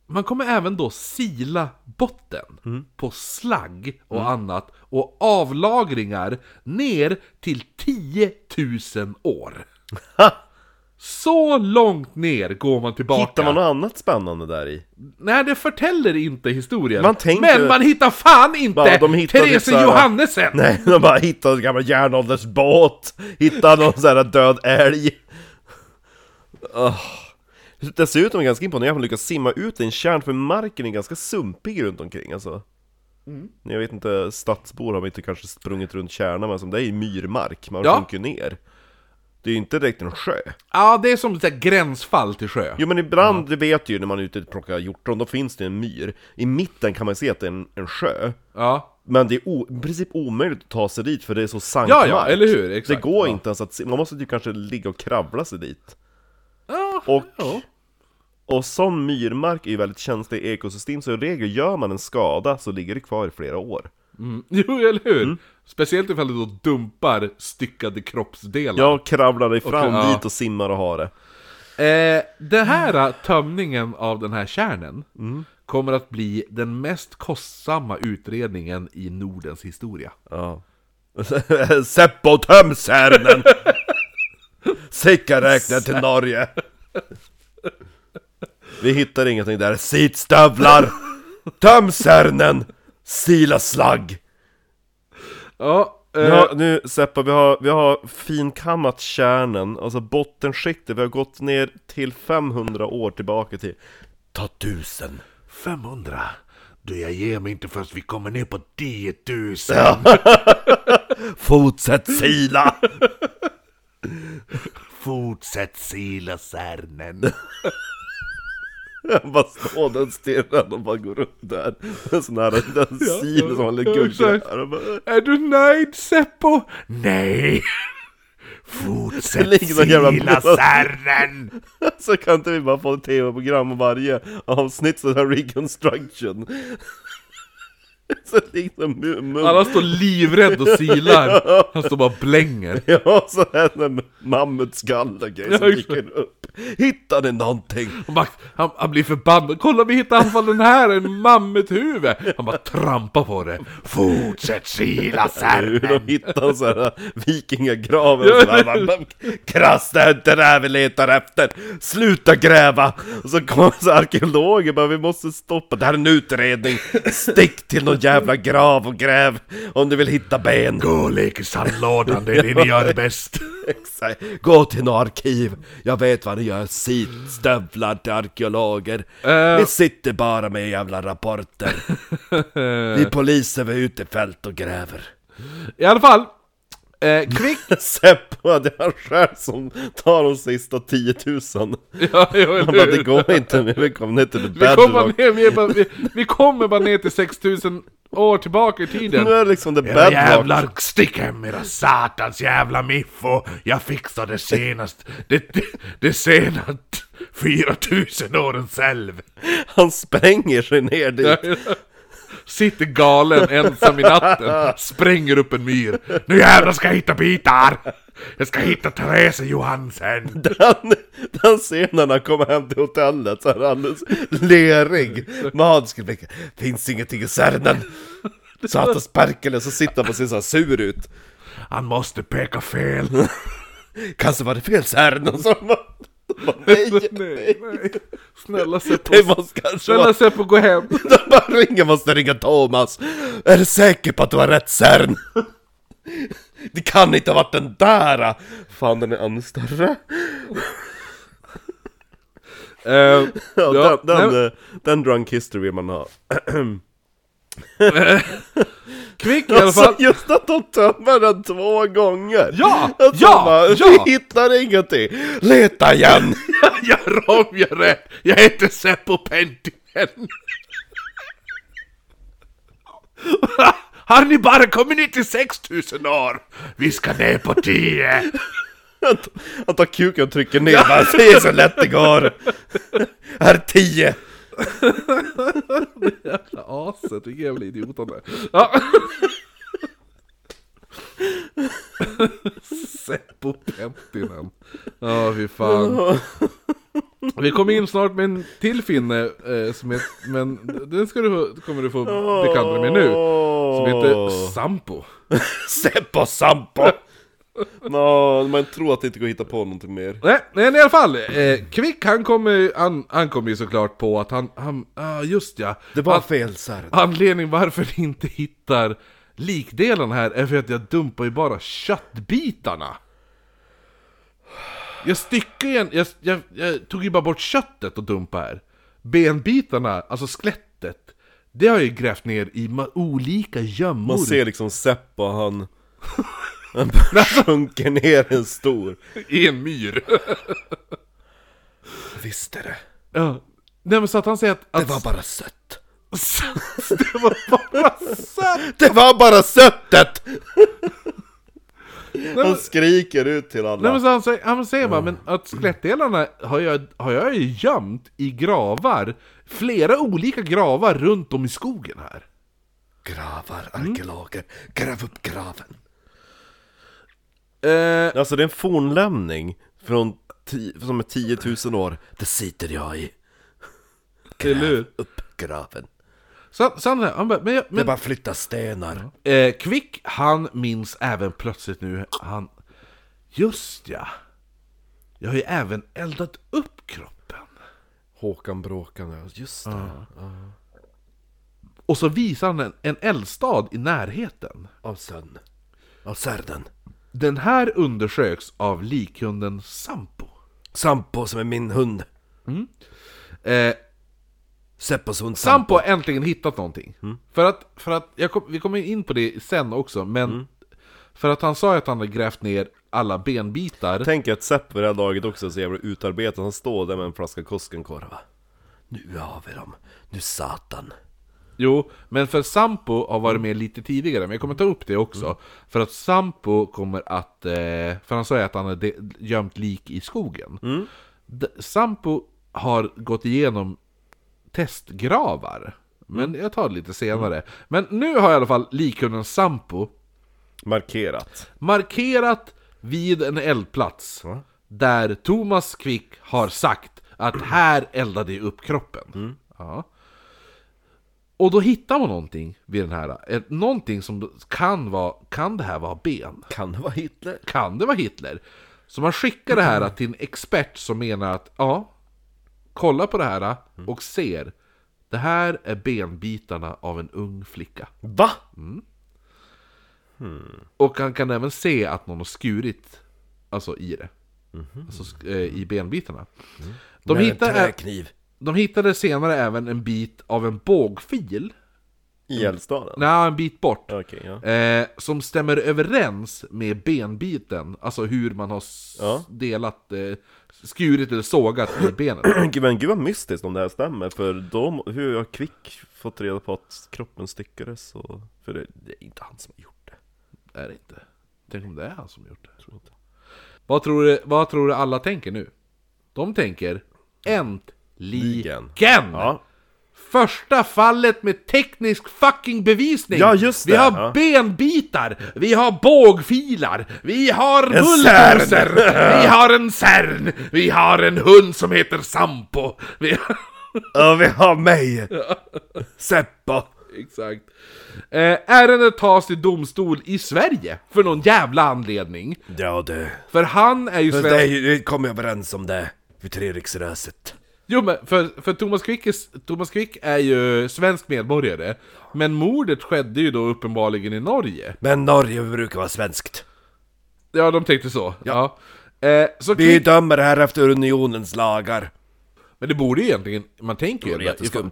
man kommer även då sila botten Mm. på slagg och annat och avlagringar ner till 10 000 år. Så långt ner går man tillbaka. Hittar man något annat spännande där i? <laughs> Nej, det förtäller inte historien. Man tänker- Men man hittar fan inte Bara, de hittade Therese så här- Johannesen! Nej, de bara hittade en gammal järnåldersbåt, hittade någon sån här död älg. Oh. Dessutom är det ganska imponerande att man lyckas simma ut i en kärn, för marken är ganska sumpig runt omkring alltså. Jag vet inte, stadsbor har väl inte kanske sprungit runt kärnan, men som det är ju myrmark, man Ja. sjunker ner. Det är ju inte direkt en sjö. Ja, det är som ett gränsfall till sjö. Jo men ibland, det vet ju när man är ute och plockar hjortron, då finns det en myr. I mitten kan man se att det är en, en sjö. Ja. Men det är o- i princip omöjligt att ta sig dit för det är så Ja, sankmark ja, eller hur? Exakt. Det går Ja. inte ens att se, man måste typ kanske ligga och kravla sig dit Ja, Och, ja. och som myrmark är ju väldigt känslig i ekosystem så i regel gör man en skada så ligger det kvar i flera år Mm. <laughs> Jo, eller hur? Speciellt ifall du då dumpar styckade kroppsdelar. Jag kravlar dig fram ja. dit och simmar och har det Eh, den här eh, tömningen av den här kärnen Mm. kommer att bli den mest kostsamma utredningen i Nordens historia. Ja <laughs> Seppo töm Särnen! <laughs> Sicka räknar till Norge! <laughs> Vi hittar ingenting där, sitstövlar! Töm Särnen! Sila slagg! Ja, eh, Ja, nu Seppa, vi har, vi har finkammat kärnen, alltså bottenskiktet, vi har gått ner till 500 år tillbaka <laughs> till Ta tusen! 500? Du, jag ger mig inte förrän vi kommer ner på 10 000. <laughs> Fortsätt sila! Fortsätt sila särnen. Bara står den stirrad och bara går runt där En sån här, den sil som han ja, exakt. guggar <laughs> är du nöjd Seppo? Nej! <laughs> Det Fortsätt ligger någon jävla- sila särnen! Så kan inte vi bara få ett tv-program och varje avsnitt så här reconstruction <laughs> Så liksom mu- mu- Alla står livrädd och silar. Han står bara och blänger. Ja, så här med mammutskalle och grejer som Ja, exakt. dyker upp Hittar ni någonting? Och Max, han, han blir förbannad. Kolla vi hittar i alla fall den här, en mammuthuvud! Han bara trampar på det. Fortsätt sila Nu, särnen! <laughs> de hittar så här vikingagraven och så här, bara, "Men, Krasst, det är inte det här vi letar efter! Sluta gräva! Och så kommer så här arkeologer bara, vi måste stoppa, det här är en utredning! Stick till någon jävla grav och gräv! Om du vill hitta ben! Gå och lek i sandlådan, det är det ni gör bäst. Exakt. Gå till något arkiv, jag vet vad ni gör, stövlar till arkeologer. Ni sitter bara med jävla rapporter. <laughs> vi poliser, vi är ute i fält och gräver. I alla fall, eh, kvick... Seppo, det är han själv som tar de sista 10 000. <laughs> Ja, jo, Han bara, eller det hur? går inte, men vi kommer ner till the Vi kommer, bedrock. ner, vi, är bara, vi, vi kommer bara ner till 6000 år tillbaka i tiden. Nu är det liksom the Era bedrock. jävlar, stick hem era satans jävla miffo! Jag fixar det senast, det, det, det senast 4000 åren själv! Han spränger sig ner dit. Sitter galen ensam i natten, spränger upp en myr. Nu jävlar ska jag hitta bitar! Jag ska hitta Therese Johansen! Den, den scenen när han kommer hem till hotellet så är han alldeles lerig med handskrivet Finns ingenting i Särnen! Satans perkele, så sitter han och ser så här sur ut Han måste peka fel! Kanske var det fel Särnen som var... Bara, Nej, nej, Snälla sätt det på, måste kanske snälla vara... sätt på gå hem. De bara ringer, måste ringa Thomas Är du säker på att du har rätt Särn? Det kan inte ha varit den där! Fan den är ännu större! Eh, Ja, ja, den, den, nej, eh, den drunk history vill man ha kvick i alla Alltså fall. just att de tömmer den två gånger! Ja, Att de ja, bara, ja. Vi hittar ingenting! <laughs> Leta igen! <laughs> Gör om, gör rätt! Jag heter Seppo Penttinen! <laughs> Har ni bara kommit ner till 6000 år? Vi ska ner på 10! Han tar- Han tar kuken och trycker ner bara, se så lätt det går! Här är tio! Jävla aset, vilken jävla idiot han är. Ja. <laughs> Seppo Penttinen. Ja, fy fan. Vi kommer in snart med en till finne, eh, som heter, men den ska du, få- kommer du få bekanta dig med nu. Som heter Sampo. Seppo Sampo! Nå, man tror att det inte går att hitta på någonting mer Nej, men i alla fall. Eh, Kvick, han kommer ju han, han kom ju såklart på att han, han ah, just ja. Det var Att- fel Särn Anledningen varför ni inte hittar likdelarna här är för att jag dumpar ju bara köttbitarna. Jag styckar igen, jag, jag, jag tog ju bara bort köttet och dumpade här. Benbitarna, alltså skelettet, det har jag ju grävt ner i ma- olika gömmor. Man ser liksom Seppo, <laughs> han... Han bara sjunker ner en stor I en myr. <laughs> Visst är det, ja. Nej men så att han säger att... att det var bara sött det var bara sött! Det var bara söttet! <laughs> Han skriker ut till alla. Nej men så han säger, han säger bara, men att skelettdelarna har jag, har jag ju gömt i gravar, flera olika gravar runt om i skogen här. Gravar, arkeologer, gräv upp graven. Eh, Alltså det är en fornlämning från ti- som är 10 000 år. Det sitter jag i. eller hur? Upp graven. Så, han- så han, han bara, men, jag, Det är men bara att flytta stenar. eh, Kvick, han minns även plötsligt nu, han, just ja, jag har ju även eldat upp kroppen. Håkan Bråkan, ja, just det. Och så visar han en, en eldstad i närheten. Av sön. Av särden. Den här undersöks av likhunden Sampo. Sampo som är min hund. Eh, Seppos hund Sampo. Sampo har äntligen hittat någonting. För att, för att jag kom, vi kommer in på det sen också, men för att han sa ju att han hade grävt ner alla benbitar. Tänk att Seppo vid det här laget också är så jävla utarbetad. Han står där med en flaska Koskenkorva. Nu har vi dem. Nu satan. Jo, men för Sampo har varit med lite tidigare, men jag kommer ta upp det också. För att Sampo kommer att, eh, för han sa ju att han hade gömt lik i skogen. D- Sampo har gått igenom testgravar. Men jag tar det lite senare. Men nu har i alla fall likhunden Sampo Markerat. markerat vid en eldplats där Thomas Quick har sagt att här eldade jag upp kroppen. Ja. Och då hittar man någonting vid den här, ett- någonting som kan vara, kan det här vara ben? Kan det vara Hitler? Kan det vara Hitler? Så man skickar det här till en expert som menar att ja, kolla på det här och ser, det här är benbitarna av en ung flicka. Va? Och han kan även se att någon har skurit Alltså i det Mhm. Alltså sk- eh, i benbitarna Mm. de, Med en hittar ä- träkniv. de hittade senare även en bit av en bågfil I eldstaden? Nej, en bit bort Okej, ja. eh, Som stämmer överens med benbiten Alltså hur man har s- Ja. delat eh, Skurit eller sågat i <clears throat> benet Gud, men gud vad mystiskt om det här stämmer, för då, hur har Kvick fått reda på att kroppen styckades? Och, för det, det är inte han som har gjort det. Är det inte? Tänk om det är han som gjort det Tror inte. Vad tror du, vad tror du alla tänker nu? De tänker Äntligen! Ligen. Ja, Första fallet med teknisk fucking bevisning! Ja, just det, Vi har ja. benbitar, vi har bågfilar, vi har bulldozer, <laughs> vi har en CERN, vi har en hund som heter Sampo, vi har... <laughs> Ja, vi har mig! Seppo! Exakt. Eh, ärendet tas till domstol i Sverige, för någon jävla anledning. Ja du, För han är ju För svensk... dig, vi kom överens om det vid Treriksröset. Jo men för, för Thomas, Quick är, Thomas Quick är ju svensk medborgare, men mordet skedde ju då uppenbarligen i Norge. Men Norge brukar vara svenskt. Ja, de tänkte så. Ja. Eh, så Vi Quick, dömer här efter unionens lagar. men det borde ju egentligen, man tänker ju... Det är ändå- jätteskumt.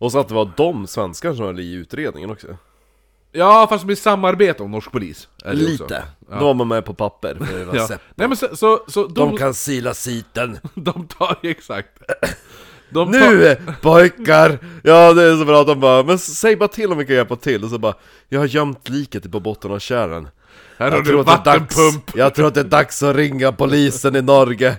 Och så att det var de svenskar som höll i utredningen också. Ja, fast med samarbete om norsk polis. är det också. Lite. De var man med på papper, för det var <laughs> Ja. Seppo. Nej men så, så, så de, De kan sila siten. <laughs> de tar ju exakt... De tar- Nu pojkar! Ja det är så bra att de bara, men säg bara till om vi kan hjälpa till och så bara Jag har gömt liket på botten av kärran Här har jag du tror, att det är dags, vattenpump! jag tror att det är dags att ringa polisen i Norge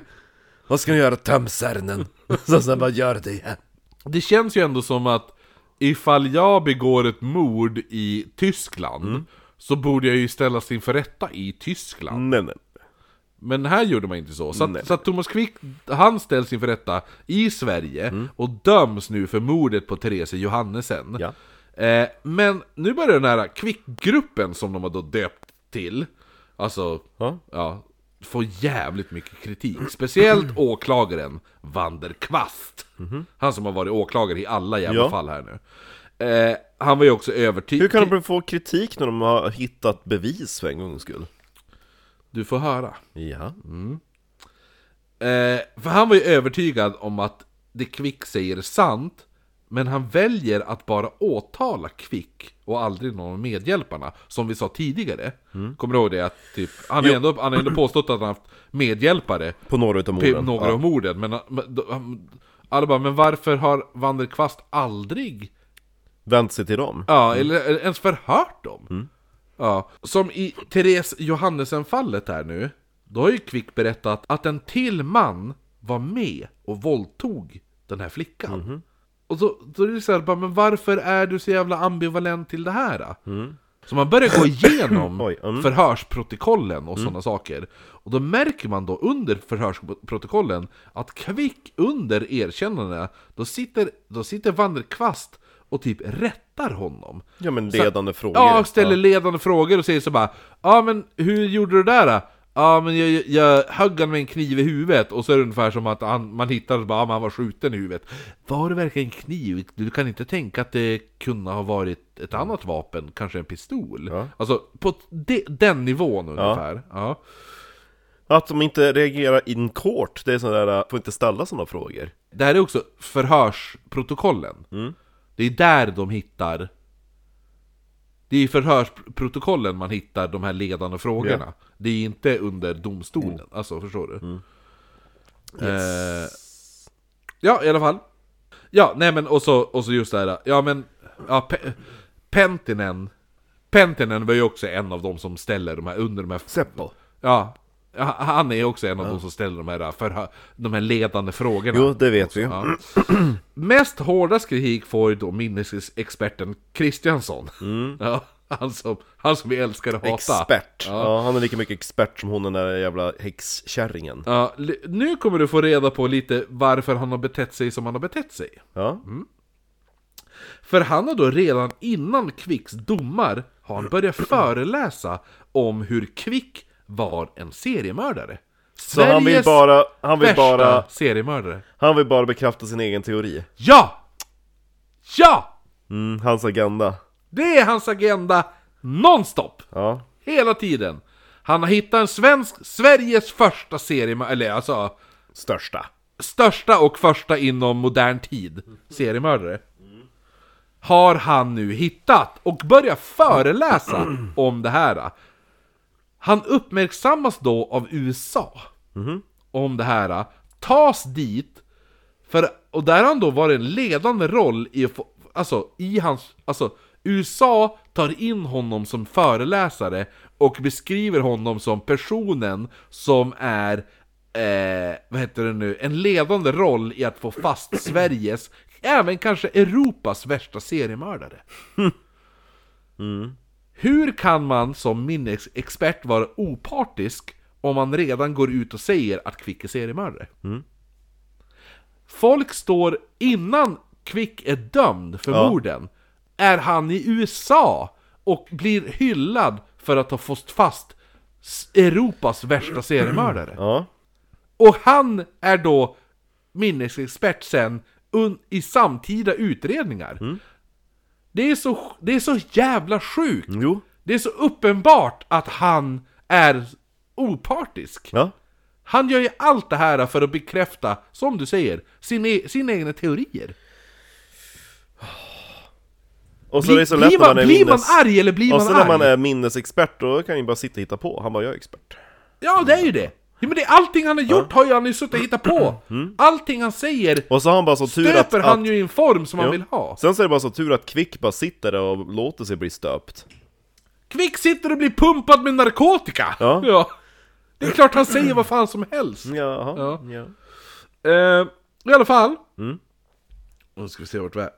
Vad ska ni göra? Töm särnen! <laughs> Så sen bara gör det igen Det känns ju ändå som att ifall jag begår ett mord i Tyskland så borde jag ju ställas inför rätta i Tyskland. Nej nej Men här gjorde man inte så. Så att, så att Thomas Quick, han ställs inför rätta i Sverige Mm. och döms nu för mordet på Therese Johannesen. Ja. Eh, men nu börjar den här Quick-gruppen som de har då döpt till, alltså, Ja. ja, få jävligt mycket kritik. <clears throat> Speciellt åklagaren Vander Kvast. Han som har varit åklagare i alla jävla Mhm. Ja. fall här nu. Eh, han var ju också övertygad... Hur kan de få kritik när de har hittat bevis för en gångs skull? Du får höra. Ja Eh, för han var ju övertygad om att det Quick säger är sant, men han väljer att bara åtala Quick och aldrig någon av medhjälparna, som vi sa tidigare. Kommer du ihåg det? Att typ, han, har ändå, han har ändå påstått att han haft medhjälpare På några utav till morden några av morden, men, men då- han- alla bara, men varför har Vanderkvast aldrig Vänt sig till dem? Mm. Ja, eller, eller ens förhört dem. Ja. Som i Therese Johannesen-fallet här nu, då har ju Quick berättat att en till man var med och våldtog den här flickan. Mhm. Och då, då är det så här, bara, men varför är du så jävla ambivalent till det här? Då? Så man börjar gå igenom Mm. <laughs> Oj, mm. förhörsprotokollen och sådana saker. Och då märker man då under förhörsprotokollen att kvick under erkännandena, då sitter, då sitter Vanderkvast och typ rättar honom. Ja men Så- ledande frågor Ja, och ställer ledande frågor och säger så bara Ja men hur gjorde du det där då? Ja men jag, jag, jag högg han med en kniv i huvudet och så är det ungefär som att han, man hittade och bara, ja, men han var skjuten i huvudet Var det verkligen kniv? Du kan inte tänka att det kunde ha varit ett annat vapen, kanske en pistol? Ja. Alltså på de, den nivån ungefär ja. Att de inte reagerar in court, det är sådär, äh, får inte ställa sådana frågor Det här är också förhörsprotokollen Det är där de hittar Det är i förhörsprotokollen man hittar de här ledande frågorna Det är inte under domstolen, alltså förstår du? Eh, ja, i alla fall Ja, nej men och så, och så just det här Ja men, ja, Pe- Pentinen Pentinen var ju också en av de som ställer de här under de här Seppo Ja, ja, han är ju också en av de som ställer de här, förhö- de här ledande frågorna Jo, det vet vi Ja. Mest hårdast kritik får ju då minnesexperten Kristiansson. <laughs> Ja, han, som, han som vi älskar att hata. Mm. Expert. Ja. han är lika mycket expert som hon den där jävla häxkärringen. Ja, li- nu kommer du få reda på lite varför han har betett sig som han har betett sig. Ja. För han har då redan innan Kvicks domar har han <clears throat> börjat föreläsa om hur Kvick var en seriemördare. Så han vill bara, han vill värsta bara, seriemördare. han vill bara bekräfta sin egen teori. Ja! Ja! Mm, hans agenda. Det är hans agenda nonstop! Ja. Hela tiden! Han har hittat en svensk, Sveriges första seriemördare, eller alltså Största. största och första inom modern tid seriemördare. Har han nu hittat och börjar föreläsa om det här. Han uppmärksammas då av USA om det här, tas dit, för, och där har han då varit en ledande roll i att få, alltså i hans, alltså USA tar in honom som föreläsare och beskriver honom som personen som är, eh, vad heter det nu, en ledande roll i att få fast Sveriges Även kanske Europas värsta seriemördare. Hur kan man som minnesexpert vara opartisk om man redan går ut och säger att Quick är seriemördare? Folk står innan Quick är dömd för morden, är han i USA och blir hyllad för att ha fått fast s- Europas värsta seriemördare. Ja. Och han är då minnesexpert sen un- i samtida utredningar. Det, är så, det är så jävla sjukt! Mm. Jo. Det är så uppenbart att han är opartisk. Ja. Han gör ju allt det här för att bekräfta, som du säger, sin e- sina egna teorier. Och så Bli, det är så lätt blir när man, man är blir man minnes... arg eller blir Och man så arg? när man är minnesexpert, då kan ju bara sitta och hitta på. Han bara, jag är expert. Ja, det är ju det! Ja, men det, allting han har gjort har ju han ju suttit och hittat på! Allting han säger Och så har han bara så Mm. tur att... stöper han att ju i en form som han vill ha. Sen så är det bara så tur att Kvick bara sitter där och låter sig bli stöpt. Kvick sitter och blir pumpad med narkotika! Ja. Det är klart han säger vad fan som helst! Jaha. Ja. Ja. Eh, I alla fall. Mm. Nu ska vi se vart vi är.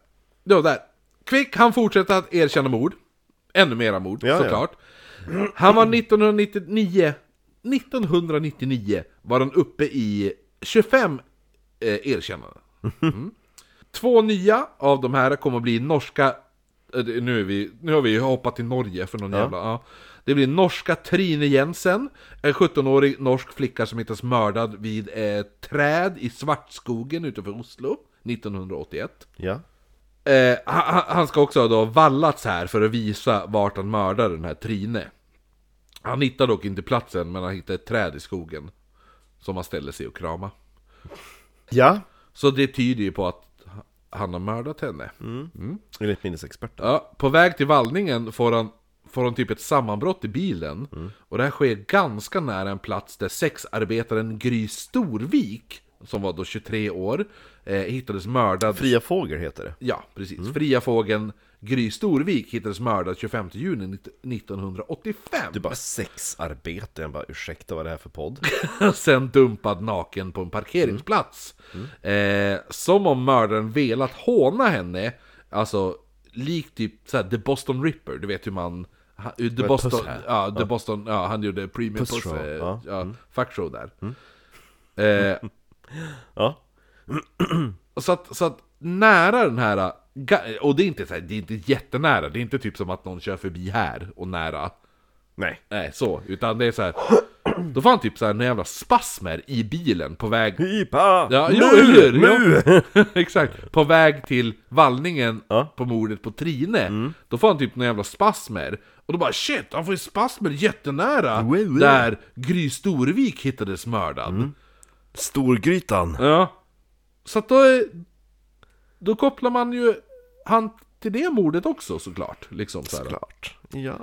Jo, där. Quick, han fortsätter att erkänna mord. Ännu mera mord, Ja, ja. såklart. Han var 1999, 1999 var han uppe i 25 eh, erkännanden. Mm. Två nya av de här kommer att bli norska... eh, det- Nu, är vi, nu har vi ju hoppat till Norge för någon jävla... Ja. Det blir norska Trine Jensen, en 17-årig norsk flicka som hittas mördad vid ett träd i Svartskogen utanför Oslo 1981. ja. Eh, han, han ska också ha då vallats här för att visa vart han mördade den här Trine. Han hittar dock inte platsen, men han hittar ett träd i skogen. Som han ställer sig och kramar. Ja. Så det tyder ju på att han har mördat henne. Enligt minnesexperten. Ja, på väg till vallningen får han, får han typ ett sammanbrott i bilen. Och det här sker ganska nära en plats där sexarbetaren Gry Storvik, som var då 23 år, eh, hittades mördad. Fria fågel heter det. Ja, precis. Fria fågeln Gry Storvik hittades mördad 25 juni 1985. Du bara sexarbete, jag bara ursäkta vad är det här för podd? <laughs> <laughs> Sen dumpad naken på en parkeringsplats. Mm. Eh, som om mördaren velat håna henne, alltså likt typ såhär, The Boston Ripper, du vet hur man... ha- hur The Boston, Puss här. ja, The Boston, ja, han gjorde Premium Puss, Puss Show, eh, ja. Mm. ja, fuckshow där. Eh, <laughs> Ja. <clears throat> Så att, så att nära den här, eh, ga- och det är inte så här, det är inte jättenära, det är inte typ som att någon kör förbi här och nära. Nej. Nej, så, utan det är så här. <clears throat> Då får han typ så här några jävla spasmer i bilen på väg Pipa! Ja, nu! jo, eller hur? nu! <laughs> Exakt, på väg till vallningen Ja. Mm. på mordet på Trine Då får han typ några jävla spasmer Och då bara shit, han får ju spasmer jättenära Wow, wow. Där Gry Storvik hittades mördad Mm. Storgrytan! Ja Så att då, är- då kopplar man ju han till det mordet också såklart liksom så här. Klart. Ja.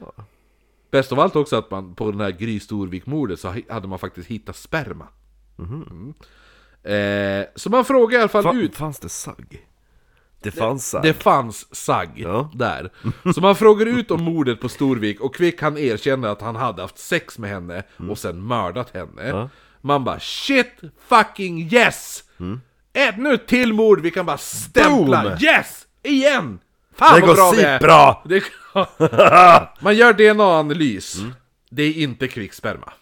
Bäst av allt också att man på den här Gry Storvik-mordet så hi- hade man faktiskt hittat sperma Mhm. mm. eh, Så man frågar i alla fall Fa- ut Fanns det sagg? Det fanns sagg. Det fanns sagg Ja. <laughs> där. Så man frågar ut om mordet på Storvik och Kvick han erkänner att han hade haft sex med henne Mm. och sen mördat henne. Man bara shit fucking yes! Ännu ett till mord vi kan bara stämpla! Mm. Boom! Yes! Igen! Fan Det vad går bra vi är! bra. Det, <laughs> man gör DNA-analys. Det är inte kvicksperma.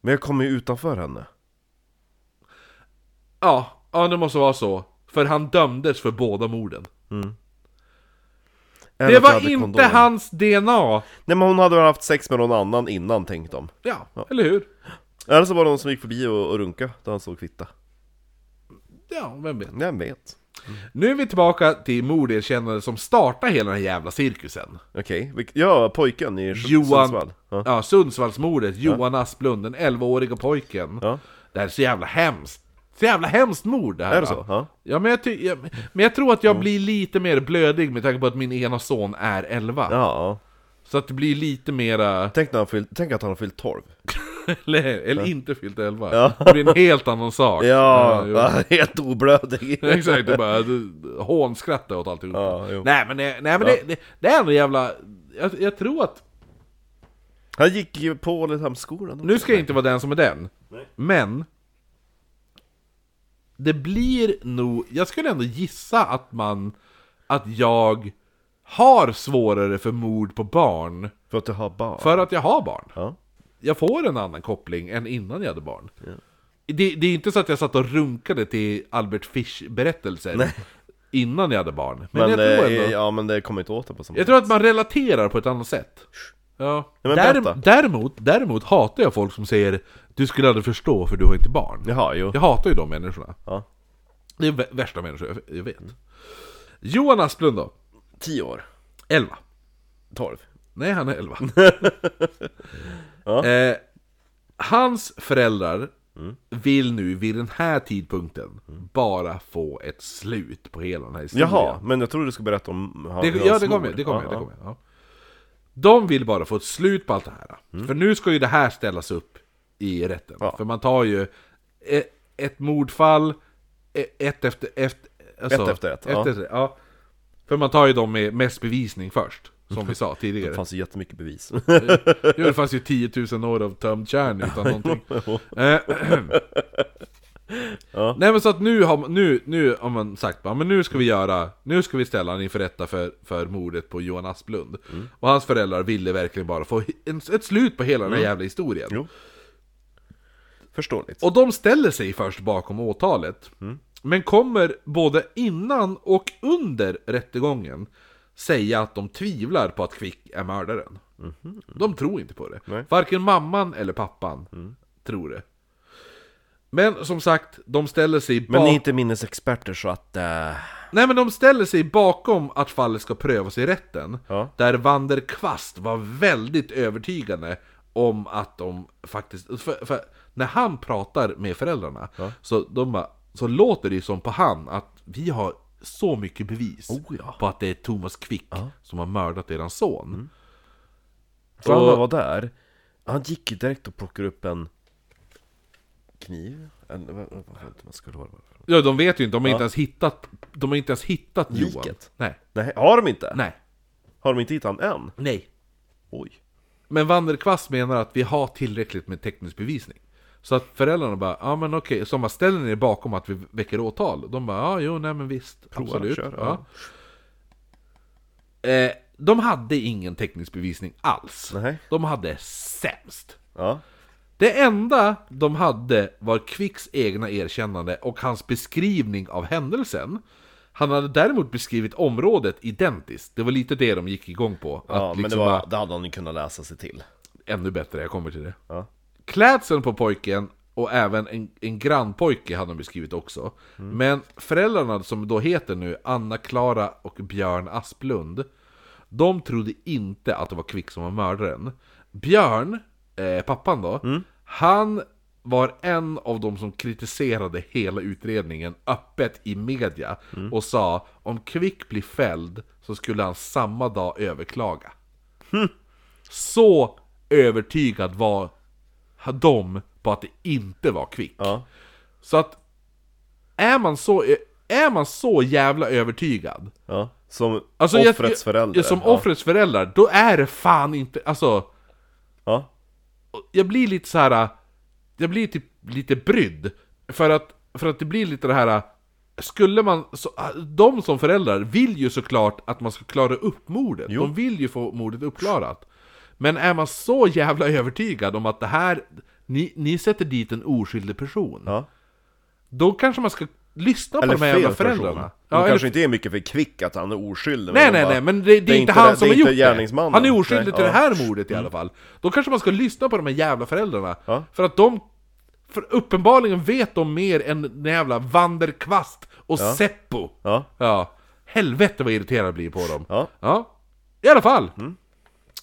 Men jag kommer ju utanför henne. Ja, ja det måste vara så. För han dömdes för båda morden. Än Det att jag var hade inte kondom. hans DNA! Nej men hon hade väl haft sex med någon annan innan tänkte de. Ja, eller hur? Eller så var det någon som gick förbi och, och runka då han såg kvitta. Ja, vem vet. Vem vet? Nu är vi tillbaka till morderkännare som startar hela den här jävla cirkusen. Okej, vilk- ja pojken i Sund- Johan... Sundsvall. Ja. Ja, Sundsvallsmordet, Johan Asplund, den 11-åriga pojken. Ja. Det här är så jävla hemskt. Så jävla hemskt mord det här. alltså. Är det så? Ja. Ja, men jag, ty- jag, men jag tror att jag blir lite mer blödig med tanke på att min ena son är 11. ja. Så att det blir lite mera... <laughs> Tänk, när han fyllt, tänk att han har fyllt 12. Eller, eller inte fyllt 11. Det blir en helt annan sak. Ja, <laughs> jo. helt <laughs> oblödig. Exakt, det bara du- hånskrattar åt alltihopa. Ja, jo. nej men, det, nej, men det, det, det är en jävla... Jag, jag tror att... Han gick ju på Ålidhemsskolan. Nu ska jag inte vara den som är den. Men... det blir nog, jag skulle ändå gissa att man, att jag har svårare för mord på barn För att du har barn? för att jag har barn. Ja. Jag får en annan koppling än innan jag hade barn. Det, det är inte så att jag satt och runkade till Albert Fish-berättelser innan jag hade barn. Men, Men, jag tror eh, ändå... ja, men det kommer inte åt det på samma Jag tror att man relaterar på ett annat sätt. Ja. men berätta. Därem, däremot, däremot hatar jag folk som säger Du skulle aldrig förstå för du har inte barn. Jaha, jo. Jag hatar ju de människorna. Ja. Det är vä- värsta människor jag, jag vet. Johan Asplund då? Tio år? 11. Tolv? Nej, han är <laughs> 11. eh, hans föräldrar Mm. vill nu vid den här tidpunkten bara få ett slut på hela den här historien. Jaha, men jag tror du ska berätta om han- Det, hans ja, det kommer mor. jag. Det kommer Ja, jag. Det ja. kommer jag. Ja. De vill bara få ett slut på allt det här. För nu ska ju det här ställas upp i rätten. Mm. Ja. För man tar ju ett, ett mordfall, e- ett efter ett. alltså, Ett efter ett, ja. efter- ja. För man tar ju de med mest bevisning först. <laughs> Som vi sa Det tidigare. fanns ju jättemycket bevis. <laughs> Jo, det fanns ju 10 000 år av tömd kärn utan någonting. Eh, <clears throat> Nej men så att nu har, man- nu, nu har man sagt bara, men nu ska vi göra, nu ska vi ställa honom inför rätta för, för mordet på Johan Asplund. Och hans föräldrar ville verkligen bara få en, ett slut på hela den här jävla historien. Jo. Förståeligt. Och de ställer sig först bakom åtalet. Mm. Men kommer både innan och under rättegången säga att de tvivlar på att Quick är mördaren. De tror inte på det. Mhm. Nej. Mm. Varken mamman eller pappan tror det. Men som sagt, de ställer sig men bak- ni är inte minnesexperter så att... eh, Nej men de ställer sig bakom att fallet ska prövas i rätten. Ja. Där Vander Kvast var väldigt övertygande om att de faktiskt... För, för när han pratar med föräldrarna så, de bara, så låter det ju som på han att vi har så mycket bevis Oh, på att det är Thomas Quick som har mördat eran son. Mm. För han Och- var där, han gick ju direkt och plockade upp en kniv, en, vad, vad vad fan man skulle vara Ja, de vet ju inte, de har inte ens hittat, de har inte ens hittat Johan. Liket. Nej. Nej, har de inte? Nej. Har de inte hittat han än? Nej. Oj Men Vanderkvast menar att vi har tillräckligt med teknisk bevisning. Så att föräldrarna bara, ja men okej, så man ställer ner bakom att vi väcker åtal. De bara, ja jo, nej men visst, absolut. kör, ja. Eh, de hade ingen teknisk bevisning alls. Nej. De hade sämst. Ja, Det enda de hade var Quicks egna erkännande och hans beskrivning av händelsen. Han hade däremot beskrivit området identiskt. Det var lite det de gick igång på. Att ja men det, liksom var, bara- det hade han ju kunnat läsa sig till ännu bättre, jag kommer till det. Ja. Klädseln på pojken och även en, en grannpojke hade de beskrivit också. Men föräldrarna som då heter nu Anna-Klara och Björn Asplund, de trodde inte att det var Kvick som var mördaren. Björn, eh, pappan då, han var en av de som kritiserade hela utredningen öppet i media och sa om Kvick blir fälld så skulle han samma dag överklaga. Så övertygad var de på att det inte var Kvick. Ja, Så att är man så, är man så jävla övertygad ja Som alltså jag- offrets föräldrar Ja, som ja. offrets föräldrar, då är det fan inte, alltså ja. jag blir lite så här. äh, Jag blir typ lite brydd. För att, för att det blir lite det här... äh, Skulle man... Så, äh, de som föräldrar vill ju såklart att man ska klara upp mordet. De vill ju få mordet uppklarat. Men är man så jävla övertygad om att det här... Ni, ni sätter dit en oskyldig person. Ja. Då kanske man ska lyssna på Eller de här jävla fel föräldrarna. person Ja, Det eller kanske inte är mycket för kvick att han är oskyldig Nej de nej bara- nej, men det, det är inte han som har det är gjort inte gärningsmannen. det! Han är oskyldig Nej, till ja. Mm. det här mordet i alla fall! Då kanske man ska lyssna på de här jävla föräldrarna, Ja. för att de... För uppenbarligen vet de mer än den jävla Vanderkvast och Seppo! Ja, Ja. Helvete vad irriterad jag blir på dem! Ja. I alla fall!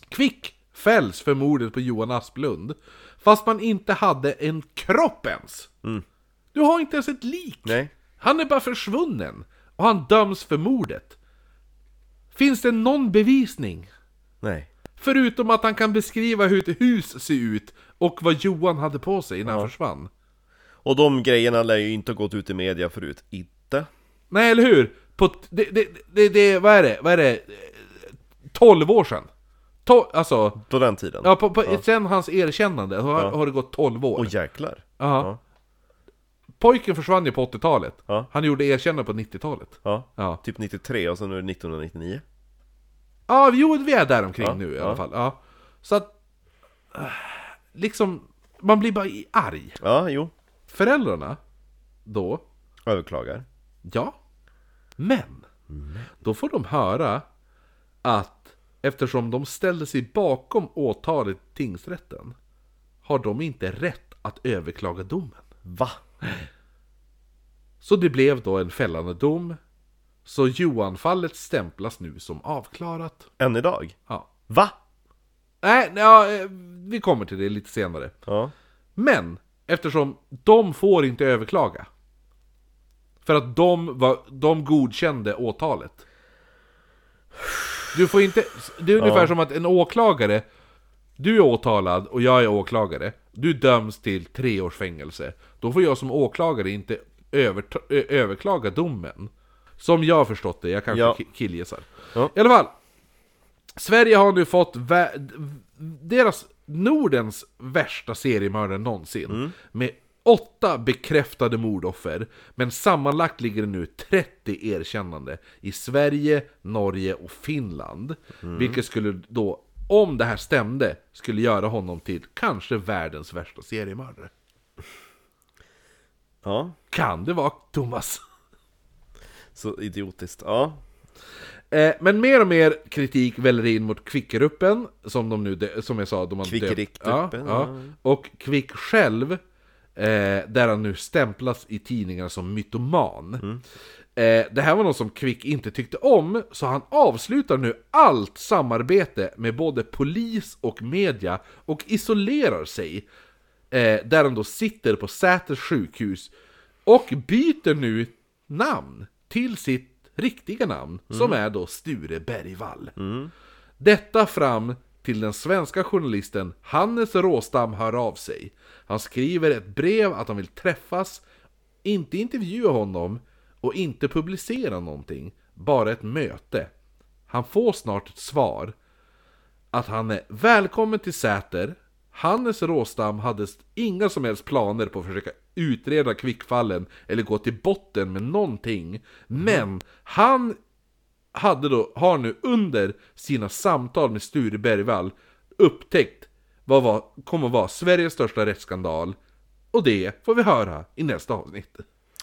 Kvick fälls för mordet på Johan Asplund, fast man inte hade en kropp ens! Du har inte ens ett lik! nej Han är bara försvunnen och han döms för mordet. Finns det någon bevisning? Nej Förutom att han kan beskriva hur ett hus ser ut och vad Johan hade på sig när han försvann. Och de grejerna lär ju inte ha gått ut i media förut Inte Nej, eller hur? På t- det, det, det, det, vad är det? Vad är det? Eh, 12 år sedan. To- alltså, på den tiden ja, på, på, sen hans erkännande har, har det gått 12 år. Och jäklar Ja. Pojken försvann ju på 80-talet. Ja. Han gjorde erkännande på 90-talet. Ja. Ja. Typ 93 och sen nu är det 1999. Ja, jo, vi är där omkring Ja, nu i ja. alla fall. Ja. Så att... eh, Liksom, man blir bara i- arg. Ja, jo. Föräldrarna, då, Överklagar. ja. Men, då får de höra att eftersom de ställde sig bakom åtalet i tingsrätten har de inte rätt att överklaga domen. Va? Så det blev då en fällande dom. Så Johan-fallet stämplas nu som avklarat. Än idag? Ja. Va? Nej, nej, ja, eh, vi kommer till det lite senare. Ja. Men eftersom de får inte överklaga. För att de, var, de godkände åtalet. Du får inte... Det är ungefär som att en åklagare... Du är åtalad och jag är åklagare. Du döms till tre års fängelse. Då får jag som åklagare inte övert- ö- överklaga domen. Som jag har förstått det, jag kanske Ja. ki- killgissar. Ja. I alla fall. Sverige har nu fått vä- deras Nordens värsta seriemördare någonsin. Med åtta bekräftade mordoffer. Men sammanlagt ligger det nu 30 erkännande i Sverige, Norge och Finland. Vilket skulle då, om det här stämde, skulle göra honom till kanske världens värsta seriemördare. Ja. Kan det vara Thomas? <laughs> Så idiotiskt. Ja. Eh, men mer och mer kritik väller in mot Kvickeruppen, som de nu, dö- som jag sa, de har döpt- Kvickeriktruppen, ja, ja. Och Kvick själv, eh, där han nu stämplas i tidningar som mytoman. Eh, det här var något som Kvick inte tyckte om, så han avslutar nu allt samarbete med både polis och media och isolerar sig. Eh, där han då sitter på Säters sjukhus och byter nu namn till sitt riktiga namn, som är då Sture Bergvall. Detta fram till den svenska journalisten Hannes Råstam hör av sig. Han skriver ett brev att han vill träffas, inte intervjua honom och inte publicera någonting, bara ett möte. Han får snart ett svar att han är välkommen till Säter. Hannes Råstam hade inga som helst planer på att försöka utreda kvickfallen eller gå till botten med någonting. Men han hade då, har nu under sina samtal med Sture Bergvall upptäckt vad var, kommer att vara Sveriges största rättsskandal. Och det får vi höra i nästa avsnitt.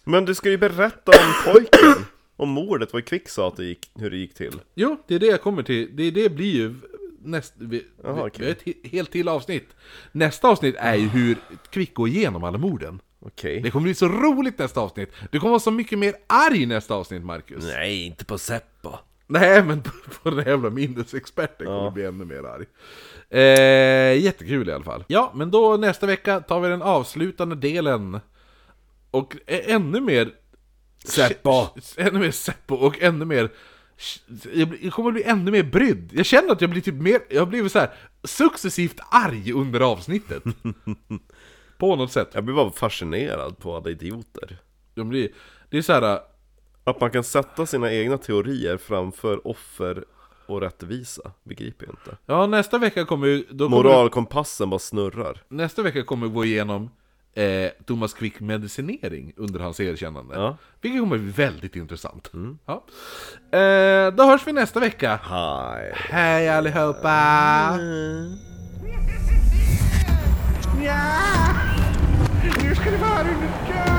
Men du ska ju berätta <coughs> om pojken. Om mordet, vad Kvick sa att det gick, hur det gick till. Jo, det är det jag kommer till. Det, det blir ju näst... Vi, Jaha, vi- okej. vi har ett he- helt till avsnitt. Nästa avsnitt är ju hur Kvick går igenom alla morden. Okej. Det kommer bli så roligt nästa avsnitt. Du kommer vara så mycket mer arg nästa avsnitt, Marcus. Nej, Nej, inte på Seppo. men på, på den här jävla minnesexperten kommer du bli ännu mer arg. Eh, jättekul i alla fall. Ja, men då nästa vecka tar vi den avslutande delen. Och ä- ännu mer... Seppo. Ännu mer Seppo och ännu mer... Jag blir- jag kommer bli ännu mer brydd. Jag känner att jag blir typ mer... Jag blir så här successivt arg under <laughs> avsnittet. på något sätt. Jag blir bara fascinerad på alla idioter. Jag blir, det är så här... Att man kan sätta sina egna teorier framför offer och rättvisa, begriper jag inte. Ja, nästa vecka kommer ju... Då kommer, Moralkompassen bara snurrar. Nästa vecka kommer vi gå igenom eh, Thomas Quick medicinering under hans erkännande. Ja. Vilket kommer bli väldigt intressant. Ja. Eh, då hörs vi nästa vecka. Hej. Hej allihopa! Ja! Nu ska det vara en kö!